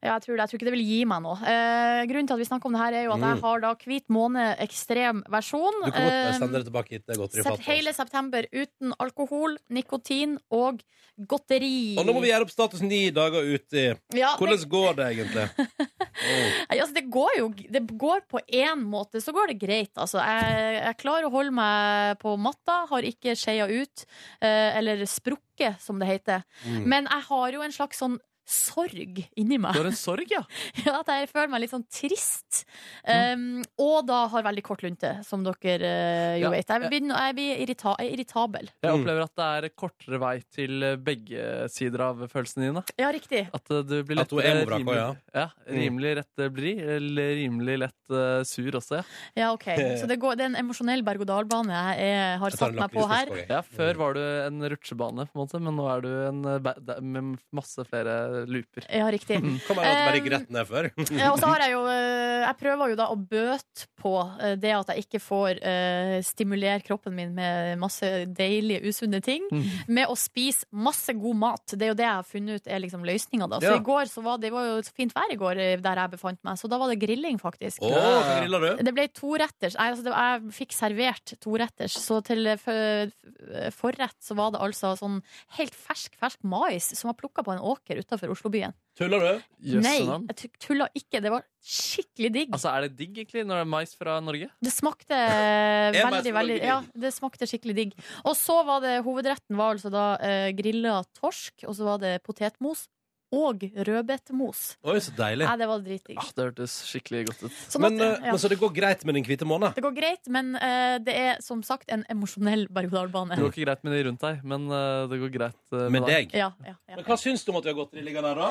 [SPEAKER 3] Ja, jeg tror, det. jeg tror ikke det vil gi meg noe. Eh, grunnen til at vi snakker om det her, er jo at jeg
[SPEAKER 2] Mm.
[SPEAKER 3] har da Hvit måne ekstrem versjon.
[SPEAKER 2] Du kan godt eh,
[SPEAKER 3] Eh,
[SPEAKER 2] sende det tilbake hit. Det er godteri i
[SPEAKER 3] Sep
[SPEAKER 2] fatet.
[SPEAKER 3] hele september uten alkohol, nikotin og godteri.
[SPEAKER 2] Og nå må vi gjøre opp status ni dager uti.
[SPEAKER 3] Ja,
[SPEAKER 2] Hvordan
[SPEAKER 3] det-
[SPEAKER 2] går det egentlig? Oh,
[SPEAKER 3] Nei, altså, det går jo det går på én måte, så går det greit. Altså, jeg, jeg klarer å holde meg på matta, har ikke skeia ut, eh, eller sprukket, som det heter.
[SPEAKER 4] Mm.
[SPEAKER 3] Men jeg har jo en slags sånn sorg inni meg.
[SPEAKER 4] Du har en sorg, ja?
[SPEAKER 3] Ja, at jeg føler meg litt sånn trist. Um, og da har veldig kort lunte, som dere eh, jo
[SPEAKER 4] Ja,
[SPEAKER 3] vet. Jeg
[SPEAKER 4] ja.
[SPEAKER 3] blir, jeg blir irrita jeg er irritabel.
[SPEAKER 4] Jeg opplever at det er kortere vei til eh, begge sider av følelsene dine.
[SPEAKER 3] Ja, riktig.
[SPEAKER 4] At eh, du blir
[SPEAKER 2] At hun
[SPEAKER 4] lettere
[SPEAKER 2] er emobrakk også,
[SPEAKER 4] rimelig-
[SPEAKER 2] ja.
[SPEAKER 4] ja, rimelig lett eh, blid, eller rimelig lett eh, sur også. Ja.
[SPEAKER 3] Ja, ok. Så det, går, det er en emosjonell berg-og-dal-bane jeg er, har satt meg på her.
[SPEAKER 4] Ja, Før var du en rutsjebane, på en måte, men nå er du en eh, ba- da- med masse flere looper.
[SPEAKER 3] Ja, riktig.
[SPEAKER 2] Kan være at det bare gikk rett ned før.
[SPEAKER 3] Ja, og så har jeg jo eh, Jeg prøver jo da å bøte på eh, det at jeg ikke får eh, stimulere kroppen min med masse deilige, usunne ting,
[SPEAKER 13] Mm.
[SPEAKER 3] med å spise masse god mat. Det er jo det jeg har funnet ut er liksom løsninga, da. Så
[SPEAKER 2] Ja.
[SPEAKER 3] i går så var det, det var jo så fint vær i går eh, der jeg befant meg, så da var det grilling, faktisk.
[SPEAKER 2] Å, hva grilla du?
[SPEAKER 3] Det ble toretters. Jeg, altså, det- jeg fikk servert toretters, så til eh, f- eh, forrett så var det altså sånn helt fersk, fersk mais som var plukka på en åker utafor Oslobyen.
[SPEAKER 2] Tuller du?
[SPEAKER 3] Nei, jeg tu- tulla ikke. Det var skikkelig digg.
[SPEAKER 4] Altså, Er det digg, egentlig, når det er mais fra Norge?
[SPEAKER 3] Det smakte
[SPEAKER 4] Jeg bare
[SPEAKER 3] veldig,
[SPEAKER 4] tror det
[SPEAKER 3] veldig
[SPEAKER 4] er
[SPEAKER 3] Ja, det smakte skikkelig digg. Og så var det hovedretten var altså da eh, grilla torsk, og så var det potetmos og rødbetmos.
[SPEAKER 2] Oi, så deilig.
[SPEAKER 3] Nei, det var dritdigg.
[SPEAKER 4] Ah, det hørtes skikkelig godt ut.
[SPEAKER 3] Sånn at-
[SPEAKER 2] men, eh,
[SPEAKER 3] ja.
[SPEAKER 2] men så det går greit med den hvite månen?
[SPEAKER 3] Det går greit, men eh, det er som sagt en emosjonell berg-og-dal-bane.
[SPEAKER 4] Det går ikke greit med de rundt deg, men eh, det går greit eh, med,
[SPEAKER 2] Med deg?
[SPEAKER 3] Ja, ja, ja.
[SPEAKER 2] Men hva syns du om at vi har godteri liggende her, da?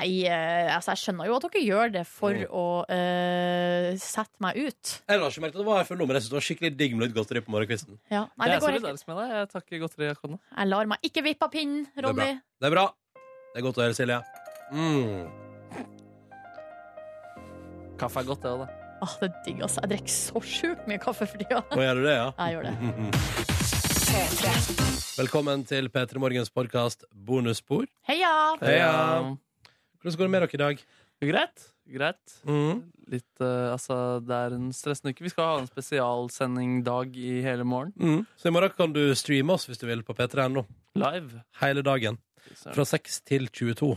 [SPEAKER 3] Nei, eh, altså jeg skjønner jo at dere gjør det for å eh, sette meg ut.
[SPEAKER 2] Jeg har ikke merket at det var her før nå, men jeg synes det var skikkelig digg med litt godteri på morgenkvisten.
[SPEAKER 3] Ja. Nei,
[SPEAKER 4] jeg
[SPEAKER 3] det
[SPEAKER 4] er
[SPEAKER 3] går helt
[SPEAKER 4] solidarisk med deg. Jeg takker godteri akkurat nå.
[SPEAKER 3] Jeg lar meg ikke vippe av pinnen,
[SPEAKER 2] Det er bra.
[SPEAKER 3] Ronny.
[SPEAKER 2] Det er bra. Det er godt å høre, Silje. Mm.
[SPEAKER 4] Kaffe er godt, det òg, da.
[SPEAKER 3] Åh, det er digg, altså. Jeg drikker så sjukt mye kaffe for tida.
[SPEAKER 2] Nå gjør du det, ja?
[SPEAKER 3] Jeg gjør det.
[SPEAKER 2] Velkommen til P3 Morgens podkast Bonusspor.
[SPEAKER 3] Heia!
[SPEAKER 2] Heia. Hvordan går det med dere i dag?
[SPEAKER 4] Eh,
[SPEAKER 2] Mm.
[SPEAKER 4] Greit. Greit. Litt, eh, altså, det er en stressende uke. Vi skal ha en spesialsendingdag i hele morgen.
[SPEAKER 2] Mm. Så i morgen kan du streame oss hvis du vil på p3.no.
[SPEAKER 4] Live.
[SPEAKER 2] Hele dagen. Fra 6 til 22.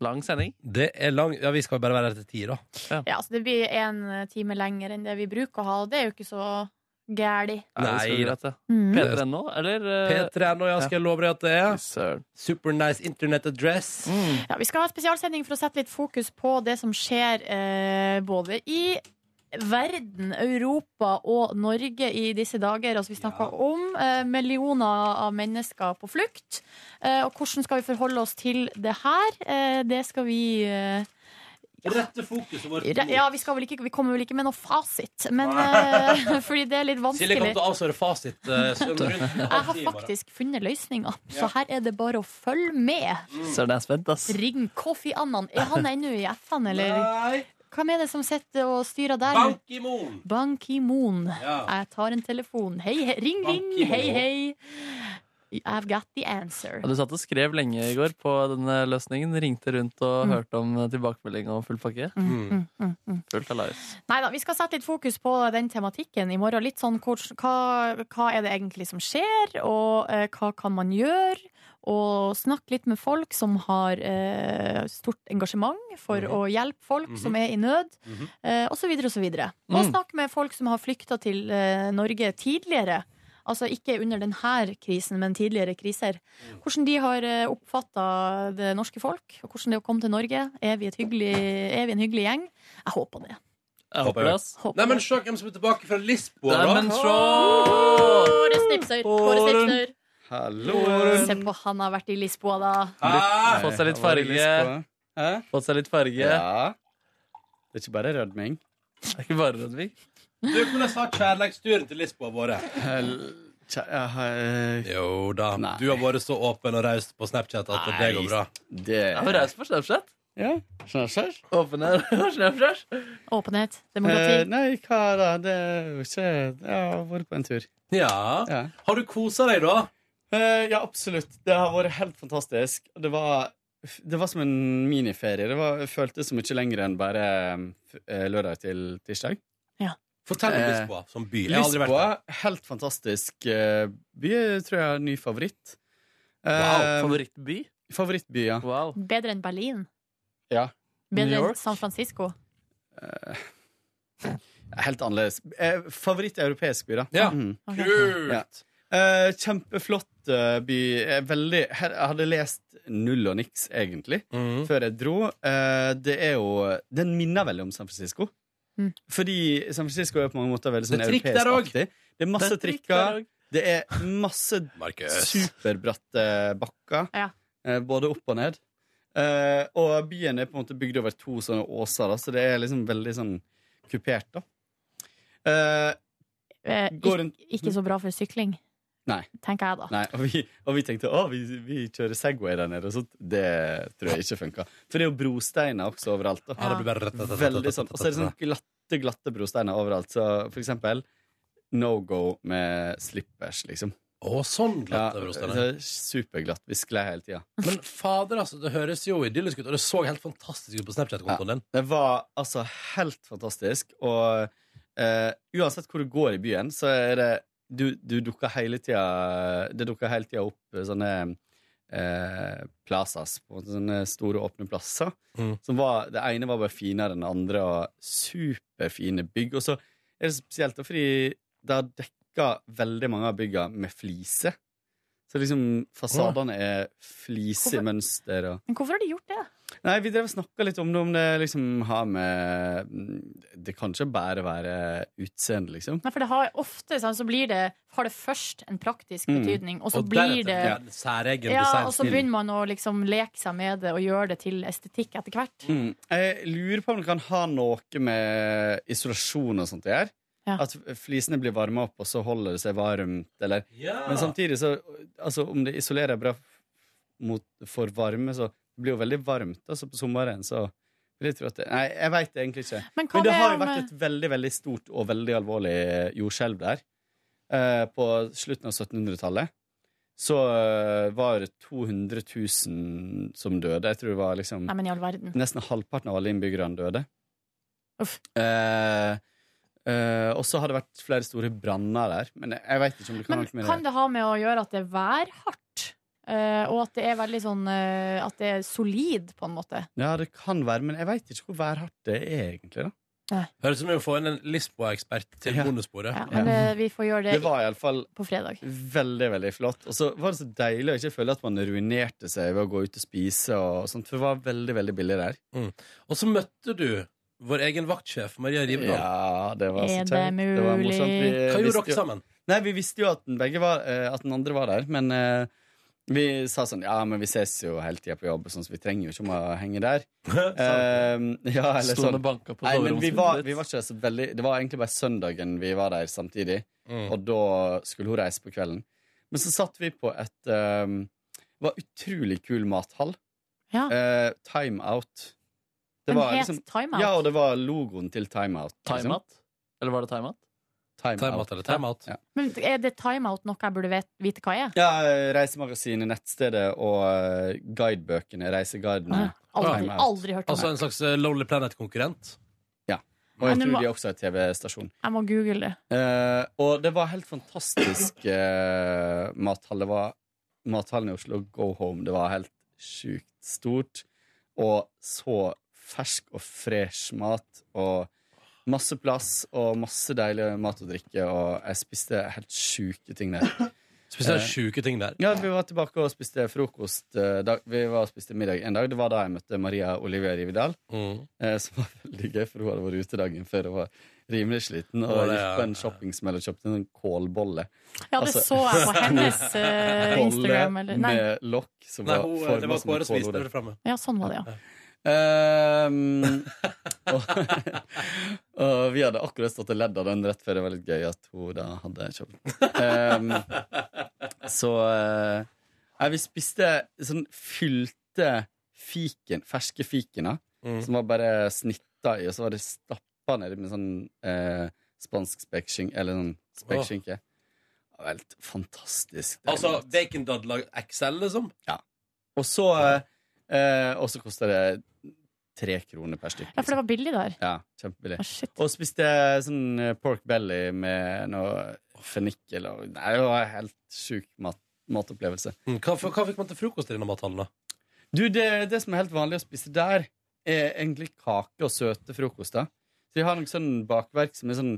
[SPEAKER 4] Lang sending?
[SPEAKER 2] Det er lang Ja, vi skal bare være her til 10, da.
[SPEAKER 3] Ja, altså det blir en time lenger enn det vi bruker å ha, og det er jo ikke så gæli.
[SPEAKER 2] Nei,
[SPEAKER 4] det
[SPEAKER 2] da.
[SPEAKER 3] Mm.
[SPEAKER 4] P3.no, eller? eh,
[SPEAKER 2] P3.no, ja, skal jeg love deg at det
[SPEAKER 4] er.
[SPEAKER 2] Super nice internet address.
[SPEAKER 4] Mm.
[SPEAKER 3] Ja, vi skal ha en spesialsending for å sette litt fokus på det som skjer eh, både i verden, Europa og Norge i disse dager. Altså, vi snakker om eh, millioner av mennesker på flukt. Eh, og hvordan skal vi forholde oss til det her? Eh, det skal vi eh,
[SPEAKER 2] Rette fokuset vårt.
[SPEAKER 3] re- ja, vi, skal vel ikke, vi kommer vel ikke med noe fasit, men
[SPEAKER 2] Nei.
[SPEAKER 3] eh, fordi det er litt
[SPEAKER 2] Silje kommer
[SPEAKER 3] vanskelig.
[SPEAKER 2] til å avsløre fasit. eh, sånn rundt en halv
[SPEAKER 3] Jeg har
[SPEAKER 2] time, bare.
[SPEAKER 3] faktisk funnet løsninga, så her er det bare å følge med.
[SPEAKER 4] Søren, jeg er spent, ass.
[SPEAKER 3] Ring Kofi Annan. Er han ennå i FN, eller?
[SPEAKER 2] Nei.
[SPEAKER 3] Hvem er det som sitter og styrer der?
[SPEAKER 2] Bank i moen!
[SPEAKER 3] Ban Ki-moon.
[SPEAKER 2] Ja.
[SPEAKER 3] Jeg tar en telefon. Hei, hei. Ring,
[SPEAKER 4] Ban
[SPEAKER 3] ring.
[SPEAKER 4] Ki-moon.
[SPEAKER 3] Hei, hei. I've got the answer.
[SPEAKER 4] Ja, Du satt og skrev lenge i går på denne løsningen. Ringte rundt og hørte om eh, tilbakemelding og full pakke. Fullt alive.
[SPEAKER 3] Nei da, vi skal sette litt fokus på den tematikken i morgen. Litt sånn hvordan- hva, hva er det egentlig som skjer, og eh, hva kan man gjøre? Og snakke litt med folk som har eh, stort engasjement for
[SPEAKER 13] Mhm.
[SPEAKER 3] å hjelpe folk som er i nød,
[SPEAKER 13] Mhm.
[SPEAKER 3] eh, og så videre og så videre. Og
[SPEAKER 13] Mm.
[SPEAKER 3] snakke med folk som har flykta til eh, Norge tidligere. Altså ikke under denne krisen, men tidligere kriser.
[SPEAKER 13] Mm.
[SPEAKER 3] Hvordan de har oppfatta det norske folk, og hvordan det er å komme til Norge. Er vi, et hyggelig, er vi en hyggelig gjeng? Jeg håper det.
[SPEAKER 4] Jeg håper det, ass.
[SPEAKER 2] Nei, men se hvem som er tilbake fra Lisboa,
[SPEAKER 4] Nei,
[SPEAKER 2] da.
[SPEAKER 4] men se!
[SPEAKER 3] Kåre Snipser. Kåre Snipser.
[SPEAKER 2] Hallo.
[SPEAKER 3] Se på han har vært i Lisboa, da.
[SPEAKER 9] Ah!
[SPEAKER 4] Litt- Fått seg litt
[SPEAKER 14] Hva var det vi
[SPEAKER 4] farge.
[SPEAKER 14] skulle? Hæ?
[SPEAKER 4] Fått seg litt farge.
[SPEAKER 14] Ja. Det er ikke bare rødming.
[SPEAKER 4] Det er ikke bare Rødvig.
[SPEAKER 2] Du, hvordan har kjærleiksturen til Lisboa vært?
[SPEAKER 14] eh,
[SPEAKER 2] Jo da. Du har vært så åpen og raus på Snapchat at det går bra.
[SPEAKER 14] Det
[SPEAKER 4] Jeg var raus på Snapchat.
[SPEAKER 14] Ja.
[SPEAKER 6] Sånn,
[SPEAKER 14] Snapchat?
[SPEAKER 4] Åpen her. Snapchat.
[SPEAKER 3] Åpenhet,
[SPEAKER 14] Eh,
[SPEAKER 3] demokrati.
[SPEAKER 14] nei, hva da? Det er jo ikke Jeg har vært på en tur.
[SPEAKER 2] Ja. Har du kosa deg, da?
[SPEAKER 14] ja, absolutt. Det har vært helt fantastisk. Det var f- det var som en miniferie. Det var, føltes så mye lenger enn bare f- eh, lørdag til tirsdag.
[SPEAKER 3] Ja.
[SPEAKER 2] Fortell om Lisboa som by. Jeg har aldri vært
[SPEAKER 14] Lisboa, helt fantastisk eh, by. Jeg tror jeg er ny favoritt. Eh, Ehm,
[SPEAKER 4] Wow, favorittby?
[SPEAKER 14] Favorittby, ja.
[SPEAKER 3] Bedre enn Berlin?
[SPEAKER 14] ja.
[SPEAKER 3] Bedre enn San Francisco?
[SPEAKER 14] Eh, Helt annerledes. Eh, Favoritt-europeisk by, da. Mm.
[SPEAKER 3] Ok.
[SPEAKER 2] Kult!
[SPEAKER 14] Ja. Eh, kjempeflott eh, by. Eh, Veldig her, Jeg hadde lest null og niks, egentlig,
[SPEAKER 2] Mm.
[SPEAKER 14] før jeg dro. Eh, det er jo Den minner veldig om San Francisco.
[SPEAKER 3] Mm.
[SPEAKER 14] Fordi San Francisco er på mange måter veldig sånn
[SPEAKER 2] Det er trikk der
[SPEAKER 14] europeiskaktig. Det er masse
[SPEAKER 2] Det er trikk der
[SPEAKER 14] trikker.
[SPEAKER 2] også.
[SPEAKER 14] Det er masse
[SPEAKER 2] Markus.
[SPEAKER 14] superbratte bakker, eh, både opp og ned. Eh, og byen er på en måte bygd over to sånne åser, da, så det er liksom veldig sånn kupert, da. Eh,
[SPEAKER 3] Eh,
[SPEAKER 14] Går rundt-
[SPEAKER 3] ik ikke så bra for sykling,
[SPEAKER 14] nei.
[SPEAKER 3] tenker jeg da.
[SPEAKER 14] Nei, og vi, og vi tenkte å, vi, vi kjører Segway der nede. og sånt. det tror jeg ikke funka. For det er jo brosteiner også overalt. Da.
[SPEAKER 2] Ja, det blir bare rett, rett, rett, rett, rett,
[SPEAKER 14] Veldig sånn. Og så er det sånn glatte, glatte brosteiner overalt. Så for eksempel no go med slippers, liksom.
[SPEAKER 2] Å, sånn glatte
[SPEAKER 14] Ja,
[SPEAKER 2] brosteiner.
[SPEAKER 14] det er Superglatt. Vi sklei hele tida.
[SPEAKER 2] Men fader, altså, det høres jo idyllisk ut, og det så helt fantastisk ut på Snapchat-kontoen din.
[SPEAKER 14] Det var altså helt fantastisk. Og eh, uansett hvor du går i byen, så er det Du, du dukker hele tida Det dukker hele tida opp sånne eh, plazas, på en måte, sånne store, åpne plasser.
[SPEAKER 2] Mm.
[SPEAKER 14] Som var, det ene var bare finere enn det andre, og superfine bygg. Og så er det spesielt da, fordi det har dekka veldig mange av bygga med fliser. Så liksom fasadene er flisemønster og
[SPEAKER 3] Men hvorfor har de gjort det?
[SPEAKER 14] Nei, vi drev og snakka litt om det, om det liksom har med mm, Det kan ikke bare være utseende, liksom.
[SPEAKER 3] Nei, for det har ofte sånn, så blir det, har det først en praktisk
[SPEAKER 14] Mm.
[SPEAKER 3] betydning, og så
[SPEAKER 14] Og
[SPEAKER 3] blir
[SPEAKER 14] deretter
[SPEAKER 3] det
[SPEAKER 14] blir
[SPEAKER 2] En Særegen
[SPEAKER 3] ja,
[SPEAKER 2] designstil.
[SPEAKER 3] og så begynner man å liksom leke seg med det og gjøre det til estetikk etter hvert.
[SPEAKER 14] Mm. Jeg lurer på om det kan ha noe med isolasjon og sånt å gjøre.
[SPEAKER 3] Ja.
[SPEAKER 14] At flisene blir varma opp, og så holder det seg varmt, eller Men sånn- samtidig, så Altså, om det isolerer bra mot, for varme, så det blir jo veldig varmt, altså, på sommeren, så vil jeg tro at det Nei, jeg veit egentlig ikke.
[SPEAKER 3] Men hva
[SPEAKER 14] Men det
[SPEAKER 3] med
[SPEAKER 14] har jo
[SPEAKER 3] om- eh,
[SPEAKER 14] vært et veldig, veldig stort og veldig alvorlig jordskjelv der. Eh, på slutten av 1700-tallet så eh, var det 200 000 som døde. Jeg tror det var liksom
[SPEAKER 3] Nei, men i all verden.
[SPEAKER 14] Nesten halvparten av alle innbyggerne døde.
[SPEAKER 3] Uff.
[SPEAKER 14] Eh, eh, og så har det vært flere store branner der. Men jeg veit ikke om det
[SPEAKER 3] Men
[SPEAKER 14] kan ha noe med
[SPEAKER 3] kan det ha med å gjøre at det er værhardt, eh, og at det er veldig sånn eh, At det er solid, på en måte?
[SPEAKER 14] Ja, det kan være, men jeg veit ikke hvor værhardt det er, egentlig. da
[SPEAKER 2] Høres ut som vi må få inn en Lisboa-ekspert til bonusbordet.
[SPEAKER 3] Ja, men eh, vi får gjøre det,
[SPEAKER 14] Det var iallfall
[SPEAKER 3] på fredag.
[SPEAKER 14] veldig, veldig flott. Og så var det så deilig å ikke føle at man ruinerte seg ved å gå ut og spise og sånt, for det var veldig, veldig billig der.
[SPEAKER 2] Mm. Og så møtte du vår egen vaktsjef, Maria Rivdal.
[SPEAKER 14] Ja, det var så
[SPEAKER 3] Er det
[SPEAKER 14] kjekt. Det var
[SPEAKER 3] mulig?
[SPEAKER 14] morsomt. Vi, eh,
[SPEAKER 2] Hva
[SPEAKER 14] visste
[SPEAKER 2] gjorde dere
[SPEAKER 14] jo-
[SPEAKER 2] sammen?
[SPEAKER 14] Nei, vi visste jo at den, begge var, eh, at den andre var der, men eh, vi sa sånn Ja, men vi ses jo hele tida på jobb, sånn, så vi trenger jo ikke om å henge der. Eh, ja, eller
[SPEAKER 4] Stående
[SPEAKER 14] sånn.
[SPEAKER 4] banker på
[SPEAKER 14] Nei, men vi
[SPEAKER 4] soveromsvinduet
[SPEAKER 14] var,
[SPEAKER 4] ditt.
[SPEAKER 14] vi var ikke så veldig Det var egentlig bare søndagen vi var der samtidig,
[SPEAKER 4] Mm.
[SPEAKER 14] og da skulle hun reise på kvelden. Men så satt vi på et eh, Det var utrolig kul mathall.
[SPEAKER 3] Ja.
[SPEAKER 14] Eh, time Out. Det
[SPEAKER 3] Den
[SPEAKER 14] var
[SPEAKER 3] Ah.
[SPEAKER 14] liksom-
[SPEAKER 3] het Time Out?
[SPEAKER 14] Ja, og det var logoen til Time Out. liksom.
[SPEAKER 4] Time Out? Eller var det Time Out?
[SPEAKER 14] Time,
[SPEAKER 2] Time
[SPEAKER 14] out.
[SPEAKER 2] Out eller Time Out?
[SPEAKER 14] Ja.
[SPEAKER 3] Men er det timeout noe jeg burde vet, vite hva er?
[SPEAKER 14] Ja, Reisemagasinet, nettstedet og eh, guidebøkene, reiseguidene.
[SPEAKER 3] Aldri,
[SPEAKER 14] Time Out.
[SPEAKER 3] aldri hørt om
[SPEAKER 2] Altså
[SPEAKER 3] det.
[SPEAKER 2] en slags eh, Lonely Planet-konkurrent.
[SPEAKER 14] Ja. Og jeg
[SPEAKER 3] Men du
[SPEAKER 14] tror
[SPEAKER 3] må-
[SPEAKER 14] de også har TV-stasjon.
[SPEAKER 3] Jeg må google det.
[SPEAKER 14] Eh, og det var helt fantastisk eh, mathall. Det var mathallen i Oslo, Go Home. Det var helt sjukt stort. Og så fersk og fresh mat. Og masse plass og masse deilig mat og drikke. Og jeg spiste helt sjuke ting der.
[SPEAKER 2] Spesielt
[SPEAKER 14] Eh,
[SPEAKER 2] sjuke ting der.
[SPEAKER 14] Ja, vi var tilbake og spiste frokost eh, dag, Vi var og spiste middag en dag Det var da jeg møtte Maria Olivia Rividal
[SPEAKER 2] Mm.
[SPEAKER 14] eh, Som var veldig gøy, for hun hadde vært ute dagen før Og var rimelig sliten Og
[SPEAKER 2] Å, det,
[SPEAKER 14] gikk
[SPEAKER 2] ja.
[SPEAKER 14] på en shoppingsmell og kjøpte en sånn kålbolle
[SPEAKER 3] Ja, det så jeg på hennes, eh,
[SPEAKER 14] Altså- Bolle
[SPEAKER 3] Instagram, eller- nei.
[SPEAKER 14] med lokk som
[SPEAKER 2] Nei,
[SPEAKER 14] var
[SPEAKER 2] hun, eh,
[SPEAKER 14] formet
[SPEAKER 2] det var
[SPEAKER 14] som en
[SPEAKER 2] Kåre som viste
[SPEAKER 14] kålhode.
[SPEAKER 2] det framme.
[SPEAKER 3] Ja, sånn var det, ja.
[SPEAKER 14] Ehm, og, og vi hadde akkurat stått og ledd av den rett før det var litt gøy at hun da hadde kjøpt. Ehm, så eh, nei, vi spiste sånn fylte fiken, ferske fikener,
[SPEAKER 2] Mm.
[SPEAKER 14] som var bare snitta i, og så var det stappa nedi med sånn eh, spansk spekeskinke, eller sånn spekeskinke. Det var Helt fantastisk.
[SPEAKER 2] Altså bacondadler XL, liksom?
[SPEAKER 14] Og så eh, Eh, og så koster det tre kroner per stykk.
[SPEAKER 3] Ja, for det var billig der.
[SPEAKER 14] Ja, kjempebillig.
[SPEAKER 3] Å, shit.
[SPEAKER 14] og spiste jeg sånn eh, pork belly med noe fennikel og Nei, det var en helt sjuk mat, matopplevelse.
[SPEAKER 2] Hva, f- hva fikk man til frokost i denne mathallen, da?
[SPEAKER 14] Du, det, det som er helt vanlig å spise der, er egentlig kake og søte frokoster. Så de har noe sånn bakverk som er sånn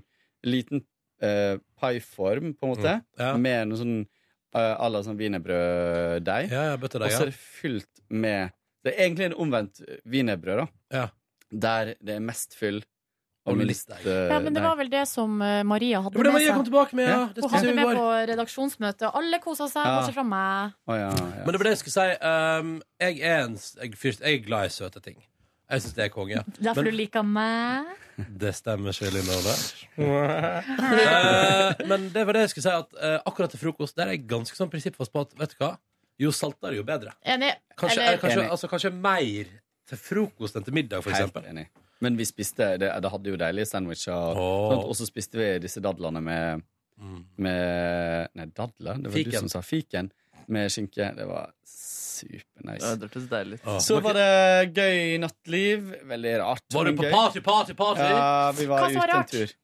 [SPEAKER 14] liten eh, paiform, på en måte,
[SPEAKER 2] Mm, ja.
[SPEAKER 14] med noe sånn eh, à la sånn wienerbrøddeig.
[SPEAKER 2] Ja, ja, bøttedeig,
[SPEAKER 14] og
[SPEAKER 2] ja.
[SPEAKER 14] så er det fylt med Det er egentlig en omvendt eh, wienerbrød, da. Der det er mest fyll og minst eh,
[SPEAKER 3] Ja, men det var vel det som eh, Maria hadde
[SPEAKER 2] Det var det Maria kom tilbake med, ja.
[SPEAKER 3] Ja.
[SPEAKER 2] Det
[SPEAKER 3] Hun
[SPEAKER 2] spiste
[SPEAKER 3] hadde
[SPEAKER 2] vi i
[SPEAKER 3] med
[SPEAKER 2] går.
[SPEAKER 3] på redaksjonsmøtet, og alle kosa seg,
[SPEAKER 2] Ja.
[SPEAKER 3] bortsett fra meg.
[SPEAKER 2] Men det var det jeg skulle si. ehm, jeg, er en, s- jeg, først, jeg er glad i søte ting. Jeg syns det er konge.
[SPEAKER 3] Derfor
[SPEAKER 2] Men
[SPEAKER 3] du liker meg.
[SPEAKER 2] det stemmer ikke, Lille Ole. Eh, men det var det jeg skulle si, at eh, akkurat til frokost der er jeg ganske sånn prinsippfast på at vet du hva, jo saltere, jo bedre.
[SPEAKER 3] Enig.
[SPEAKER 2] Kanskje,
[SPEAKER 3] Eller-
[SPEAKER 2] eh, kanskje, altså, kanskje mer til frokost enn til middag, for
[SPEAKER 14] Helt
[SPEAKER 2] eksempel.
[SPEAKER 14] enig. Men vi spiste Det, det hadde jo deilige sandwicher.
[SPEAKER 2] Åh.
[SPEAKER 14] sånt, Og så spiste vi disse dadlene med, med Nei, dadler? Det var
[SPEAKER 2] Fiken.
[SPEAKER 14] du som sa fiken. Med skinke. Det var supernice.
[SPEAKER 4] Ja, det hørtes deilig ut.
[SPEAKER 14] Så var det gøy nattliv. Veldig rart.
[SPEAKER 4] Var du
[SPEAKER 14] men
[SPEAKER 4] på
[SPEAKER 14] gøy.
[SPEAKER 4] party, party, party?
[SPEAKER 14] Ja, vi var
[SPEAKER 4] Hva som var
[SPEAKER 14] ute en
[SPEAKER 4] rart?
[SPEAKER 14] tur.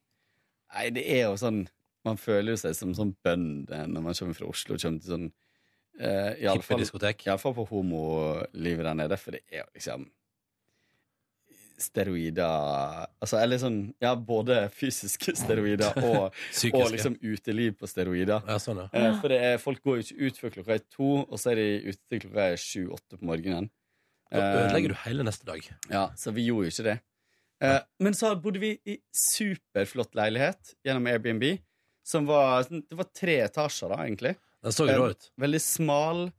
[SPEAKER 14] Nei, det er jo sånn Man føler jo seg som sånn bønder når man kommer fra Oslo og kommer til sånn eh, i alle fall- i alle fall på homolivet der nede, for det er jo liksom Steroider Altså, eller sånn Ja, både fysiske steroider og,
[SPEAKER 2] Psykiske.
[SPEAKER 14] og liksom uteliv på steroider.
[SPEAKER 2] sånn,
[SPEAKER 14] Eh, For det er, folk går jo ikke ut før klokka er to, og så er de ute til klokka er sju-åtte på morgenen.
[SPEAKER 2] Da
[SPEAKER 14] Eh,
[SPEAKER 2] ødelegger du hele neste dag.
[SPEAKER 14] ja, så vi gjorde jo ikke det. Eh, men så bodde vi i superflott leilighet gjennom Airbnb. Som var, sånn- det var tre etasjer, da, egentlig.
[SPEAKER 2] Den så jo rå
[SPEAKER 14] Eh,
[SPEAKER 2] ut.
[SPEAKER 14] Veldig smal,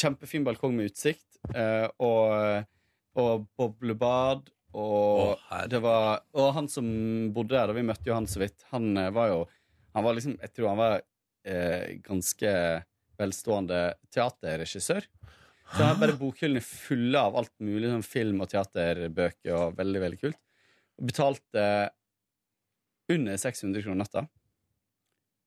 [SPEAKER 14] kjempefin balkong med utsikt. eh, og, og boblebad. Og, det var, og han som bodde der, da vi møtte jo han så vidt, han eh, var jo Han var liksom Jeg tror han var eh, ganske velstående teaterregissør. Så han hadde bare bokhyllene fulle av alt mulig, sånn film og teaterbøker, og veldig, veldig kult. Og betalte under 600 kroner natta.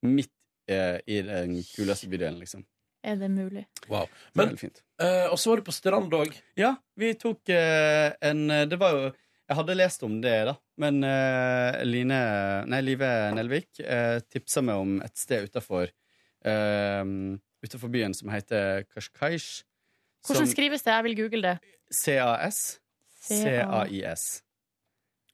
[SPEAKER 14] Midt eh, i den kuleste bydelen, liksom.
[SPEAKER 3] Er det mulig?
[SPEAKER 2] Wow.
[SPEAKER 14] Men, det var veldig fint.
[SPEAKER 2] Eh, og så var du på strand òg.
[SPEAKER 14] Ja, vi tok eh, en Det var jo Jeg hadde lest om det, da. Men eh, Line Nei, Live Nelvik uh, tipsa meg om et sted utafor Utenfor byen som heter Kashkaish.
[SPEAKER 3] Hvordan
[SPEAKER 14] som-
[SPEAKER 3] skrives det? Jeg vil google det.
[SPEAKER 14] CAS.
[SPEAKER 3] C.A..
[SPEAKER 14] CAIS.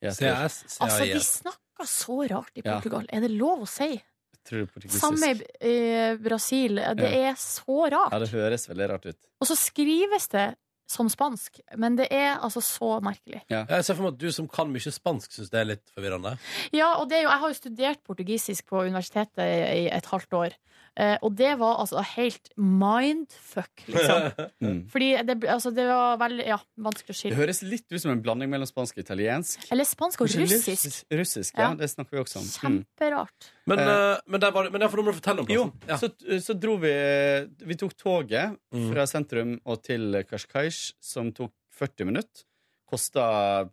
[SPEAKER 14] Jeg tror-
[SPEAKER 3] Altså, de snakker så rart i
[SPEAKER 14] Ja.
[SPEAKER 3] Portugal. Er det lov å si?
[SPEAKER 14] Tror det er portugisisk.
[SPEAKER 3] Samme i eh, Brasil. Det
[SPEAKER 14] Ja.
[SPEAKER 3] er så rart.
[SPEAKER 14] Ja, det høres veldig rart ut.
[SPEAKER 3] Og så skrives det som spansk, men det er altså så merkelig.
[SPEAKER 2] Jeg ser for meg at du som kan mye spansk, syns det er litt forvirrende.
[SPEAKER 3] Ja, og det er jo, jeg har jo studert portugisisk på universitetet i et halvt år. Eh, og det var altså helt mindfuck, liksom.
[SPEAKER 14] Mm.
[SPEAKER 3] Fordi det, altså, det var veldig ja, vanskelig å
[SPEAKER 14] Det
[SPEAKER 3] skille.
[SPEAKER 14] høres litt ut som en blanding mellom spansk og italiensk.
[SPEAKER 3] Eller spansk og
[SPEAKER 14] Kanskje
[SPEAKER 3] russisk.
[SPEAKER 14] Russisk, ja,
[SPEAKER 3] Ja.
[SPEAKER 14] Det snakker vi også om. Mm.
[SPEAKER 3] Kjemperart.
[SPEAKER 2] Men,
[SPEAKER 14] Eh,
[SPEAKER 2] eh, men, der var, det- men derfor må du fortelle om plassen.
[SPEAKER 14] Jo, så, så dro vi Vi tok toget fra sentrum og til Kashkaish, som tok 40 minutter. Kosta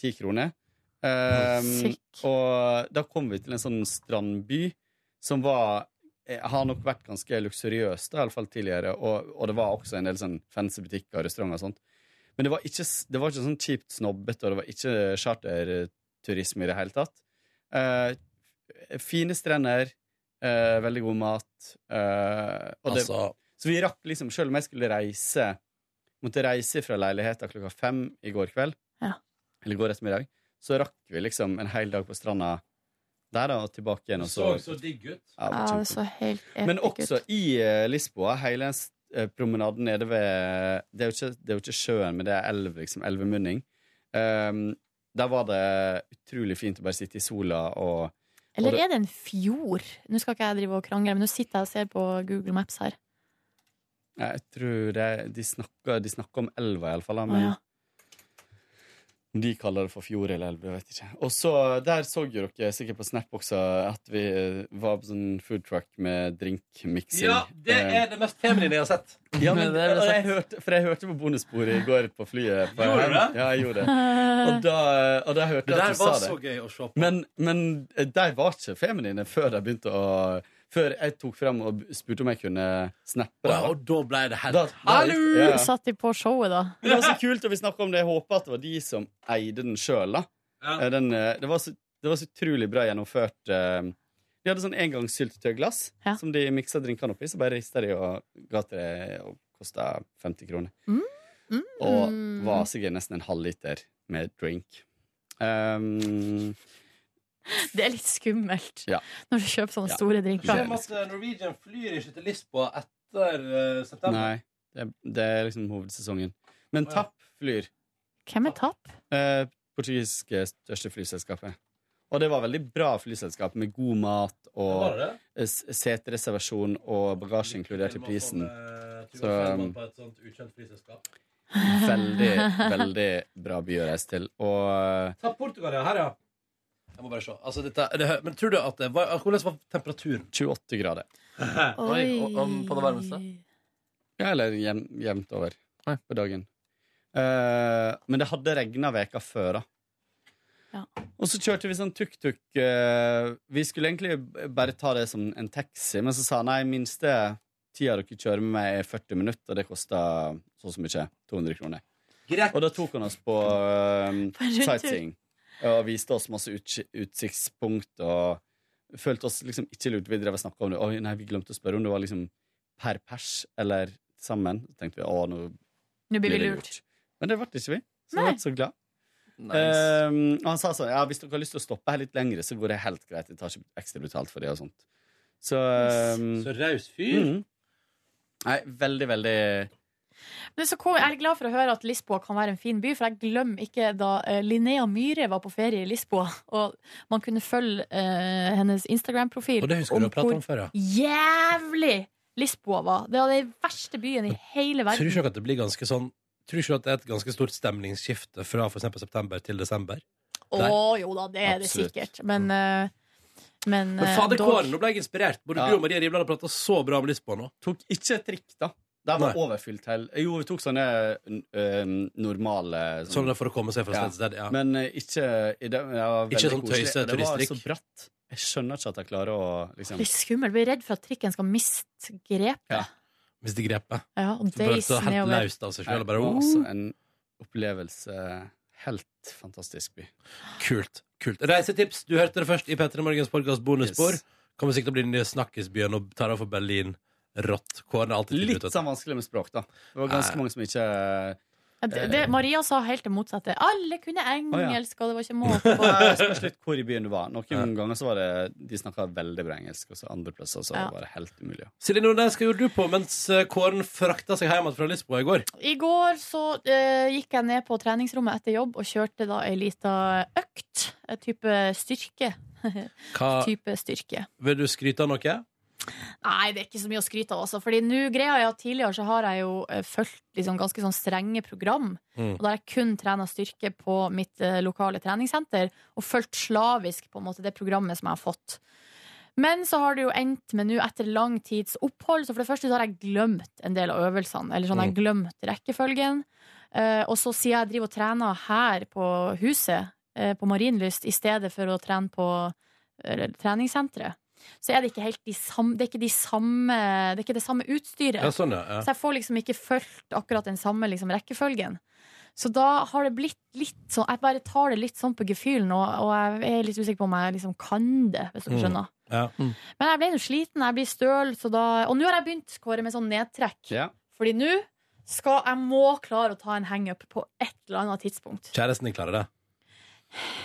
[SPEAKER 14] 10 kroner. Ehm, og da kom vi til en sånn strandby som var eh, har nok vært ganske luksuriøs, da, i alle fall tidligere. Og, og det var også en del sånn fancy butikker og restauranter og sånt. Men det var ikke, s- det var ikke sånn kjipt snobbete, og det var ikke charterturisme i det hele tatt. Eh, fine strender, eh, veldig god mat. eh, og det,
[SPEAKER 2] Altså-
[SPEAKER 14] Så vi rakk liksom, selv om jeg skulle reise Måtte reise fra leiligheten klokka fem i går kveld,
[SPEAKER 3] Ja.
[SPEAKER 14] eller i går ettermiddag, så rakk vi liksom en hel dag på stranda der da, og tilbake igjen. Og så,
[SPEAKER 2] digg ut.
[SPEAKER 14] Ja, det var
[SPEAKER 3] Ja, det
[SPEAKER 14] kjempe-
[SPEAKER 3] så helt
[SPEAKER 14] men
[SPEAKER 3] epic
[SPEAKER 14] også
[SPEAKER 3] ut.
[SPEAKER 14] i eh, Lisboa, hele den s- eh, promenaden nede ved Det er jo ikke, det er jo ikke sjøen, men det er elv, liksom. Elvemunning. Ehm, der var det utrolig fint å bare sitte i sola og
[SPEAKER 3] Eller er det en fjord? Nå skal ikke jeg drive og krangle, men nå sitter jeg og ser på Google Maps her.
[SPEAKER 14] Nei, Jeg tror det, de, snakker, de snakker om elva, iallfall. Men
[SPEAKER 3] ja.
[SPEAKER 14] de kaller det for fjord eller elv. Jeg vet ikke. Og så, Der så jo dere sikkert på Snap også at vi eh, var på sånn food truck med drinkmiksing.
[SPEAKER 2] Ja, det er det mest feminine jeg har sett.
[SPEAKER 14] Ja, men,
[SPEAKER 2] Det er det jeg
[SPEAKER 14] og jeg
[SPEAKER 2] har sett.
[SPEAKER 14] hørte, for jeg hørte på bonussporet i går på flyet. På
[SPEAKER 2] Gjorde du det?
[SPEAKER 14] Ja, jeg gjorde det. Og da, og da hørte
[SPEAKER 2] Det
[SPEAKER 14] jeg
[SPEAKER 2] der
[SPEAKER 14] at du sa
[SPEAKER 2] var
[SPEAKER 14] det. eh,
[SPEAKER 2] så gøy å se på.
[SPEAKER 14] Men, men de var ikke feminine før de begynte å Før jeg tok frem og b- spurte om jeg kunne snappe det.
[SPEAKER 2] og da ble det helt
[SPEAKER 3] Hallo! Satt de på showet, da?
[SPEAKER 14] Men det var så kult, og vi snakket om det. Jeg håper at det var de som eide den sjøl.
[SPEAKER 2] Ja.
[SPEAKER 14] Eh, Den, eh, det, var så- det var så utrolig bra gjennomført. eh, De hadde sånn engangssyltetøyglass som de miksa drinkene oppi, så bare rista de og ga til det og kosta 50 kroner. Og var sikkert nesten en halvliter med drink. Um,
[SPEAKER 3] Det er litt skummelt
[SPEAKER 14] ja.
[SPEAKER 3] når du kjøper sånne store drinker.
[SPEAKER 2] Skjønner at eh, Norwegian flyr ikke til Lisboa etter eh, september.
[SPEAKER 14] Nei. Det, det er liksom hovedsesongen. Men Tapp flyr.
[SPEAKER 3] Hvem er Tapp?
[SPEAKER 14] Eh, portugisiske største flyselskapet. Og det var veldig bra flyselskap med god mat
[SPEAKER 2] Var
[SPEAKER 14] og
[SPEAKER 2] det det?
[SPEAKER 14] eh, s- setereservasjon og bagasje inkludert i prisen.
[SPEAKER 2] sånn,
[SPEAKER 14] Så um,
[SPEAKER 2] eh, på et sånt ukjent flyselskap.
[SPEAKER 14] veldig, veldig bra by å reise til. Og eh,
[SPEAKER 2] Ta Portugal, ja. Her, ja. Jeg må bare se. Altså, dette, det, men tror du at det var, altså, Hvordan var temperaturen?
[SPEAKER 14] 28 grader.
[SPEAKER 4] Oi, og- om- på det varmeste?
[SPEAKER 14] Ja, eller jevn- jevnt over på dagen. Eh, men det hadde regna veka før, da. Og så kjørte vi sånn tuk-tuk. eh, Vi skulle egentlig b- bare ta det som en taxi, men så sa han nei, minste tida dere kjører med meg, er 40 minutter, og det koster så og så mye. 200 kroner. Og da tok han oss på eh,
[SPEAKER 2] På en rundtur.
[SPEAKER 14] sightseeing og viste oss masse utsi- utsiktspunkt og følte oss liksom ikke lurt. Vi drev og snakka om det. Oi, nei, vi glemte å spørre om det var liksom per pers eller sammen. Så tenkte vi å, nå
[SPEAKER 3] Nå blir vi
[SPEAKER 14] det
[SPEAKER 3] lurt.
[SPEAKER 14] Men det ble ikke vi. Så
[SPEAKER 3] Nei.
[SPEAKER 14] jeg ble så glad. Ehm, og han sa sånn Ja, hvis dere har lyst til å stoppe her litt lenger, så går det helt greit. Jeg tar ikke ekstra betalt for det og sånt. Så ehm,
[SPEAKER 2] Så raus fyr.
[SPEAKER 14] mhm. Nei, veldig, veldig
[SPEAKER 3] Men så kom, jeg er glad for å høre at Lisboa kan være en fin by, for jeg glemmer ikke da eh, Linnea Myhre var på ferie i Lisboa, og man kunne følge eh, hennes Instagram-profil
[SPEAKER 2] Og det husker du å prate om
[SPEAKER 3] hvor
[SPEAKER 2] før, ja.
[SPEAKER 3] Jævlig Lisboa var. Det var den verste byen i hele
[SPEAKER 2] Tror du
[SPEAKER 3] verden.
[SPEAKER 2] ikke at det blir ganske sånn Tror du ikke at det er et ganske stort stemningsskifte fra for eksempel september til desember?
[SPEAKER 3] Å
[SPEAKER 2] Der.
[SPEAKER 3] jo da, det er det
[SPEAKER 2] Absolutt.
[SPEAKER 3] sikkert. Men, eh, men,
[SPEAKER 2] Men
[SPEAKER 3] eh,
[SPEAKER 2] fader
[SPEAKER 3] dog-
[SPEAKER 2] kåren, nå ble jeg inspirert. Både du og Maria Rivland har prata så bra om Lisboa nå.
[SPEAKER 14] Tok ikke et trikk, da. Der var overfylt hell. Jo, vi tok sånne ehm, normale
[SPEAKER 2] Sånn det er for å komme seg fra
[SPEAKER 14] Ja.
[SPEAKER 2] sted til sted. Ja.
[SPEAKER 14] Men eh, ikke i det, ja, veldig
[SPEAKER 2] Ikke sånn
[SPEAKER 14] koselig.
[SPEAKER 2] tøyse
[SPEAKER 14] Det var så
[SPEAKER 2] turisttrikk.
[SPEAKER 14] bratt. Jeg skjønner ikke at jeg klarer å liksom
[SPEAKER 3] Litt skummelt. Blir redd for at trikken skal miste grep.
[SPEAKER 14] Ja.
[SPEAKER 2] Hvis de grepet.
[SPEAKER 3] Ja, og
[SPEAKER 14] Så bare
[SPEAKER 3] deis
[SPEAKER 14] så helt
[SPEAKER 3] nedover.
[SPEAKER 2] Laust av seg selv,
[SPEAKER 14] Nei,
[SPEAKER 2] og bare,
[SPEAKER 14] det var
[SPEAKER 2] oh.
[SPEAKER 14] altså en opplevelse. Helt fantastisk by.
[SPEAKER 2] Kult. kult Reisetips. Du hørte det først i Petter Morgens podcast bonusspor. Kommer sikkert til å bli den nye snakkisbyen og tar av for Berlin. Rått. Kåren er alltid
[SPEAKER 14] Litt sånn vanskelig med språk, da. Det var ganske mange som ikke
[SPEAKER 3] Ja, det, det, Maria sa helt det motsatte. Alle kunne engelsk, og det var ikke måte
[SPEAKER 14] Det spørs litt hvor i byen du var. Noen ganger så var det de snakka veldig bra engelsk, og så andre plasser så
[SPEAKER 3] Ja.
[SPEAKER 14] var det helt umulig.
[SPEAKER 2] Silje Nordnes, hva gjorde du på mens eh, Kåren frakta seg hjem igjen fra Lisboa i går?
[SPEAKER 3] I går så eh, gikk jeg ned på treningsrommet etter jobb og kjørte da ei lita økt. En type styrke.
[SPEAKER 2] Hva-
[SPEAKER 3] type styrke.
[SPEAKER 2] Vil du skryte av noe?
[SPEAKER 3] Nei, det er ikke så mye å skryte av, altså. Fordi nå greia er at tidligere så har jeg jo eh, fulgt liksom ganske sånn strenge program.
[SPEAKER 2] Mm.
[SPEAKER 3] Og da har jeg kun trena styrke på mitt eh, lokale treningssenter, og fulgt slavisk på en måte det programmet som jeg har fått. Men så har det jo endt med nå, etter lang tids opphold, så for det første så har jeg glemt en del av øvelsene. Eller sånn, jeg har glemt rekkefølgen. Eh, og så siden jeg driver og trener her på huset, eh, på Marienlyst, i stedet for å trene på eh, treningssenteret, så er det ikke helt de samme Det er ikke, de samme, det, er ikke det samme utstyret.
[SPEAKER 2] Ja, sånn, ja, ja.
[SPEAKER 3] Så jeg får liksom ikke fulgt akkurat den samme liksom, rekkefølgen. Så da har det blitt litt sånn Jeg bare tar det litt sånn på gefühlen, og, og jeg er litt usikker på om jeg liksom kan det, hvis du skjønner.
[SPEAKER 2] Mm. Ja.
[SPEAKER 3] Men jeg ble nå sliten, jeg blir støl, så da Og nå har jeg begynt, Kåre, med sånn nedtrekk. Fordi nå skal jeg må klare å ta en hangup på et eller annet tidspunkt.
[SPEAKER 2] Kjæresten din klarer det.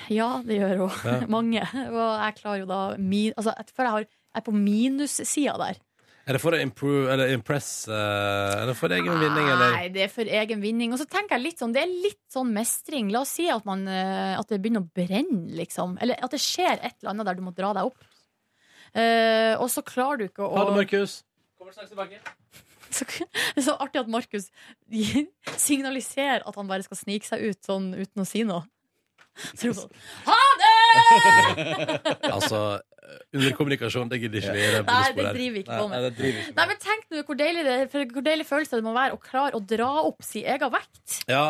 [SPEAKER 3] Ja, det gjør hun.
[SPEAKER 2] Ja.
[SPEAKER 3] Mange. Og jeg klarer jo da min, altså, jeg føler jeg har, jeg er på minussida der.
[SPEAKER 2] Er det for å improve, eller impress eh, Eller for egen vinning, eller?
[SPEAKER 3] Nei, det er for egen vinning. Og så tenker jeg litt sånn, det er litt sånn mestring. La oss si at, man, eh, at det begynner å brenne, liksom. Eller at det skjer et eller annet der du må dra deg opp. Eh, og så klarer du ikke å
[SPEAKER 2] Ha det, Markus.
[SPEAKER 4] Kommer straks tilbake.
[SPEAKER 3] Så, det er så artig at Markus signaliserer at han bare skal snike seg ut sånn uten å si noe. Så er det sånn Ha det!
[SPEAKER 2] altså, underkommunikasjon, det gidder ikke vi. i det
[SPEAKER 3] Nei, det
[SPEAKER 2] sporet her.
[SPEAKER 3] driver vi ikke på
[SPEAKER 2] Nei,
[SPEAKER 3] med.
[SPEAKER 2] nei, det driver vi ikke
[SPEAKER 3] Nei, men tenk nå hvor deilig, det, for hvor deilig følelse det må være å klare å dra opp sin egen vekt.
[SPEAKER 2] med. Ja,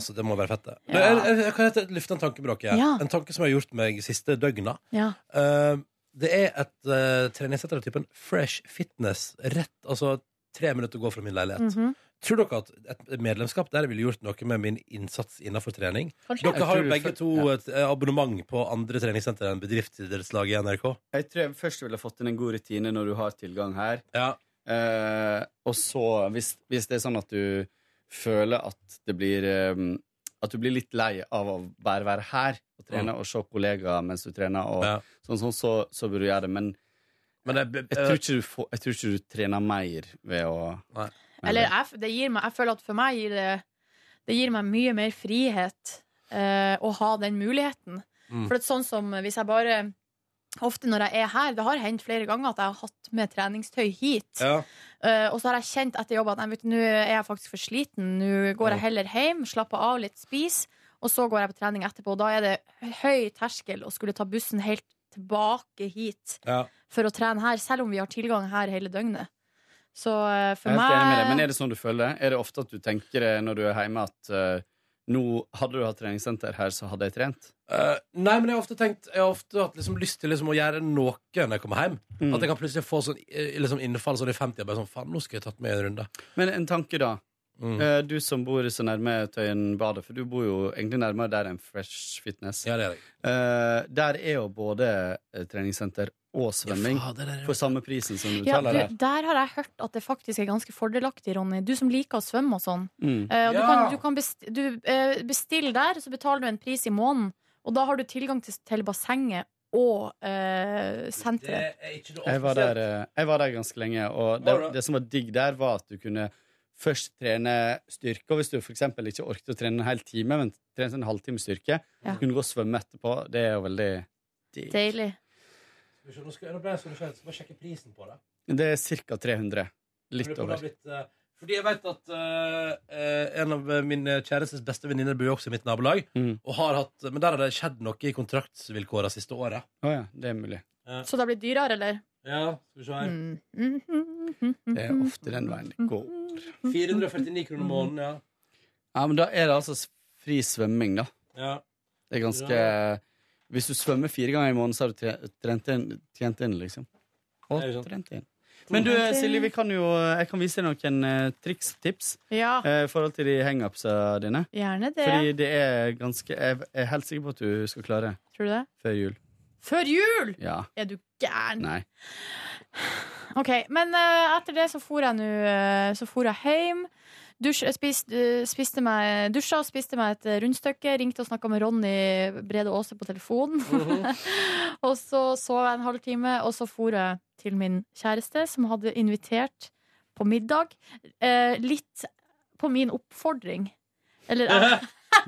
[SPEAKER 2] altså, det må være fett, det. eh,
[SPEAKER 3] Ja.
[SPEAKER 2] Men Jeg, jeg, jeg kan hete- lufte en tanke, Bråke.
[SPEAKER 3] Ja.
[SPEAKER 2] En tanke som jeg har gjort meg siste døgna.
[SPEAKER 3] Ja.
[SPEAKER 2] Eh, Det er et uh, treningssenter av typen Fresh Fitness. Rett, altså tre minutter å gå fra min leilighet.
[SPEAKER 13] Mhm.
[SPEAKER 2] Tror dere at et medlemskap der ville gjort noe med min innsats innenfor trening?
[SPEAKER 14] Kanskje. Jeg
[SPEAKER 2] Dere har jo
[SPEAKER 14] tror-
[SPEAKER 2] begge to et eh, abonnement på andre treningssenter enn bedriftsidrettslaget i NRK.
[SPEAKER 14] Jeg tror jeg først ville fått inn en god rutine når du har tilgang her. Eh, og så, hvis, hvis det er sånn at du føler at det blir eh, At du blir litt lei av å bare være her og trene
[SPEAKER 2] Mm.
[SPEAKER 14] og se kollegaer mens du trener, og sånn, sånn så, så burde du gjøre det. Men, eh,
[SPEAKER 2] jeg,
[SPEAKER 14] tror ikke du får, jeg tror ikke du trener mer ved å
[SPEAKER 3] Eller jeg, det gir meg, jeg føler at for meg gir det Det gir meg mye mer frihet eh, å ha den muligheten.
[SPEAKER 10] Mm.
[SPEAKER 3] For at sånn som hvis jeg bare Ofte når jeg er her, det har hendt flere ganger at jeg har hatt med treningstøy hit. Eh, og så har jeg kjent etter jobb at nei, vet du, nå er jeg faktisk for sliten. Nå går jeg heller hjem, slapper av litt, spiser, og så går jeg på trening etterpå. Og da er det høy terskel å skulle ta bussen helt tilbake hit for å trene her, selv om vi har tilgang her hele døgnet. Så eh, for
[SPEAKER 14] Jeg er
[SPEAKER 3] meg
[SPEAKER 14] helt enig med deg, men er det sånn du føler det? Er det ofte at du tenker eh, når du er hjemme at eh, nå hadde du hatt treningssenter her, så hadde jeg trent?
[SPEAKER 2] Eh, nei, men jeg har ofte tenkt Jeg har ofte hatt liksom lyst til liksom å gjøre noe når jeg kommer hjem.
[SPEAKER 14] Mm.
[SPEAKER 2] At jeg kan plutselig få sånn eh, liksom innfall sånn i 50 bare sånn, Faen, nå skulle jeg tatt med en runde.
[SPEAKER 14] Men en tanke, da.
[SPEAKER 2] Mm.
[SPEAKER 14] Eh, Du som bor så nærme Tøyenbadet, for du bor jo egentlig nærmere der enn Fresh Fitness. Eh, Der er jo både eh, treningssenter og svømming
[SPEAKER 2] Ja, fader, der er jo-
[SPEAKER 14] for samme prisen som du
[SPEAKER 3] ja,
[SPEAKER 14] betaler
[SPEAKER 3] du,
[SPEAKER 14] der.
[SPEAKER 3] Der har jeg hørt at det faktisk er ganske fordelaktig, Ronny. Du som liker å svømme og sånn.
[SPEAKER 14] Mm.
[SPEAKER 3] Eh, og du
[SPEAKER 14] Ja.
[SPEAKER 3] kan, du kan best, du, eh, bestille der, så betaler du en pris i måneden. Og da har du tilgang til, til bassenget og eh, senteret.
[SPEAKER 14] Jeg var der, eh, jeg var der ganske lenge, og det,
[SPEAKER 3] Var du det?
[SPEAKER 14] det som var digg der, var at du kunne først trene styrke. Og hvis du f.eks. ikke orket å trene en hel time, men trente en halvtime styrke,
[SPEAKER 3] Ja.
[SPEAKER 14] så kunne du gå og svømme etterpå. Det er jo veldig digg.
[SPEAKER 3] Deilig.
[SPEAKER 2] Skal vi se, Nå skal jeg nå ble jeg så nysgjerrig, skal bare sjekke prisen på det.
[SPEAKER 14] Det er ca. 300.
[SPEAKER 2] Jeg
[SPEAKER 14] Litt
[SPEAKER 2] lurer på om det
[SPEAKER 14] over.
[SPEAKER 2] har blitt, eh, Fordi jeg vet at eh, eh, en av min kjærestes beste venninner bor jo også i mitt nabolag. Og har hatt, men der har det skjedd noe i kontraktsvilkårene siste året.
[SPEAKER 14] Å ja, det er mulig.
[SPEAKER 2] Ja.
[SPEAKER 3] Så det blir dyrere, eller? Mm-hmm.
[SPEAKER 2] Ja, skal vi se her.
[SPEAKER 14] Det
[SPEAKER 3] Mm.
[SPEAKER 14] er ofte den veien det går.
[SPEAKER 2] 449 kroner måneden, ja.
[SPEAKER 14] Ja, men da er det altså s- fri svømming, da.
[SPEAKER 2] Ja.
[SPEAKER 14] Det er ganske Hvis du svømmer fire ganger i måneden, så har du tre- trent inn, tjent inn, liksom. Og trent inn. Men du, Silje, vi kan jo, jeg kan vise deg noen eh, triks tips
[SPEAKER 3] Ja.
[SPEAKER 14] eh, i forhold til de hangupsa dine.
[SPEAKER 3] Gjerne det.
[SPEAKER 14] Fordi det er ganske Jeg er helt sikker på at du skal klare det
[SPEAKER 3] Tror du det?
[SPEAKER 14] før jul.
[SPEAKER 3] Før jul!
[SPEAKER 14] Ja.
[SPEAKER 3] Er du gæren?
[SPEAKER 14] Nei.
[SPEAKER 3] Ok, men eh, etter det så for jeg nå eh, Så for jeg hjem Dusj, eh, spist, eh, spiste meg, Dusja og spiste meg et eh, rundstykke Ringte og snakket med Ronny Brede Aase på telefonen Og så sov jeg en halv time Og så for jeg til min kjæreste Som hadde invitert på middag eh, Litt på min oppfordring Eller jeg,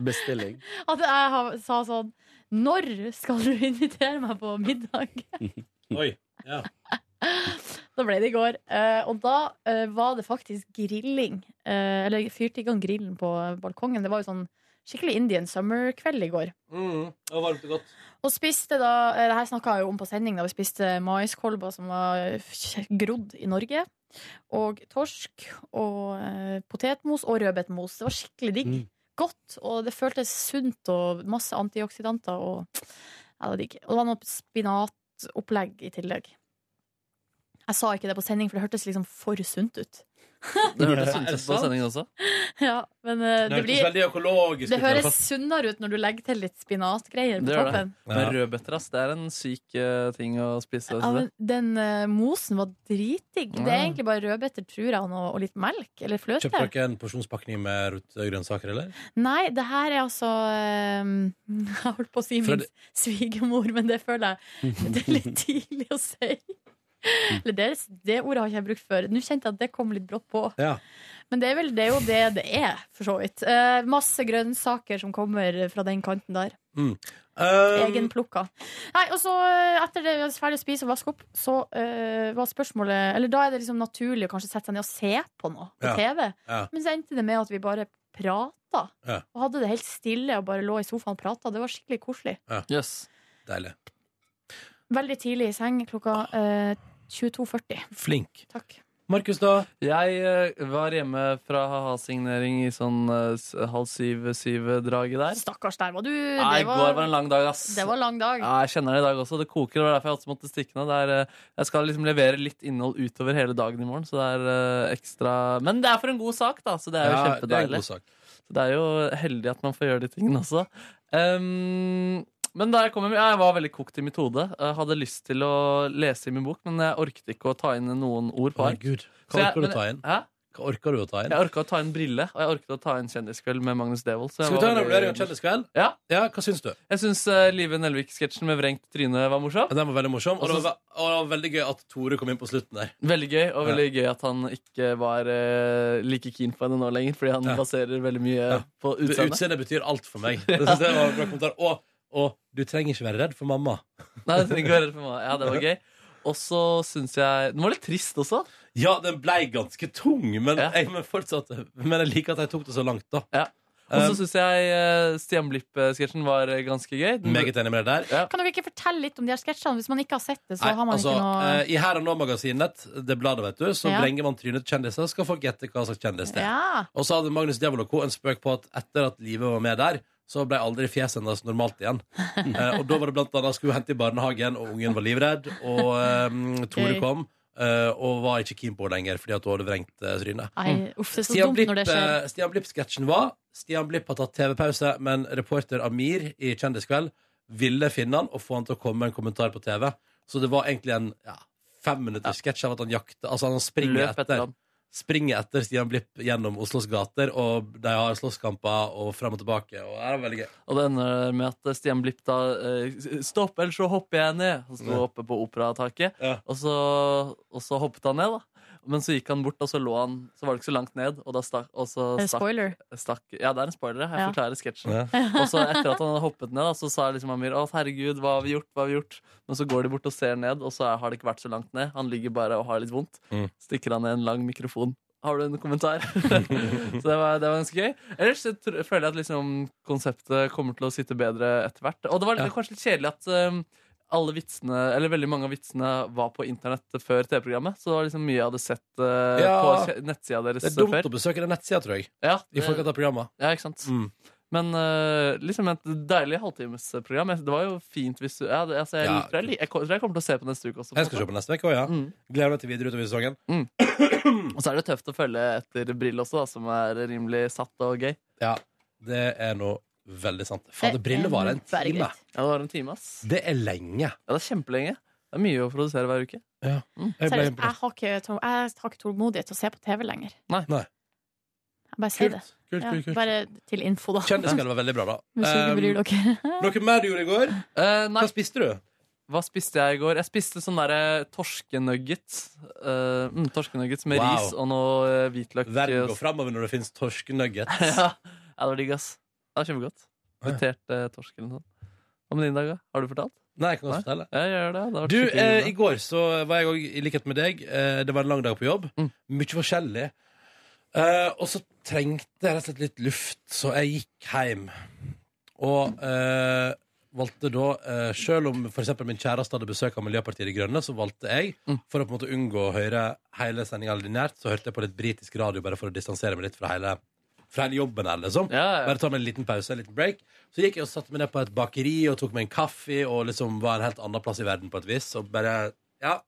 [SPEAKER 14] Bestilling.
[SPEAKER 3] at jeg har- sa sånn Når skal du invitere meg på middag?
[SPEAKER 2] Oi. Ja.
[SPEAKER 3] Da ble det i går. Eh, og da eh, var det faktisk grilling. Eh, eller fyrte i gang grillen på balkongen. Det var jo sånn skikkelig Indian summer-kveld i går.
[SPEAKER 2] Mm, det var varmt og godt.
[SPEAKER 3] Og spiste da eh, Det her snakka jeg jo om på sending, da vi spiste maiskolber som var f- grodd i Norge. Og torsk og eh, potetmos og rødbetmos. Det var skikkelig digg.
[SPEAKER 15] Mm.
[SPEAKER 3] Godt, og det føltes sunt og masse antioksidanter og Ja, det var digg. Og det var noe spinatopplegg i tillegg. Jeg sa ikke det på sending, for det hørtes liksom for sunt ut.
[SPEAKER 4] Det hørtes
[SPEAKER 2] Er det
[SPEAKER 4] sunt ut på
[SPEAKER 2] sant?
[SPEAKER 4] sendingen også.
[SPEAKER 3] Ja, men
[SPEAKER 4] Det
[SPEAKER 3] eh, det,
[SPEAKER 4] hørtes
[SPEAKER 3] blir
[SPEAKER 2] veldig økologisk
[SPEAKER 3] Det
[SPEAKER 4] ut i hvert
[SPEAKER 3] høres
[SPEAKER 4] fall.
[SPEAKER 3] sunnere ut når du legger til litt spinatgreier på
[SPEAKER 4] Det gjør det.
[SPEAKER 3] toppen.
[SPEAKER 4] Men rødbeter, ass, det er en syk eh, ting å spise.
[SPEAKER 3] Ja, men den eh, mosen var dritdigg. Det
[SPEAKER 2] Ja.
[SPEAKER 3] er egentlig bare rødbeter, tror jeg, og, noe, og litt melk. Eller fløte.
[SPEAKER 2] Kjøpte dere en porsjonspakning med rotgrønnsaker, eller?
[SPEAKER 3] Nei, det her er altså eh, Jeg holdt på å si
[SPEAKER 2] Fra
[SPEAKER 3] min
[SPEAKER 2] det-
[SPEAKER 3] svigermor, men det føler jeg det er litt tidlig å si. Eller det, det ordet har ikke jeg brukt før. Nå kjente jeg at det kom litt brått på.
[SPEAKER 2] Ja.
[SPEAKER 3] Men det er vel det er jo det det er, for så vidt. Eh, masse grønnsaker som kommer fra den kanten der.
[SPEAKER 2] Mm.
[SPEAKER 3] Egenplukka. Nei, og så eh, etter det vi var ferdig å spise og vaske opp, så eh, var spørsmålet Eller da er det liksom naturlig å kanskje sette seg ned og se på noe på
[SPEAKER 2] Ja.
[SPEAKER 3] TV.
[SPEAKER 2] Ja.
[SPEAKER 3] Men så endte det med at vi bare prata.
[SPEAKER 2] Ja.
[SPEAKER 3] Og hadde det helt stille og bare lå i sofaen og prata. Det var skikkelig koselig.
[SPEAKER 2] Ja. Deilig.
[SPEAKER 3] Veldig tidlig i seng klokka eh, 22.40.
[SPEAKER 2] Flink.
[SPEAKER 3] Takk.
[SPEAKER 2] Markus, da?
[SPEAKER 4] Jeg eh, var hjemme fra ha-ha-signering i sånn eh, s- halv syv-syv-draget der.
[SPEAKER 3] Stakkars, der var du.
[SPEAKER 4] Nei,
[SPEAKER 3] det
[SPEAKER 4] i går var en lang dag, ass.
[SPEAKER 3] Det var en lang dag.
[SPEAKER 4] Ja, jeg kjenner det i dag også. Det koker. Det var derfor jeg også måtte stikke ned. Det er, eh, jeg skal liksom levere litt innhold utover hele dagen i morgen, så det er eh, ekstra Men det er for en god sak, da, så det er jo
[SPEAKER 2] Ja, det er en
[SPEAKER 4] kjempedeilig.
[SPEAKER 2] god sak.
[SPEAKER 4] Så det er jo heldig at man får gjøre de tingene også. Ehm, men da jeg kom hjem, ja, jeg var veldig kokt i mitt hode. Jeg hadde lyst til å lese i min bok, men jeg orket ikke å ta inn noen ord på ark.
[SPEAKER 2] Herregud, hva
[SPEAKER 4] Så jeg-
[SPEAKER 2] orker du
[SPEAKER 4] men-
[SPEAKER 2] å ta inn?
[SPEAKER 4] Hæ?
[SPEAKER 2] Hva orker du å ta inn?
[SPEAKER 4] Jeg orka å ta inn Brille, og jeg orket å ta inn Kjendiskveld med Magnus Devold. så jeg
[SPEAKER 2] Skal vi
[SPEAKER 4] var
[SPEAKER 2] ta en
[SPEAKER 4] veldig-
[SPEAKER 2] evaluering av Kjendiskveld?
[SPEAKER 4] Ja.
[SPEAKER 2] Hva syns du?
[SPEAKER 4] Jeg syns eh, Live Nelvik-sketsjen med vrengt tryne var morsom.
[SPEAKER 2] Den var veldig morsom,
[SPEAKER 4] Og
[SPEAKER 2] og det
[SPEAKER 4] så-
[SPEAKER 2] var, og det var veldig gøy at Tore kom inn på slutten der.
[SPEAKER 4] Veldig gøy, og
[SPEAKER 2] Ja.
[SPEAKER 4] veldig gøy at han ikke var eh, like keen på henne nå lenger, fordi han
[SPEAKER 2] Ja.
[SPEAKER 4] baserer veldig mye på
[SPEAKER 2] Det-
[SPEAKER 4] utseendet.
[SPEAKER 2] Utseendet betyr alt for meg. Det synes jeg var en bra kommentar. Og, og du trenger ikke være redd for mamma.
[SPEAKER 4] Nei, det går rett for meg. Ja, det var gøy. Og så syns jeg Den var litt trist også.
[SPEAKER 2] Ja, den blei ganske tung, men, jeg, men fortsatt Men jeg liker at jeg tok det så langt, da.
[SPEAKER 4] Og
[SPEAKER 2] Um,
[SPEAKER 4] så syns jeg eh, Stian Blipp-sketsjen var eh, ganske gøy. Den-
[SPEAKER 2] Meget enig med deg der.
[SPEAKER 3] Kan dere ikke fortelle litt om de her sketsjene? Hvis man ikke har sett det, så
[SPEAKER 2] Nei,
[SPEAKER 3] har man
[SPEAKER 2] altså,
[SPEAKER 3] ikke noe
[SPEAKER 2] eh, I Her og Nå-magasinet, det bladet, vet du, så
[SPEAKER 3] Ja.
[SPEAKER 2] vrenger man trynet til kjendiser, så skal folk gjette hva slags kjendis det er.
[SPEAKER 3] Ja.
[SPEAKER 2] Og så hadde Magnus Devold og co. en spøk på at etter at livet var med der, så ble aldri fjeset hennes normalt igjen. Eh, og da var det blant annet skulle hun hente i barnehagen, og ungen var livredd, og eh, Tore
[SPEAKER 3] Gøy.
[SPEAKER 2] kom. eh, og var ikke keen på henne lenger fordi at hun hadde vrengt eh, trynet.
[SPEAKER 3] Nei, uff, Ah, det er så
[SPEAKER 2] Stian
[SPEAKER 3] dumt
[SPEAKER 2] Blipp,
[SPEAKER 3] når det skjer.
[SPEAKER 2] eh, Stian Blipp-sketsjen var Stian Blipp har tatt TV-pause, men reporter Amir i Kjendiskveld ville finne han og få han til å komme med en kommentar på TV. Så det var egentlig en ja, femminutters sketsj av at han jakter Altså, han springer
[SPEAKER 4] Løp etter
[SPEAKER 2] etter.
[SPEAKER 4] han.
[SPEAKER 2] Springer etter Stian Blipp gjennom Oslos gater, og de har slåsskamper og fram og tilbake. Og det er veldig gøy.
[SPEAKER 4] Og det ender med at Stian Blipp da eh, Stopp, ellers så hopper jeg ned. Han sto
[SPEAKER 2] Ja.
[SPEAKER 4] oppe på operataket, og, så, og så hoppet han ned, da. Men så gikk han bort, og så lå han Så var det ikke så langt ned. Og da stakk, og så
[SPEAKER 3] Er det
[SPEAKER 4] stakk,
[SPEAKER 3] Eh, spoiler?
[SPEAKER 4] Stakk, ja, det er en spoiler. Jeg
[SPEAKER 3] Ja.
[SPEAKER 4] forklarer sketsjen.
[SPEAKER 3] Ja.
[SPEAKER 4] Og så etter at han hadde hoppet ned, da, så sa liksom Amir Å, herregud, hva har vi gjort? Hva har vi gjort? Men så går de bort og ser ned, og så er- har det ikke vært så langt ned. Han ligger bare og har litt vondt.
[SPEAKER 2] Mm.
[SPEAKER 4] Stikker han ned en lang mikrofon. Har du en kommentar? så det var, det var ganske gøy. Ellers så tr- føler jeg at liksom, konseptet kommer til å sitte bedre etter hvert. Og det var litt, kanskje litt kjedelig at um, alle vitsene, eller veldig mange av vitsene var på internett før TV-programmet. Så det var liksom mye jeg hadde sett uh, på
[SPEAKER 2] Ja.
[SPEAKER 4] kje- nettsida deres
[SPEAKER 2] Det er
[SPEAKER 4] før.
[SPEAKER 2] dumt å besøke den nettsida, tror jeg.
[SPEAKER 4] Ja,
[SPEAKER 2] I forkant av programmet. Mm.
[SPEAKER 4] Ja, ikke sant? Men eh, liksom et deilig halvtimesprogram. Jeg- Det var jo fint hvis du ja, det- altså, jeg,
[SPEAKER 2] Ja.
[SPEAKER 4] liker det. jeg, lik- jeg, ko- tror jeg kommer til å se på neste uke også.
[SPEAKER 2] Jeg skal se på neste uke òg,
[SPEAKER 4] Mm.
[SPEAKER 2] ja. Gleder meg til videre utover sesongen.
[SPEAKER 4] Og så er det tøft å følge etter Brill også, da, som er rimelig satt og gøy.
[SPEAKER 2] Ja, det er nå veldig sant. Fader, briller varer
[SPEAKER 3] Eh,
[SPEAKER 2] en time.
[SPEAKER 4] Ja, det var en time, ass.
[SPEAKER 2] Det er lenge.
[SPEAKER 4] Ja, det er kjempelenge. Det er mye å produsere hver uke.
[SPEAKER 2] Jeg ble
[SPEAKER 3] Seriøst,
[SPEAKER 2] imponert.
[SPEAKER 3] jeg har ikke, tro- jeg har ikke tålmodighet til å se på TV lenger.
[SPEAKER 4] Nei.
[SPEAKER 3] Jeg bare sier det.
[SPEAKER 2] kult, kult, kult.
[SPEAKER 3] Bare til info, da.
[SPEAKER 2] Kjendiskveld var veldig bra, da.
[SPEAKER 3] Hvis ikke
[SPEAKER 2] Um,
[SPEAKER 3] bryr dere.
[SPEAKER 2] Noe mer du gjorde i går? Hva spiste du?
[SPEAKER 4] Eh, Hva spiste jeg i går? Jeg spiste sånn derre torskenuggets. Eh, mm, torskenuggets med
[SPEAKER 2] Wow.
[SPEAKER 4] ris og noe eh, hvitløk.
[SPEAKER 2] Verden går framover når det fins torskenuggets.
[SPEAKER 4] ja. ja, det var digg, ass. Det var kjempegodt. Fritert eh, torsk eller noe sånt. Hva med din dag, da? Har du fortalt?
[SPEAKER 2] Nei, jeg kan godt fortelle.
[SPEAKER 4] Ja, jeg gjør det. det har vært
[SPEAKER 2] Du,
[SPEAKER 4] skikkelig
[SPEAKER 2] eh,
[SPEAKER 4] bra.
[SPEAKER 2] I går så var jeg òg i likhet med deg. Eh, det var en lang dag på jobb.
[SPEAKER 4] Mm.
[SPEAKER 2] Mye forskjellig. Eh, og så trengte jeg rett og slett litt luft, så jeg gikk hjem. Og eh, valgte da, eh, selv om for eksempel min kjæreste hadde besøk av Miljøpartiet De Grønne, så valgte jeg,
[SPEAKER 4] Mm.
[SPEAKER 2] for å på en måte unngå å høre hele sendinga lineært, så hørte jeg på litt britisk radio bare for å distansere meg litt fra hele, fra hele jobben her, liksom. Bare ta meg en liten pause, en liten break. Så gikk jeg og satte meg ned på et bakeri og tok meg en kaffe og liksom var en helt annen plass i verden på et vis, og bare Ja.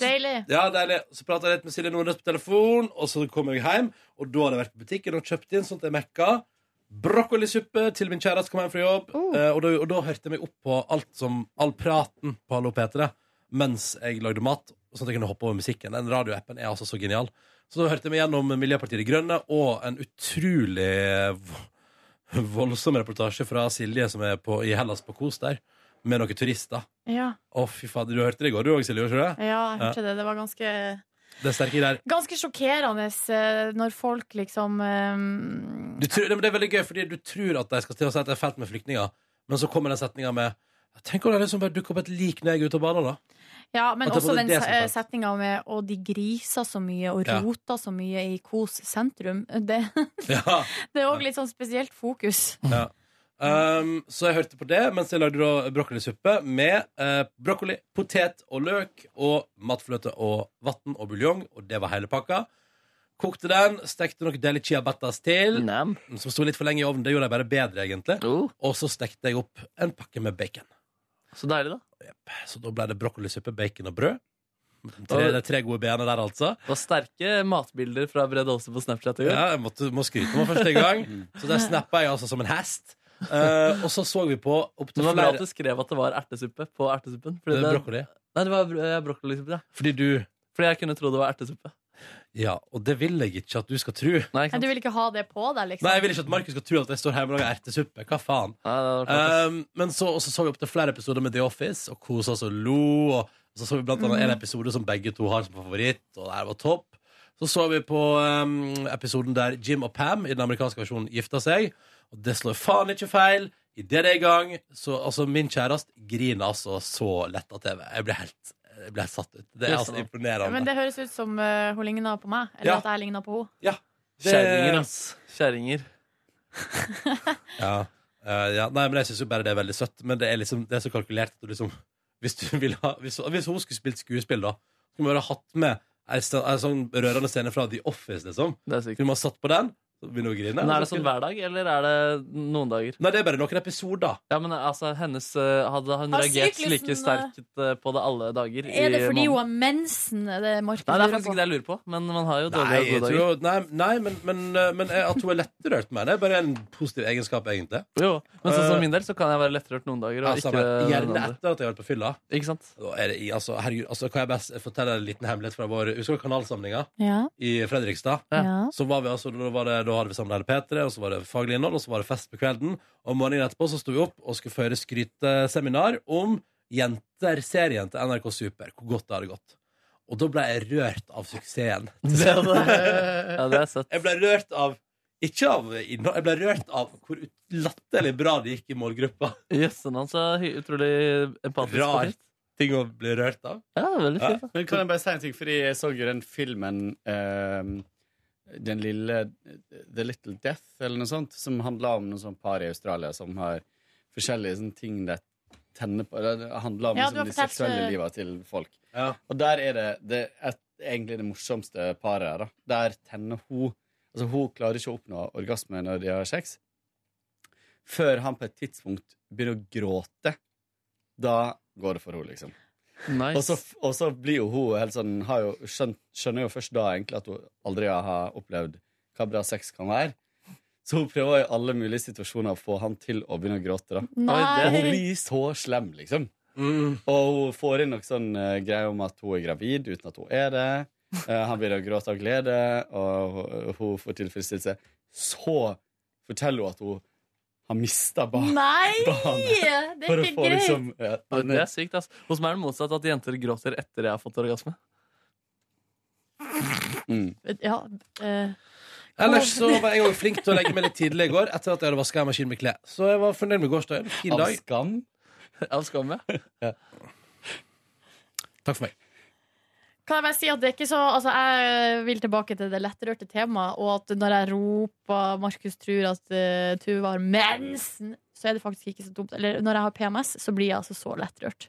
[SPEAKER 3] Deilig.
[SPEAKER 2] Ja, deilig. Så prata jeg litt med Silje Nordnes på telefon, og så kom jeg hjem. Og da hadde jeg vært på butikken og kjøpt inn sånt jeg mekka. Brokkolisuppe til min kjæreste som kom hjem fra jobb. Eh, og, da, og da hørte jeg meg opp på alt som, all praten på Hallo P3 mens jeg lagde mat, sånn at jeg kunne hoppe over musikken. Den radioappen er altså så genial. Så da hørte jeg meg gjennom Miljøpartiet De Grønne og en utrolig vo- voldsom reportasje fra Silje som er på, i Hellas på Kos der, med noen turister.
[SPEAKER 3] Ja.
[SPEAKER 2] Å, fy fader, du hørte det i går, du òg, Silje? Gjorde du det?
[SPEAKER 3] ja, jeg hørte det. Det var ganske
[SPEAKER 2] Det er sterke greier.
[SPEAKER 3] Ganske sjokkerende eh, når folk liksom eh,
[SPEAKER 2] Du tror, Nei, men det er veldig gøy, fordi du tror at de skal til å si at det er fælt med flyktninger, men så kommer den setninga med Tenk om det liksom bare dukker opp et lik når jeg er ute og bader, da.
[SPEAKER 3] Ja, men
[SPEAKER 2] At det
[SPEAKER 3] også
[SPEAKER 2] var
[SPEAKER 3] den
[SPEAKER 2] det som
[SPEAKER 3] se-
[SPEAKER 2] falt.
[SPEAKER 3] setninga med 'og de griser så mye og
[SPEAKER 2] Ja.
[SPEAKER 3] roter så mye i Kos sentrum'. Det,
[SPEAKER 2] Ja.
[SPEAKER 3] det er òg litt sånn spesielt fokus.
[SPEAKER 2] Ja. Um, så jeg hørte på det mens jeg lagde da brokkolisuppe med eh, brokkoli, potet og løk og matfløte og vann og buljong, og det var hele pakka. Kokte den, stekte noe deilig ciabattas til, som sto litt for lenge i ovnen. Det gjorde jeg bare bedre, egentlig. Og så stekte jeg opp en pakke med bacon.
[SPEAKER 4] Så deilig,
[SPEAKER 2] da. Så da ble det brokkolisuppe, bacon og brød. Tre, det er tre gode bena der, altså.
[SPEAKER 4] Det var sterke matbilder fra Brede Aase på Snapchat i går.
[SPEAKER 2] Ja, jeg måtte, må skryte meg første gang. Så der snappa jeg altså som en hest. Eh, og så så vi på opp
[SPEAKER 4] Det
[SPEAKER 2] til
[SPEAKER 4] var bra
[SPEAKER 2] flere-
[SPEAKER 4] at du skrev at det var ertesuppe på ertesuppen. fordi
[SPEAKER 2] Det er brokkoli.
[SPEAKER 4] Nei, det var bro- eh, brokkolisuppe, ja.
[SPEAKER 2] Fordi du
[SPEAKER 4] Fordi jeg kunne tro det var ertesuppe.
[SPEAKER 2] Ja, og det vil jeg ikke at du skal tro.
[SPEAKER 4] Nei,
[SPEAKER 3] Nei, du vil ikke ha det på deg, liksom?
[SPEAKER 2] Nei, jeg vil ikke at Markus skal tro at jeg står hjemme og lager ertesuppe. Hva faen? um, men så, og så så vi opp til flere episoder med The Office og kosa oss og lo. Og så så vi blant annet en
[SPEAKER 13] Mhm.
[SPEAKER 2] episode som begge to har som favoritt, og det her var topp. Så så vi på um, episoden der Jim og Pam i den amerikanske versjonen gifta seg. Og det slår faen ikke feil. Idet det er i gang, så altså, min kjæreste griner altså så lett av TV. Jeg ble helt, jeg ble helt satt ut. Det er altså imponerende.
[SPEAKER 3] Men det høres ut som eh, hun ligner på meg, eller
[SPEAKER 2] Ja.
[SPEAKER 3] at jeg ligner på henne.
[SPEAKER 2] Det-
[SPEAKER 4] Kjerringer,
[SPEAKER 3] altså.
[SPEAKER 4] ass. Kjerringer.
[SPEAKER 2] Ja. Eh, ja. Nei, men jeg syns jo bare det er veldig søtt. Men det er liksom, det er så kalkulert at du liksom Hvis du vil ha Hvis, hvis hun skulle spilt skuespill, da, skulle man bare hatt med ei sta- ei sånn rørende scene fra The Office, liksom. Skulle man satt på den, så begynner hun å grine.
[SPEAKER 4] Men er
[SPEAKER 2] og
[SPEAKER 4] det
[SPEAKER 2] så
[SPEAKER 4] sånn
[SPEAKER 2] skulle-
[SPEAKER 4] hver dag, eller er det noen dager?
[SPEAKER 2] Nei, det er bare noen episoder.
[SPEAKER 4] Ja, men altså, hennes, eh, Hadde hun
[SPEAKER 3] Har
[SPEAKER 4] reagert
[SPEAKER 3] syklusen,
[SPEAKER 4] like sterkt eh, på det alle dager? i
[SPEAKER 3] Er det fordi
[SPEAKER 4] måneden?
[SPEAKER 3] hun har mensen? Er det Markus
[SPEAKER 4] Nei, det er
[SPEAKER 3] lurer
[SPEAKER 4] faktisk
[SPEAKER 3] på?
[SPEAKER 4] ikke det jeg lurer på, men man har jo
[SPEAKER 2] Nei,
[SPEAKER 4] dårlige
[SPEAKER 2] jeg
[SPEAKER 4] og gode
[SPEAKER 2] tror,
[SPEAKER 4] dager.
[SPEAKER 2] nei, nei, men, men, eh, men eh, at hun er lettrørt med det, er bare en positiv egenskap, egentlig.
[SPEAKER 4] Jo, Men sånn som min del så kan jeg være lettrørt noen dager. Og
[SPEAKER 2] Eh, Altså,
[SPEAKER 4] ikke
[SPEAKER 2] men
[SPEAKER 4] noen
[SPEAKER 2] gjerne
[SPEAKER 4] andre.
[SPEAKER 2] etter at jeg har vært på fylla.
[SPEAKER 4] Ikke sant?
[SPEAKER 2] Da er det, i- altså, herregud, altså, kan jeg best fortelle en liten hemmelighet fra vår Husker du kanalsamlinga
[SPEAKER 3] Ja.
[SPEAKER 2] i Fredrikstad?
[SPEAKER 3] Ja.
[SPEAKER 2] Så var vi altså, da, var det, da hadde vi samla hele P3, og så var det faglig innhold, og så var det fest på kvelden. Og morgenen etterpå så sto vi opp og skulle føre skryteseminar om Jenter-serien til NRK Super. Hvor godt det hadde gått. Og da ble jeg rørt av suksessen.
[SPEAKER 4] Ja, det er søtt.
[SPEAKER 2] Jeg ble rørt av Ikke av innhold, jeg ble rørt av hvor ut- latterlig bra det gikk i målgruppa.
[SPEAKER 4] Jøssen hans er hy- utrolig empatisk.
[SPEAKER 2] Rar
[SPEAKER 4] og fint.
[SPEAKER 2] ting å bli rørt av.
[SPEAKER 4] Ja, veldig fint. da.
[SPEAKER 14] Men kan jeg bare si en ting, fordi jeg så jo den filmen ehm, Den lille The Little Death, eller noe sånt, som handler om noen sånn par i Australia som har forskjellige sånne ting de tenner på Det handler om
[SPEAKER 13] Ja,
[SPEAKER 14] liksom,
[SPEAKER 13] du har
[SPEAKER 14] de
[SPEAKER 13] fortalt,
[SPEAKER 14] seksuelle
[SPEAKER 13] eh,
[SPEAKER 14] liva til folk. Og der er det, det et, egentlig det morsomste paret her, da. Der tenner hun Altså, hun klarer ikke å oppnå orgasme når de har sex, før han på et tidspunkt begynner å gråte. Da går det for henne, liksom.
[SPEAKER 4] Nice.
[SPEAKER 14] Og, så, og så blir jo hun helt sånn har jo, skjønt, Skjønner jo først da egentlig at hun aldri har opplevd hva bra sex kan være. Så hun prøver i alle mulige situasjoner å få han til å begynne å gråte. da
[SPEAKER 13] Nei. Oi, det-
[SPEAKER 14] Og Hun blir så slem, liksom.
[SPEAKER 2] mm,
[SPEAKER 14] Og hun får inn noe sånn eh, greie om at hun er gravid uten at hun er det. Eh, han begynner å gråte av glede, og hun- hun får tilfredsstillelse. Så forteller hun at hun har mista barn.
[SPEAKER 3] Nei!
[SPEAKER 14] barnet.
[SPEAKER 3] Det
[SPEAKER 14] For
[SPEAKER 3] er
[SPEAKER 14] å
[SPEAKER 3] ikke
[SPEAKER 14] få
[SPEAKER 3] gøy!
[SPEAKER 14] liksom, ja,
[SPEAKER 4] Ja, Det er sykt, ass. Hos meg er det motsatt at jenter gråter etter jeg har fått orgasme.
[SPEAKER 3] Ja, eh,
[SPEAKER 2] Ellers så var jeg også flink til å legge meg litt tidlig i går etter at jeg hadde vaska maskinen med klær. Så jeg var fornøyd med gårsdagen. Fin
[SPEAKER 14] Av
[SPEAKER 2] dag.
[SPEAKER 14] skam?
[SPEAKER 4] Av skam, ja.
[SPEAKER 2] Takk for meg.
[SPEAKER 3] Kan jeg bare si at det er ikke så Altså, jeg vil tilbake til det lettrørte temaet, og at når jeg roper Markus tror at eh, Tuva har mensen, så er det faktisk ikke så dumt. Eller når jeg har PMS, så blir jeg altså så lettrørt.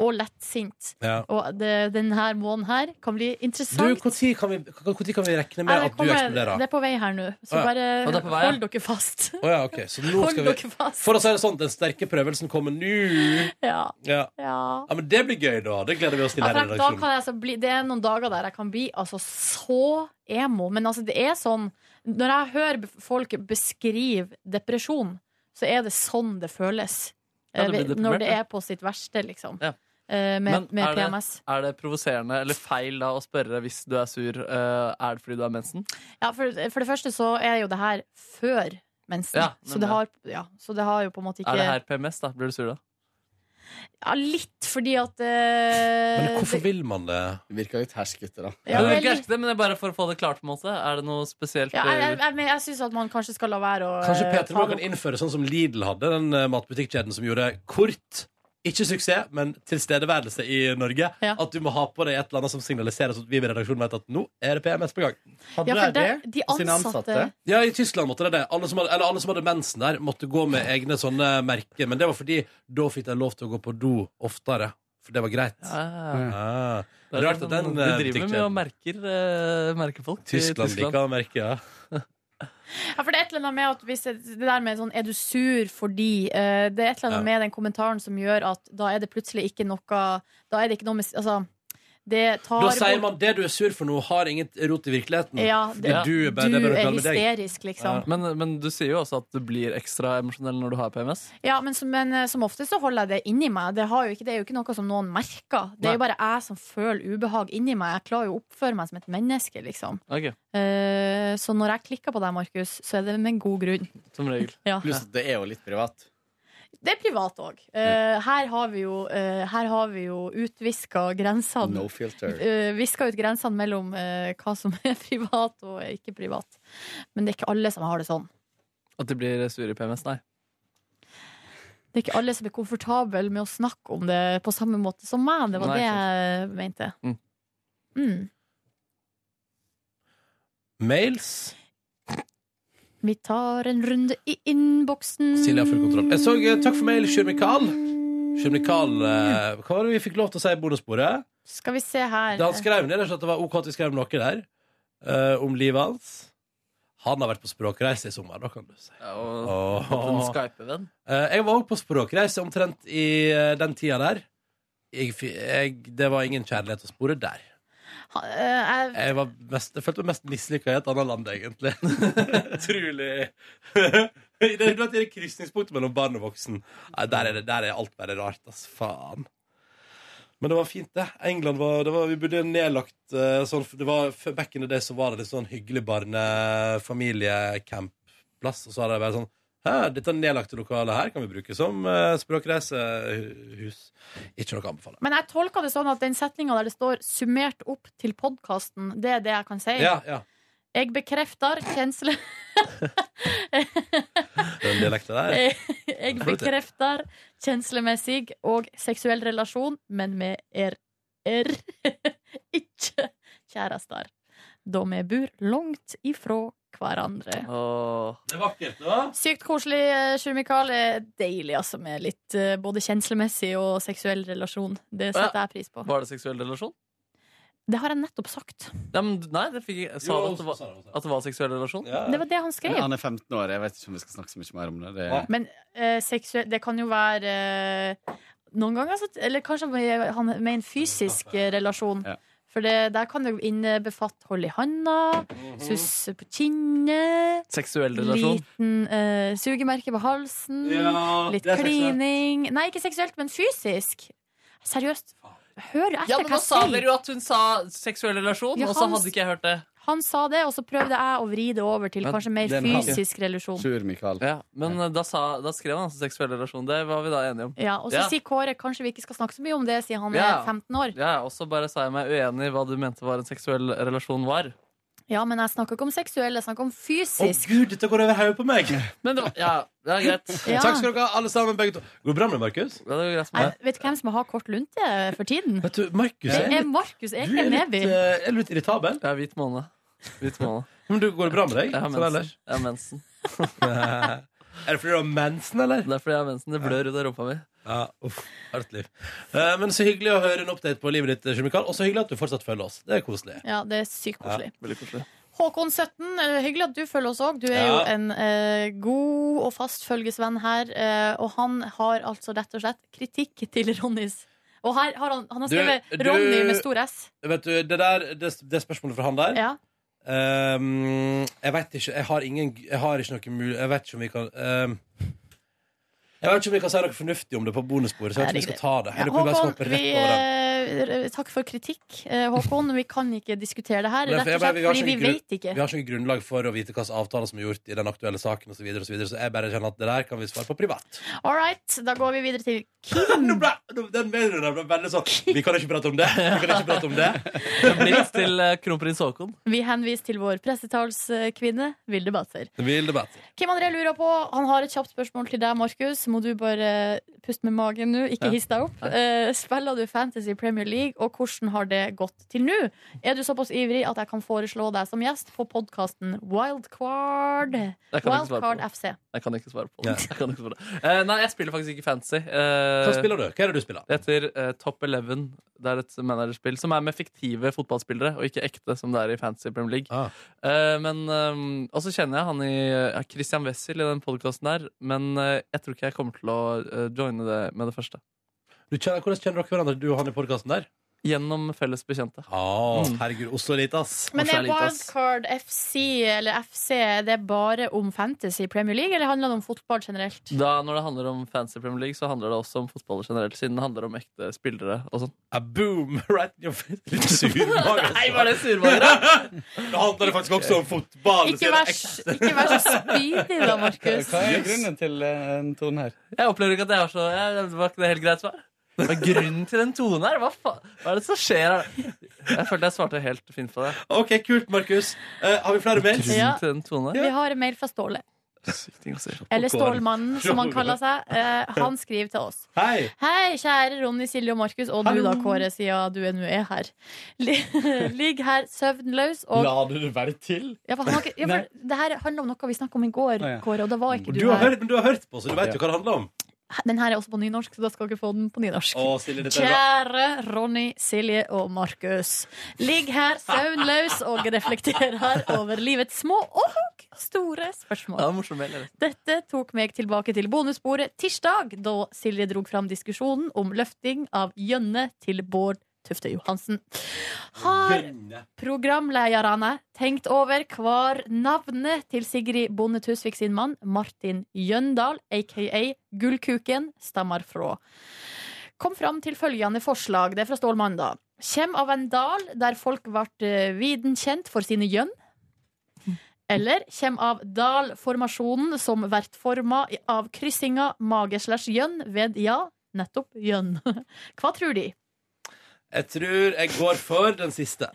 [SPEAKER 3] Og lettsint.
[SPEAKER 2] Ja.
[SPEAKER 3] Og det, denne måneden her kan bli
[SPEAKER 2] Du,
[SPEAKER 3] interessant.
[SPEAKER 2] Når kan, vi- hva- hvor tid kan vi rekne med
[SPEAKER 3] Nei,
[SPEAKER 2] at
[SPEAKER 3] det
[SPEAKER 2] du
[SPEAKER 3] kommer-
[SPEAKER 2] eksploderer?
[SPEAKER 3] Det er på vei her nå,
[SPEAKER 2] Å
[SPEAKER 3] så
[SPEAKER 2] ja.
[SPEAKER 3] bare
[SPEAKER 2] Å, det er på vei, ja.
[SPEAKER 3] hold dere fast.
[SPEAKER 2] Å ja, ok. Så nå
[SPEAKER 3] Hold
[SPEAKER 2] skal vi
[SPEAKER 3] dere fast.
[SPEAKER 2] For å si det sånn, den sterke prøvelsen kommer nå.
[SPEAKER 3] Ja.
[SPEAKER 2] Ja.
[SPEAKER 3] Ja.
[SPEAKER 2] ja, men det blir gøy, da. Det gleder vi oss til her i
[SPEAKER 3] Ja, for jeg- da kan
[SPEAKER 2] redaksjonen.
[SPEAKER 3] jeg altså bli, det er noen dager der jeg kan bli altså, så emo. Men altså, det er sånn Når jeg hører b- folk beskrive depresjon, så er det sånn det føles.
[SPEAKER 4] Ja, det blir
[SPEAKER 3] Eh, Når
[SPEAKER 4] deprimert,
[SPEAKER 3] det
[SPEAKER 4] ja.
[SPEAKER 3] er på sitt verste, liksom.
[SPEAKER 4] Ja.
[SPEAKER 3] Eh,
[SPEAKER 4] Men
[SPEAKER 3] Med, med
[SPEAKER 4] er det,
[SPEAKER 3] PMS.
[SPEAKER 4] er det provoserende eller feil da å spørre hvis du er sur, eh, er det fordi du har mensen?
[SPEAKER 3] Ja, for, for det første så er jo det her før mensen.
[SPEAKER 4] Ja,
[SPEAKER 3] så,
[SPEAKER 4] nemlig.
[SPEAKER 3] det har, ja, så det har jo på en måte ikke
[SPEAKER 4] Er det her PMS, da? Blir du sur da?
[SPEAKER 3] Ja, litt fordi at eh,
[SPEAKER 2] Men hvorfor vil man det?
[SPEAKER 14] Det virker litt herskete, da.
[SPEAKER 4] Ja,
[SPEAKER 3] det er
[SPEAKER 4] jeg vil ikke elske det, men det er bare for å få det klart. på en måte Er det noe spesielt? eh,
[SPEAKER 3] ja, jeg, jeg, jeg, men jeg syns at man kanskje skal la være å
[SPEAKER 2] Kanskje
[SPEAKER 3] eh,
[SPEAKER 2] Peter
[SPEAKER 3] ta
[SPEAKER 2] nå
[SPEAKER 3] det
[SPEAKER 2] kan innføre sånn som Lidl hadde, den eh, matbutikkjeden som gjorde kort Ikke suksess, men tilstedeværelse i Norge. At du må ha på deg et eller annet som signaliserer sånn at vi i redaksjonen vet at nå er det PMS på gang.
[SPEAKER 3] Ja, for det- de ansatte
[SPEAKER 2] Ja, i Tyskland måtte det det. Alle som hadde, eller alle som hadde mensen der, måtte gå med egne sånne merker. Men det var fordi da fikk de lov til å gå på do oftere. For det var greit.
[SPEAKER 4] Ah.
[SPEAKER 2] Ah. Rart at den
[SPEAKER 4] De
[SPEAKER 2] eh,
[SPEAKER 4] driver med å merker, eh, merke folk. i
[SPEAKER 2] Tyskland
[SPEAKER 4] Tyskland.
[SPEAKER 2] liker å merke, ja.
[SPEAKER 3] Ja, for det er et eller annet med at hvis det, det der med sånn Er du sur fordi eh, Det er et eller annet
[SPEAKER 2] Ja.
[SPEAKER 3] med den kommentaren som gjør at da er det plutselig ikke noe Da er det ikke noe med Altså, det tar
[SPEAKER 2] Da sier man det du er sur for nå, har ingen rot i virkeligheten.
[SPEAKER 3] Ja, det-
[SPEAKER 2] Fordi du, er bare-
[SPEAKER 3] du
[SPEAKER 2] det bare
[SPEAKER 3] er
[SPEAKER 2] kaller deg.
[SPEAKER 3] hysterisk, liksom.
[SPEAKER 2] Ja.
[SPEAKER 4] Men, men du sier jo også at du blir ekstra emosjonell når du har PMS.
[SPEAKER 3] Ja, men, som, men eh, som ofte så holder jeg det inni meg. Det, har jo ikke, det er jo ikke noe som noen merker. Det er jo
[SPEAKER 4] Nei.
[SPEAKER 3] bare jeg som føler ubehag inni meg. Jeg klarer jo å oppføre meg som et menneske, liksom.
[SPEAKER 4] Ok,
[SPEAKER 3] Eh, så når jeg klikker på deg, Markus, så er det med god grunn.
[SPEAKER 4] som regel.
[SPEAKER 3] Ja.
[SPEAKER 14] Pluss at det er jo litt privat.
[SPEAKER 3] Det er privat òg. her har vi jo, eh, her har vi jo utviska grensene.
[SPEAKER 14] No filter.
[SPEAKER 3] Eh, viska ut grensene mellom eh, hva som er privat og ikke privat. Men det er ikke alle som har det sånn.
[SPEAKER 4] At de blir sure i PMS, nei.
[SPEAKER 3] Det er ikke alle som er komfortable med å snakke om det på samme måte som meg. Det var
[SPEAKER 4] Nei,
[SPEAKER 3] det jeg mente.
[SPEAKER 4] Mm.
[SPEAKER 3] Mm.
[SPEAKER 2] Mails.
[SPEAKER 3] Vi tar en runde i innboksen.
[SPEAKER 2] Silje har full kontroll. Jeg så, eh, takk for mail, Sjur Mikael. Sjur Mikael, eh, hva var det vi fikk lov til å si i bonusbordet?
[SPEAKER 3] Skal vi se her.
[SPEAKER 2] Da han skrev ned rett og slett at det var OK at vi skrev noe der eh, om livet hans. Han har vært på språkreise i sommer, da kan du si. Åh.
[SPEAKER 4] fått en Skype-venn.
[SPEAKER 2] Eh, jeg var òg på språkreise omtrent i eh, den tida der. Jeg, fi- jeg, det var ingen kjærlighet å spore der.
[SPEAKER 3] Ha- eh, jeg-
[SPEAKER 2] Jeg, var mest, jeg følte meg mest mislykka i et annet land, egentlig. Trulig. I det, det er krysningspunktet mellom barn og voksen. Nei, der, er det, der er alt bare rart, ass. Faen. Men det var fint, det. England var, det var Vi bodde i en nedlagt eh, sånn, Det var før- Back in the day så var det litt sånn hyggelig barnefamiliecampplass, og så hadde de bare sånn Hæ, dette nedlagte lokalet her kan vi bruke som eh, språkreisehus. Ikke noe å anbefale.
[SPEAKER 3] Men jeg tolka det sånn at den setninga der det står 'summert opp til podkasten', det er det jeg kan si.
[SPEAKER 2] Ja, ja.
[SPEAKER 3] Jeg bekrefter kjensle...
[SPEAKER 2] Den dialekten der.
[SPEAKER 3] Jeg bekrefter kjenslemessig og seksuell relasjon, men med er, er ikke kjærester. Da vi bor langt ifra hverandre.
[SPEAKER 2] Det er vakkert, da.
[SPEAKER 3] Sykt koselig, eh, Sjur Mikael. Eh, Deilig altså med litt eh, både kjenslemessig og seksuell relasjon. Det setter jeg pris på.
[SPEAKER 4] Var det seksuell relasjon?
[SPEAKER 3] Det har jeg nettopp sagt.
[SPEAKER 4] Nei, men, nei det fikk jeg, sa
[SPEAKER 3] Jo,
[SPEAKER 4] du at, det var- at det var seksuell relasjon?
[SPEAKER 3] Det var det han skrev.
[SPEAKER 14] Han er 15 år. Jeg vet ikke om vi skal snakke så mye mer om det. det er...
[SPEAKER 3] Men eh, seksuell Det kan jo være eh, Noen ganger så, Eller kanskje med, han, med en fysisk eh, relasjon. For det, der kan det jo innebefatte hold i handa, susse på kinnet
[SPEAKER 4] Seksuell Mhm. relasjon?
[SPEAKER 3] Liten eh, sugemerke på halsen,
[SPEAKER 4] Ja,
[SPEAKER 3] litt
[SPEAKER 4] det er seksuelt.
[SPEAKER 3] klining Nei, ikke seksuelt, men fysisk. Seriøst. Hør etter
[SPEAKER 4] Ja, men
[SPEAKER 3] hva
[SPEAKER 4] nå sa
[SPEAKER 3] jeg
[SPEAKER 4] dere
[SPEAKER 3] sier.
[SPEAKER 4] jo at hun sa seksuell relasjon,
[SPEAKER 3] Ja,
[SPEAKER 4] og så
[SPEAKER 3] han-
[SPEAKER 4] hadde ikke jeg hørt det.
[SPEAKER 3] Han sa det, og så prøvde jeg å vri det over til
[SPEAKER 4] Ja,
[SPEAKER 3] kanskje mer
[SPEAKER 4] den har-
[SPEAKER 3] fysisk relasjon.
[SPEAKER 4] Ja, men eh, da, sa, da skrev han altså seksuell relasjon. Det var vi da enige om.
[SPEAKER 3] Ja, og så sier Kåre kanskje vi ikke skal snakke så mye om det, siden han
[SPEAKER 4] Ja.
[SPEAKER 3] er 15 år.
[SPEAKER 4] Ja, og så bare sa jeg meg uenig i hva du mente var en seksuell relasjon var.
[SPEAKER 3] Ja, men jeg snakker ikke om seksuell, jeg snakker om
[SPEAKER 2] Å
[SPEAKER 3] fysisk.
[SPEAKER 2] gud, dette går over hodet på meg!
[SPEAKER 4] Men det var, ja, det er greit.
[SPEAKER 3] Ja.
[SPEAKER 2] Takk skal dere ha, alle sammen. Begge to. Går det bra med Markus?
[SPEAKER 4] Ja, det går greit
[SPEAKER 3] Nei, vet du hvem som har kort lunte for tiden?
[SPEAKER 2] Vet du, Markus
[SPEAKER 3] Det
[SPEAKER 2] er
[SPEAKER 3] er
[SPEAKER 2] litt-
[SPEAKER 3] Markus
[SPEAKER 2] Du er
[SPEAKER 3] Ekrem
[SPEAKER 2] litt,
[SPEAKER 3] Neby.
[SPEAKER 2] eh, er litt irritabel.
[SPEAKER 4] Ja, hvit måne. Hvit måne.
[SPEAKER 2] Men du, går det bra med deg?
[SPEAKER 4] Jeg har
[SPEAKER 2] sånn
[SPEAKER 4] mensen.
[SPEAKER 2] ellers?
[SPEAKER 4] Jeg har mensen.
[SPEAKER 2] er det fordi du har mensen, eller?
[SPEAKER 4] Det er fordi jeg har mensen. Det blør ut av rumpa mi.
[SPEAKER 2] Ja, uff, hardt liv. Eh, men så hyggelig å høre en update på livet ditt, Sjur Mikael. Og så hyggelig at du fortsatt følger oss. Det er koselig.
[SPEAKER 3] Ja, det er sykt koselig.
[SPEAKER 2] Ja, veldig koselig.
[SPEAKER 3] Håkon 17, eh, hyggelig at du følger oss òg. Du er jo
[SPEAKER 2] Ja.
[SPEAKER 3] en eh, god og fast følgesvenn her. eh, og han har altså rett og slett kritikk til Ronnys. Og her har han, han har
[SPEAKER 2] Du-
[SPEAKER 3] skrevet
[SPEAKER 2] du-
[SPEAKER 3] Ronny med stor S.
[SPEAKER 2] Vet du, det der, det, det spørsmålet fra han der
[SPEAKER 3] Ja.
[SPEAKER 2] ehm, Jeg vet ikke, jeg har ingen Jeg har ikke noe mulig, jeg vet ikke om vi kan ehm, Jeg vet ikke om vi kan si noe fornuftig om det på bonusbordet Så jeg vet ikke om vi skal ta det Jeg
[SPEAKER 3] Ja,
[SPEAKER 2] lurer på om vi bare skal
[SPEAKER 3] Håkon,
[SPEAKER 2] hoppe
[SPEAKER 3] vi,
[SPEAKER 2] rett over den.
[SPEAKER 3] eh, takk for kritikk, eh, Håkon. Vi kan ikke diskutere det her,
[SPEAKER 2] Men
[SPEAKER 3] rett
[SPEAKER 2] jeg
[SPEAKER 3] og
[SPEAKER 2] bare-
[SPEAKER 3] slett
[SPEAKER 2] har
[SPEAKER 3] fordi vi
[SPEAKER 2] ikke grunn-
[SPEAKER 3] vet ikke.
[SPEAKER 2] Vi har ikke noe grunnlag for å vite hvilke avtaler som er gjort i den aktuelle saken osv. Så, videre, og så, videre, så jeg bare kjenner at det der kan vi svare på privat.
[SPEAKER 3] All right, da går vi videre til Kim.
[SPEAKER 2] Nå ble, nå- den meldingen der ble veldig sånn Vi kan ikke prate om det! Vi kan ikke prate om det!
[SPEAKER 4] Det blir til eh, kronprins Haakon.
[SPEAKER 3] Vi henviser til vår pressetalskvinne, Vilde Batser.
[SPEAKER 2] Vilde Batser.
[SPEAKER 3] Kim André lurer på, han har et kjapt spørsmål til deg, Markus. Må du bare puste med magen nå, ikke
[SPEAKER 13] Ja.
[SPEAKER 3] hiss deg opp.
[SPEAKER 13] Nei.
[SPEAKER 3] Eh, spiller du Fantasy Premier League, og hvordan har det gått til nå? Er du såpass ivrig at jeg kan foreslå deg som gjest på podkasten Wildcard?
[SPEAKER 4] Det kan jeg ikke svare på.
[SPEAKER 3] Wildcard FC.
[SPEAKER 4] Jeg kan ikke svare på det. Jeg kan ikke svare på det. Eh, nei, jeg spiller faktisk ikke fancy. Eh,
[SPEAKER 2] Hva spiller du? Hva er det du spiller?
[SPEAKER 4] Det heter eh, Top Eleven. Det er et managerspill som er med fiktive fotballspillere, og ikke ekte, som det er i fancy Premier League. Eh, men, eh, og så kjenner jeg han i eh, Christian Wessel i den podkasten der, men eh, jeg tror ikke jeg kommer til å eh, joine det med det første.
[SPEAKER 2] Du kjenner, hvordan kjenner dere hverandre, du og han i podkasten der?
[SPEAKER 4] Gjennom felles bekjente.
[SPEAKER 2] mm. Herregud, Oslo er lite, ass.
[SPEAKER 3] Men er Wildcard FC eller FC det er bare om fantasy i Premier League, eller handler det om fotball generelt?
[SPEAKER 4] Da, når det handler om fancy Premier League, så handler det også om fotballer generelt, siden det handler om ekte spillere og sånn.
[SPEAKER 2] boom! Right in your face. Litt surmage.
[SPEAKER 4] Nei, var det surmage, da?
[SPEAKER 2] Det handler det faktisk også om fotball.
[SPEAKER 3] Ikke vær, ikke vær så spydig da, Markus.
[SPEAKER 14] Hva er grunnen til eh, den tonen her?
[SPEAKER 4] Jeg opplever ikke at jeg har så jeg, Det var ikke det helt greit svar. Hva er grunnen til den tonen her? Hva, fa Hva er det som skjer her? Jeg følte jeg svarte helt fint på det.
[SPEAKER 2] Ok, kult, Markus. Eh, har vi flere mails?
[SPEAKER 3] Ja.
[SPEAKER 4] Grunnen til den tonen
[SPEAKER 3] Vi
[SPEAKER 4] her?
[SPEAKER 3] har en mail fra Ståle.
[SPEAKER 4] Sykt interessant.
[SPEAKER 3] Eller Stålmannen, som han kaller seg. Eh, han skriver til oss.
[SPEAKER 2] Hei!
[SPEAKER 3] Hei, kjære Ronny, Silje og Markus, og du
[SPEAKER 13] Hallo.
[SPEAKER 3] da, Kåre, siden du er- nå er her. Li- Ligg her søvnløs og
[SPEAKER 14] La du det være til?
[SPEAKER 3] ja, for han, har ikke- ja, for Det her handler om noe vi snakka om i går,
[SPEAKER 2] Å, ja.
[SPEAKER 3] Kåre, og da var ikke
[SPEAKER 2] Du
[SPEAKER 3] du
[SPEAKER 2] har
[SPEAKER 3] her.
[SPEAKER 2] hørt, men du har hørt på, så du vet jo hva det handler om.
[SPEAKER 3] Den her er også på nynorsk, så da skal dere få den på nynorsk.
[SPEAKER 2] Å, Silje, dette er bra.
[SPEAKER 3] Kjære Ronny, Silje og Markus. Ligg her søvnløs og reflekterer over livets små og store spørsmål.
[SPEAKER 4] Ja, morsom mail, eller?
[SPEAKER 3] Dette tok meg tilbake til bonusbordet tirsdag, da Silje drog fram diskusjonen om løfting av Jønne til Bård Tufte Johansen. Har programlederne tenkt over hvar navnet til Sigrid Bonde Tusvik sin mann, Martin Jøndal, aka Gullkuken, stammer fra? kom fram til følgende forslag. Det er fra Stålmann, da. Kjem av en dal der folk ble viden kjent for sine gjønn. Eller kjem av dalformasjonen som vert forma av kryssinga mage slash gjønn ved ja, nettopp gjønn. Hva tror de?
[SPEAKER 2] Jeg tror jeg går for den siste.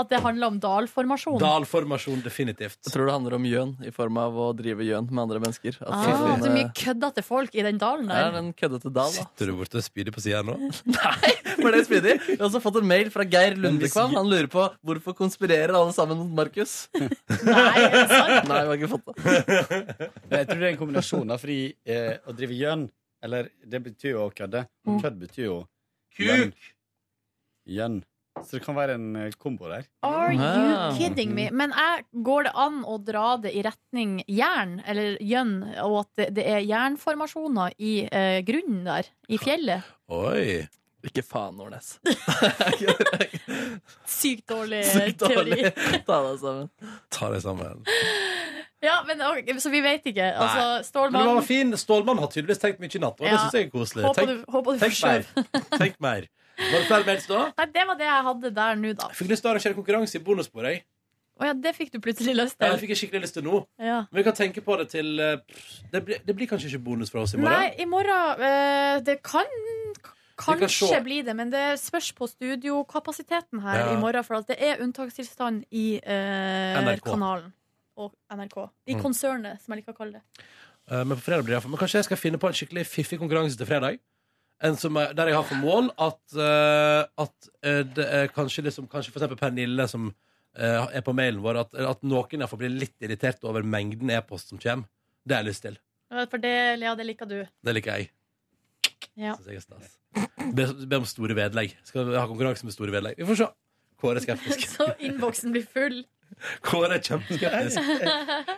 [SPEAKER 3] At det handler om dalformasjon?
[SPEAKER 2] Dalformasjon, definitivt.
[SPEAKER 4] Jeg tror det handler om gjøn, i form av å drive gjøn med andre mennesker. At
[SPEAKER 3] Ah,
[SPEAKER 4] sånn,
[SPEAKER 3] så mye
[SPEAKER 4] eh,
[SPEAKER 3] køddete folk i den dalen
[SPEAKER 4] det er
[SPEAKER 3] der.
[SPEAKER 4] en køddete dal, da.
[SPEAKER 2] Sitter du borte og spydig på sida nå?
[SPEAKER 4] Var det spydig? Vi har også fått en mail fra Geir Lundekvam. Han lurer på hvorfor konspirerer alle sammen mot Markus. Nei, Nei, vi har ikke fått det.
[SPEAKER 14] Men jeg tror det er en kombinasjon av fri eh, å drive gjøn, eller det betyr jo å kødde. Og Kødd betyr jo Kuk! Gjønn. Så det kan være en eh, kombo der.
[SPEAKER 3] Are you kidding me? Men er, går det an å dra det i retning jern, eller gjønn, og at det, det er jernformasjoner i eh, grunnen der, i fjellet?
[SPEAKER 2] Oi.
[SPEAKER 4] Ikke faen, Nordnes.
[SPEAKER 3] Sykt dårlig
[SPEAKER 4] Sykt
[SPEAKER 3] teori.
[SPEAKER 4] dårlig. Ta deg sammen.
[SPEAKER 2] Ta deg sammen.
[SPEAKER 3] Ja, men ok, Så vi vet ikke.
[SPEAKER 2] Nei.
[SPEAKER 3] Altså,
[SPEAKER 2] Men det var
[SPEAKER 3] Stålmann
[SPEAKER 2] fin. Stålmann har tydeligvis tenkt mye i natt, og det
[SPEAKER 3] Ja.
[SPEAKER 2] syns jeg er koselig.
[SPEAKER 3] Håper du- håper du
[SPEAKER 2] tenk
[SPEAKER 3] får
[SPEAKER 2] mer. Tenk mer. Var det flere mails da?
[SPEAKER 3] Nei, det var det jeg hadde der nå, da.
[SPEAKER 2] Jeg fikk lyst til å arrangere konkurranse i bonusbordet. jeg.
[SPEAKER 3] Å ja, det fikk du plutselig lyst
[SPEAKER 2] Ja, Det
[SPEAKER 3] til.
[SPEAKER 2] fikk jeg skikkelig lyst til nå.
[SPEAKER 3] Ja.
[SPEAKER 2] Men vi kan tenke på det til eh, pff, Det blir, det blir kanskje ikke bonus fra oss i morgen.
[SPEAKER 3] Nei, i morgen eh, Det kan
[SPEAKER 2] kan
[SPEAKER 3] kanskje
[SPEAKER 2] se.
[SPEAKER 3] bli det, men det spørs på studiokapasiteten her
[SPEAKER 2] Ja.
[SPEAKER 3] i morgen. For at det er unntakstilstand i eh,
[SPEAKER 2] NRK.
[SPEAKER 3] kanalen og NRK. I
[SPEAKER 2] Mm.
[SPEAKER 3] konsernet, som jeg liker å kalle det.
[SPEAKER 2] Eh, Men på fredag blir det i hvert fall- Men kanskje jeg skal finne på en skikkelig fiffig konkurranse til fredag. En som er, der jeg har for mål at, eh, at eh, det er kanskje, liksom, kanskje for eksempel Pernille som eh, er på mailen vår, at, at noen iallfall blir litt irritert over mengden e-post som kommer. Det har jeg lyst til.
[SPEAKER 3] Ja, For det, ja, det liker du.
[SPEAKER 2] Det liker jeg.
[SPEAKER 3] Ja.
[SPEAKER 2] Synes jeg er stas. Be, be om store vedlegg. Skal vi ha konkurranse med store vedlegg? Vi får se. Kåre er skeptisk.
[SPEAKER 3] Så innboksen blir full.
[SPEAKER 2] Kåre er kjempeskeptisk.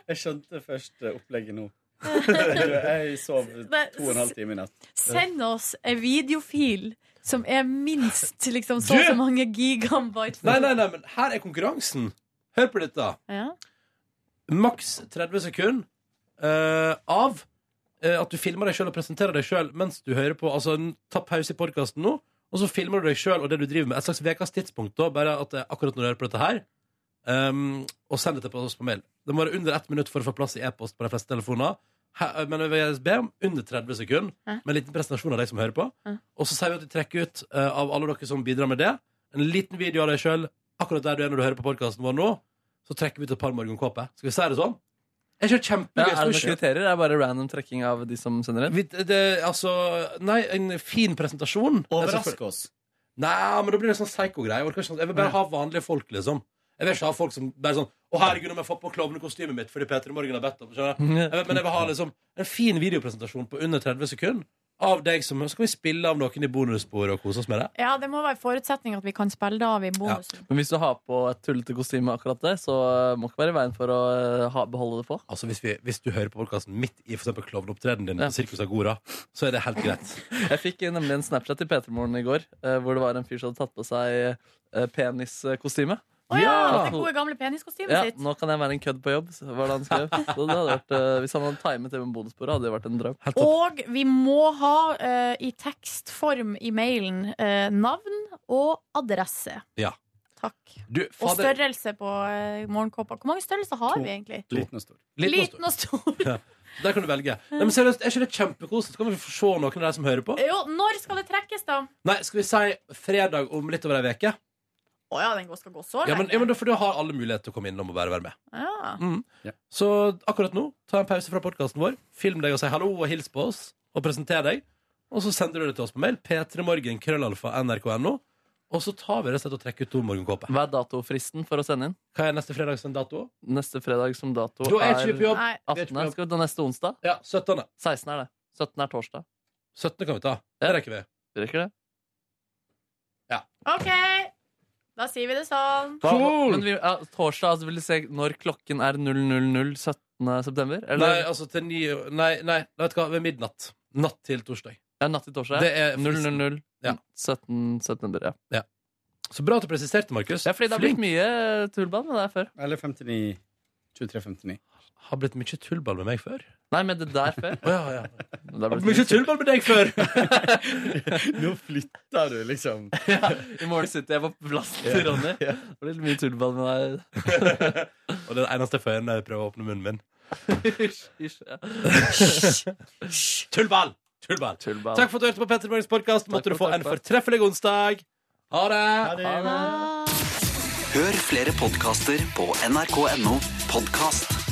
[SPEAKER 14] Jeg skjønte først eh, opplegget nå. Jeg sov
[SPEAKER 3] Men-
[SPEAKER 14] to og en halv time i natt.
[SPEAKER 3] Send oss en videofil som er minst liksom, så og så mange gigabyte.
[SPEAKER 2] Nei, nei, nei, men her er konkurransen. Hør på dette.
[SPEAKER 3] Ja.
[SPEAKER 2] Maks 30 sekunder eh, av eh, at du filmer deg sjøl og presenterer deg sjøl mens du hører på. Altså, n- ta pause i podkasten nå, og så filmer du deg sjøl og det du driver med. Et slags ukas tidspunkt, da, bare at det er akkurat når du hører på dette her. ehm, og send det til oss på mail. Det må være under ett minutt for å få plass i e-post på de fleste telefoner. Her- Men jeg vil be om under 30 sekunder
[SPEAKER 3] Hæ?
[SPEAKER 2] med en liten presentasjon av deg som hører på.
[SPEAKER 3] Hæ?
[SPEAKER 2] Og så sier vi at vi trekker ut eh, av alle dere som bidrar med det, en liten video av deg sjøl akkurat der du er når du hører på podkasten vår nå. Så trekker vi ut et par morgenkåper. Skal vi si det sånn? Jeg ser
[SPEAKER 4] Ja,
[SPEAKER 2] kjempegøy
[SPEAKER 4] er det noen
[SPEAKER 2] stor-
[SPEAKER 4] kriterier? Er det bare random trekking av de som sender inn?
[SPEAKER 2] Vi- det, altså, nei, en fin presentasjon.
[SPEAKER 4] Overrask
[SPEAKER 2] oss. Nei, men da blir det sånn psycho-greie. Jeg orker ikke sånn- Jeg vil bare ha vanlige folk, liksom. Jeg vil ikke ha folk som bare sånn Å, herregud, om jeg får på klovnekostymet mitt fordi Peter i Morgen har bedt om skjønner du? jeg vil, Men jeg vil ha liksom en fin videopresentasjon på under 30 sekunder av deg som Så kan vi spille av noen i bonusspor og kose oss med det.
[SPEAKER 3] Ja, det må være forutsetning at vi kan spille det av i bonusen.
[SPEAKER 4] Men hvis du har på et tullete kostyme akkurat det, så eh, må ikke være i veien for å eh, ha, beholde det på.
[SPEAKER 2] Altså, hvis, vi, hvis du hører på podkasten midt i for eksempel klovneopptredenen din på Sirkus Agora, så er det helt greit.
[SPEAKER 4] Jeg fikk eh, nemlig en Snapchat til P3morgen i går, eh, hvor det var en fyr som hadde tatt på seg eh, peniskostyme.
[SPEAKER 3] Å ja! Det gode gamle peniskostymet
[SPEAKER 4] Ja,
[SPEAKER 3] sitt.
[SPEAKER 4] nå kan jeg være en kødd på jobb, så var det han skrev. Så det hadde vært, eh, hvis han hadde timet det med bonussporet, hadde det vært en drøm.
[SPEAKER 3] Og vi må ha eh, i tekstform i mailen eh, navn og adresse.
[SPEAKER 2] Ja.
[SPEAKER 3] Takk.
[SPEAKER 2] Du,
[SPEAKER 3] Og
[SPEAKER 2] fader-
[SPEAKER 3] størrelse på uh, morgenkåpa. Hvor mange størrelser har
[SPEAKER 2] To.
[SPEAKER 3] vi egentlig?
[SPEAKER 2] To. Liten og stor. Liten og stor.
[SPEAKER 3] Liten og stor.
[SPEAKER 2] Ja. Der kan du velge. Nei, men seriøst, Er ikke det kjempekoselig? Så kan vi få se noen av deg som hører på.
[SPEAKER 3] Jo, når skal det trekkes, da?
[SPEAKER 2] Nei, skal vi si fredag om litt over ei uke?
[SPEAKER 3] Å ja, den skal gå så
[SPEAKER 2] Ja, men,
[SPEAKER 3] lenge.
[SPEAKER 2] ja, men da, for da har alle mulighet til å komme innom og bare være med.
[SPEAKER 3] Ja.
[SPEAKER 2] Mm. Så akkurat nå, ta en pause fra podkasten vår, film deg og si hallo og hils på oss, og presenter deg. Og så sender du det til oss på mail, p3morgen.krøllalfa.nrk.no, og så tar vi rett og slett og trekker ut to morgenkåper.
[SPEAKER 4] Hva er datofristen for å sende inn?
[SPEAKER 2] Hva er neste fredag som dato?
[SPEAKER 4] Neste fredag som dato
[SPEAKER 2] Jo, jeg er ikke på jobb. Nei.
[SPEAKER 4] 18. Skal vi ta neste onsdag?
[SPEAKER 2] Ja, 17.
[SPEAKER 4] 16 er det. 17 er torsdag.
[SPEAKER 2] 17. kan vi ta. Det rekker vi.
[SPEAKER 4] Vi rekker det.
[SPEAKER 3] OK! Da sier vi det sånn.
[SPEAKER 4] Hva- Men vi, ja, torsdag, altså, vil du se når klokken er 00.00 17. september?
[SPEAKER 2] Nei, altså til ni Nei, nei, vet du hva, ved midnatt. Natt til torsdag.
[SPEAKER 4] Ja, natt til torsdag.
[SPEAKER 2] Det er fristen.
[SPEAKER 4] 00.00 17. september. Ja.
[SPEAKER 2] Så bra at du presiserte, Markus.
[SPEAKER 4] Ja, fordi det har blitt mye tullball med deg før.
[SPEAKER 14] Eller 59 2359.
[SPEAKER 2] Har blitt mye tullball med meg før.
[SPEAKER 4] Nei, med det der før.
[SPEAKER 2] Å, ja, ja.
[SPEAKER 4] Det har blitt
[SPEAKER 2] Mye tullball med deg før!
[SPEAKER 14] Nå flytter du, liksom.
[SPEAKER 4] ja, I morgen sitter jeg på plassen til
[SPEAKER 2] Ja.
[SPEAKER 4] Ronny. Det blir mye tullball med deg.
[SPEAKER 2] Og det er det eneste jeg får gjøre når jeg prøver å åpne munnen min.
[SPEAKER 4] Hysj, ja.
[SPEAKER 2] Tullball! Tullball. Takk for at du hørte på Petter Morgens podkast. Måtte du få en fortreffelig onsdag. Ha det!
[SPEAKER 11] Hør flere podkaster på nrk.no podkast.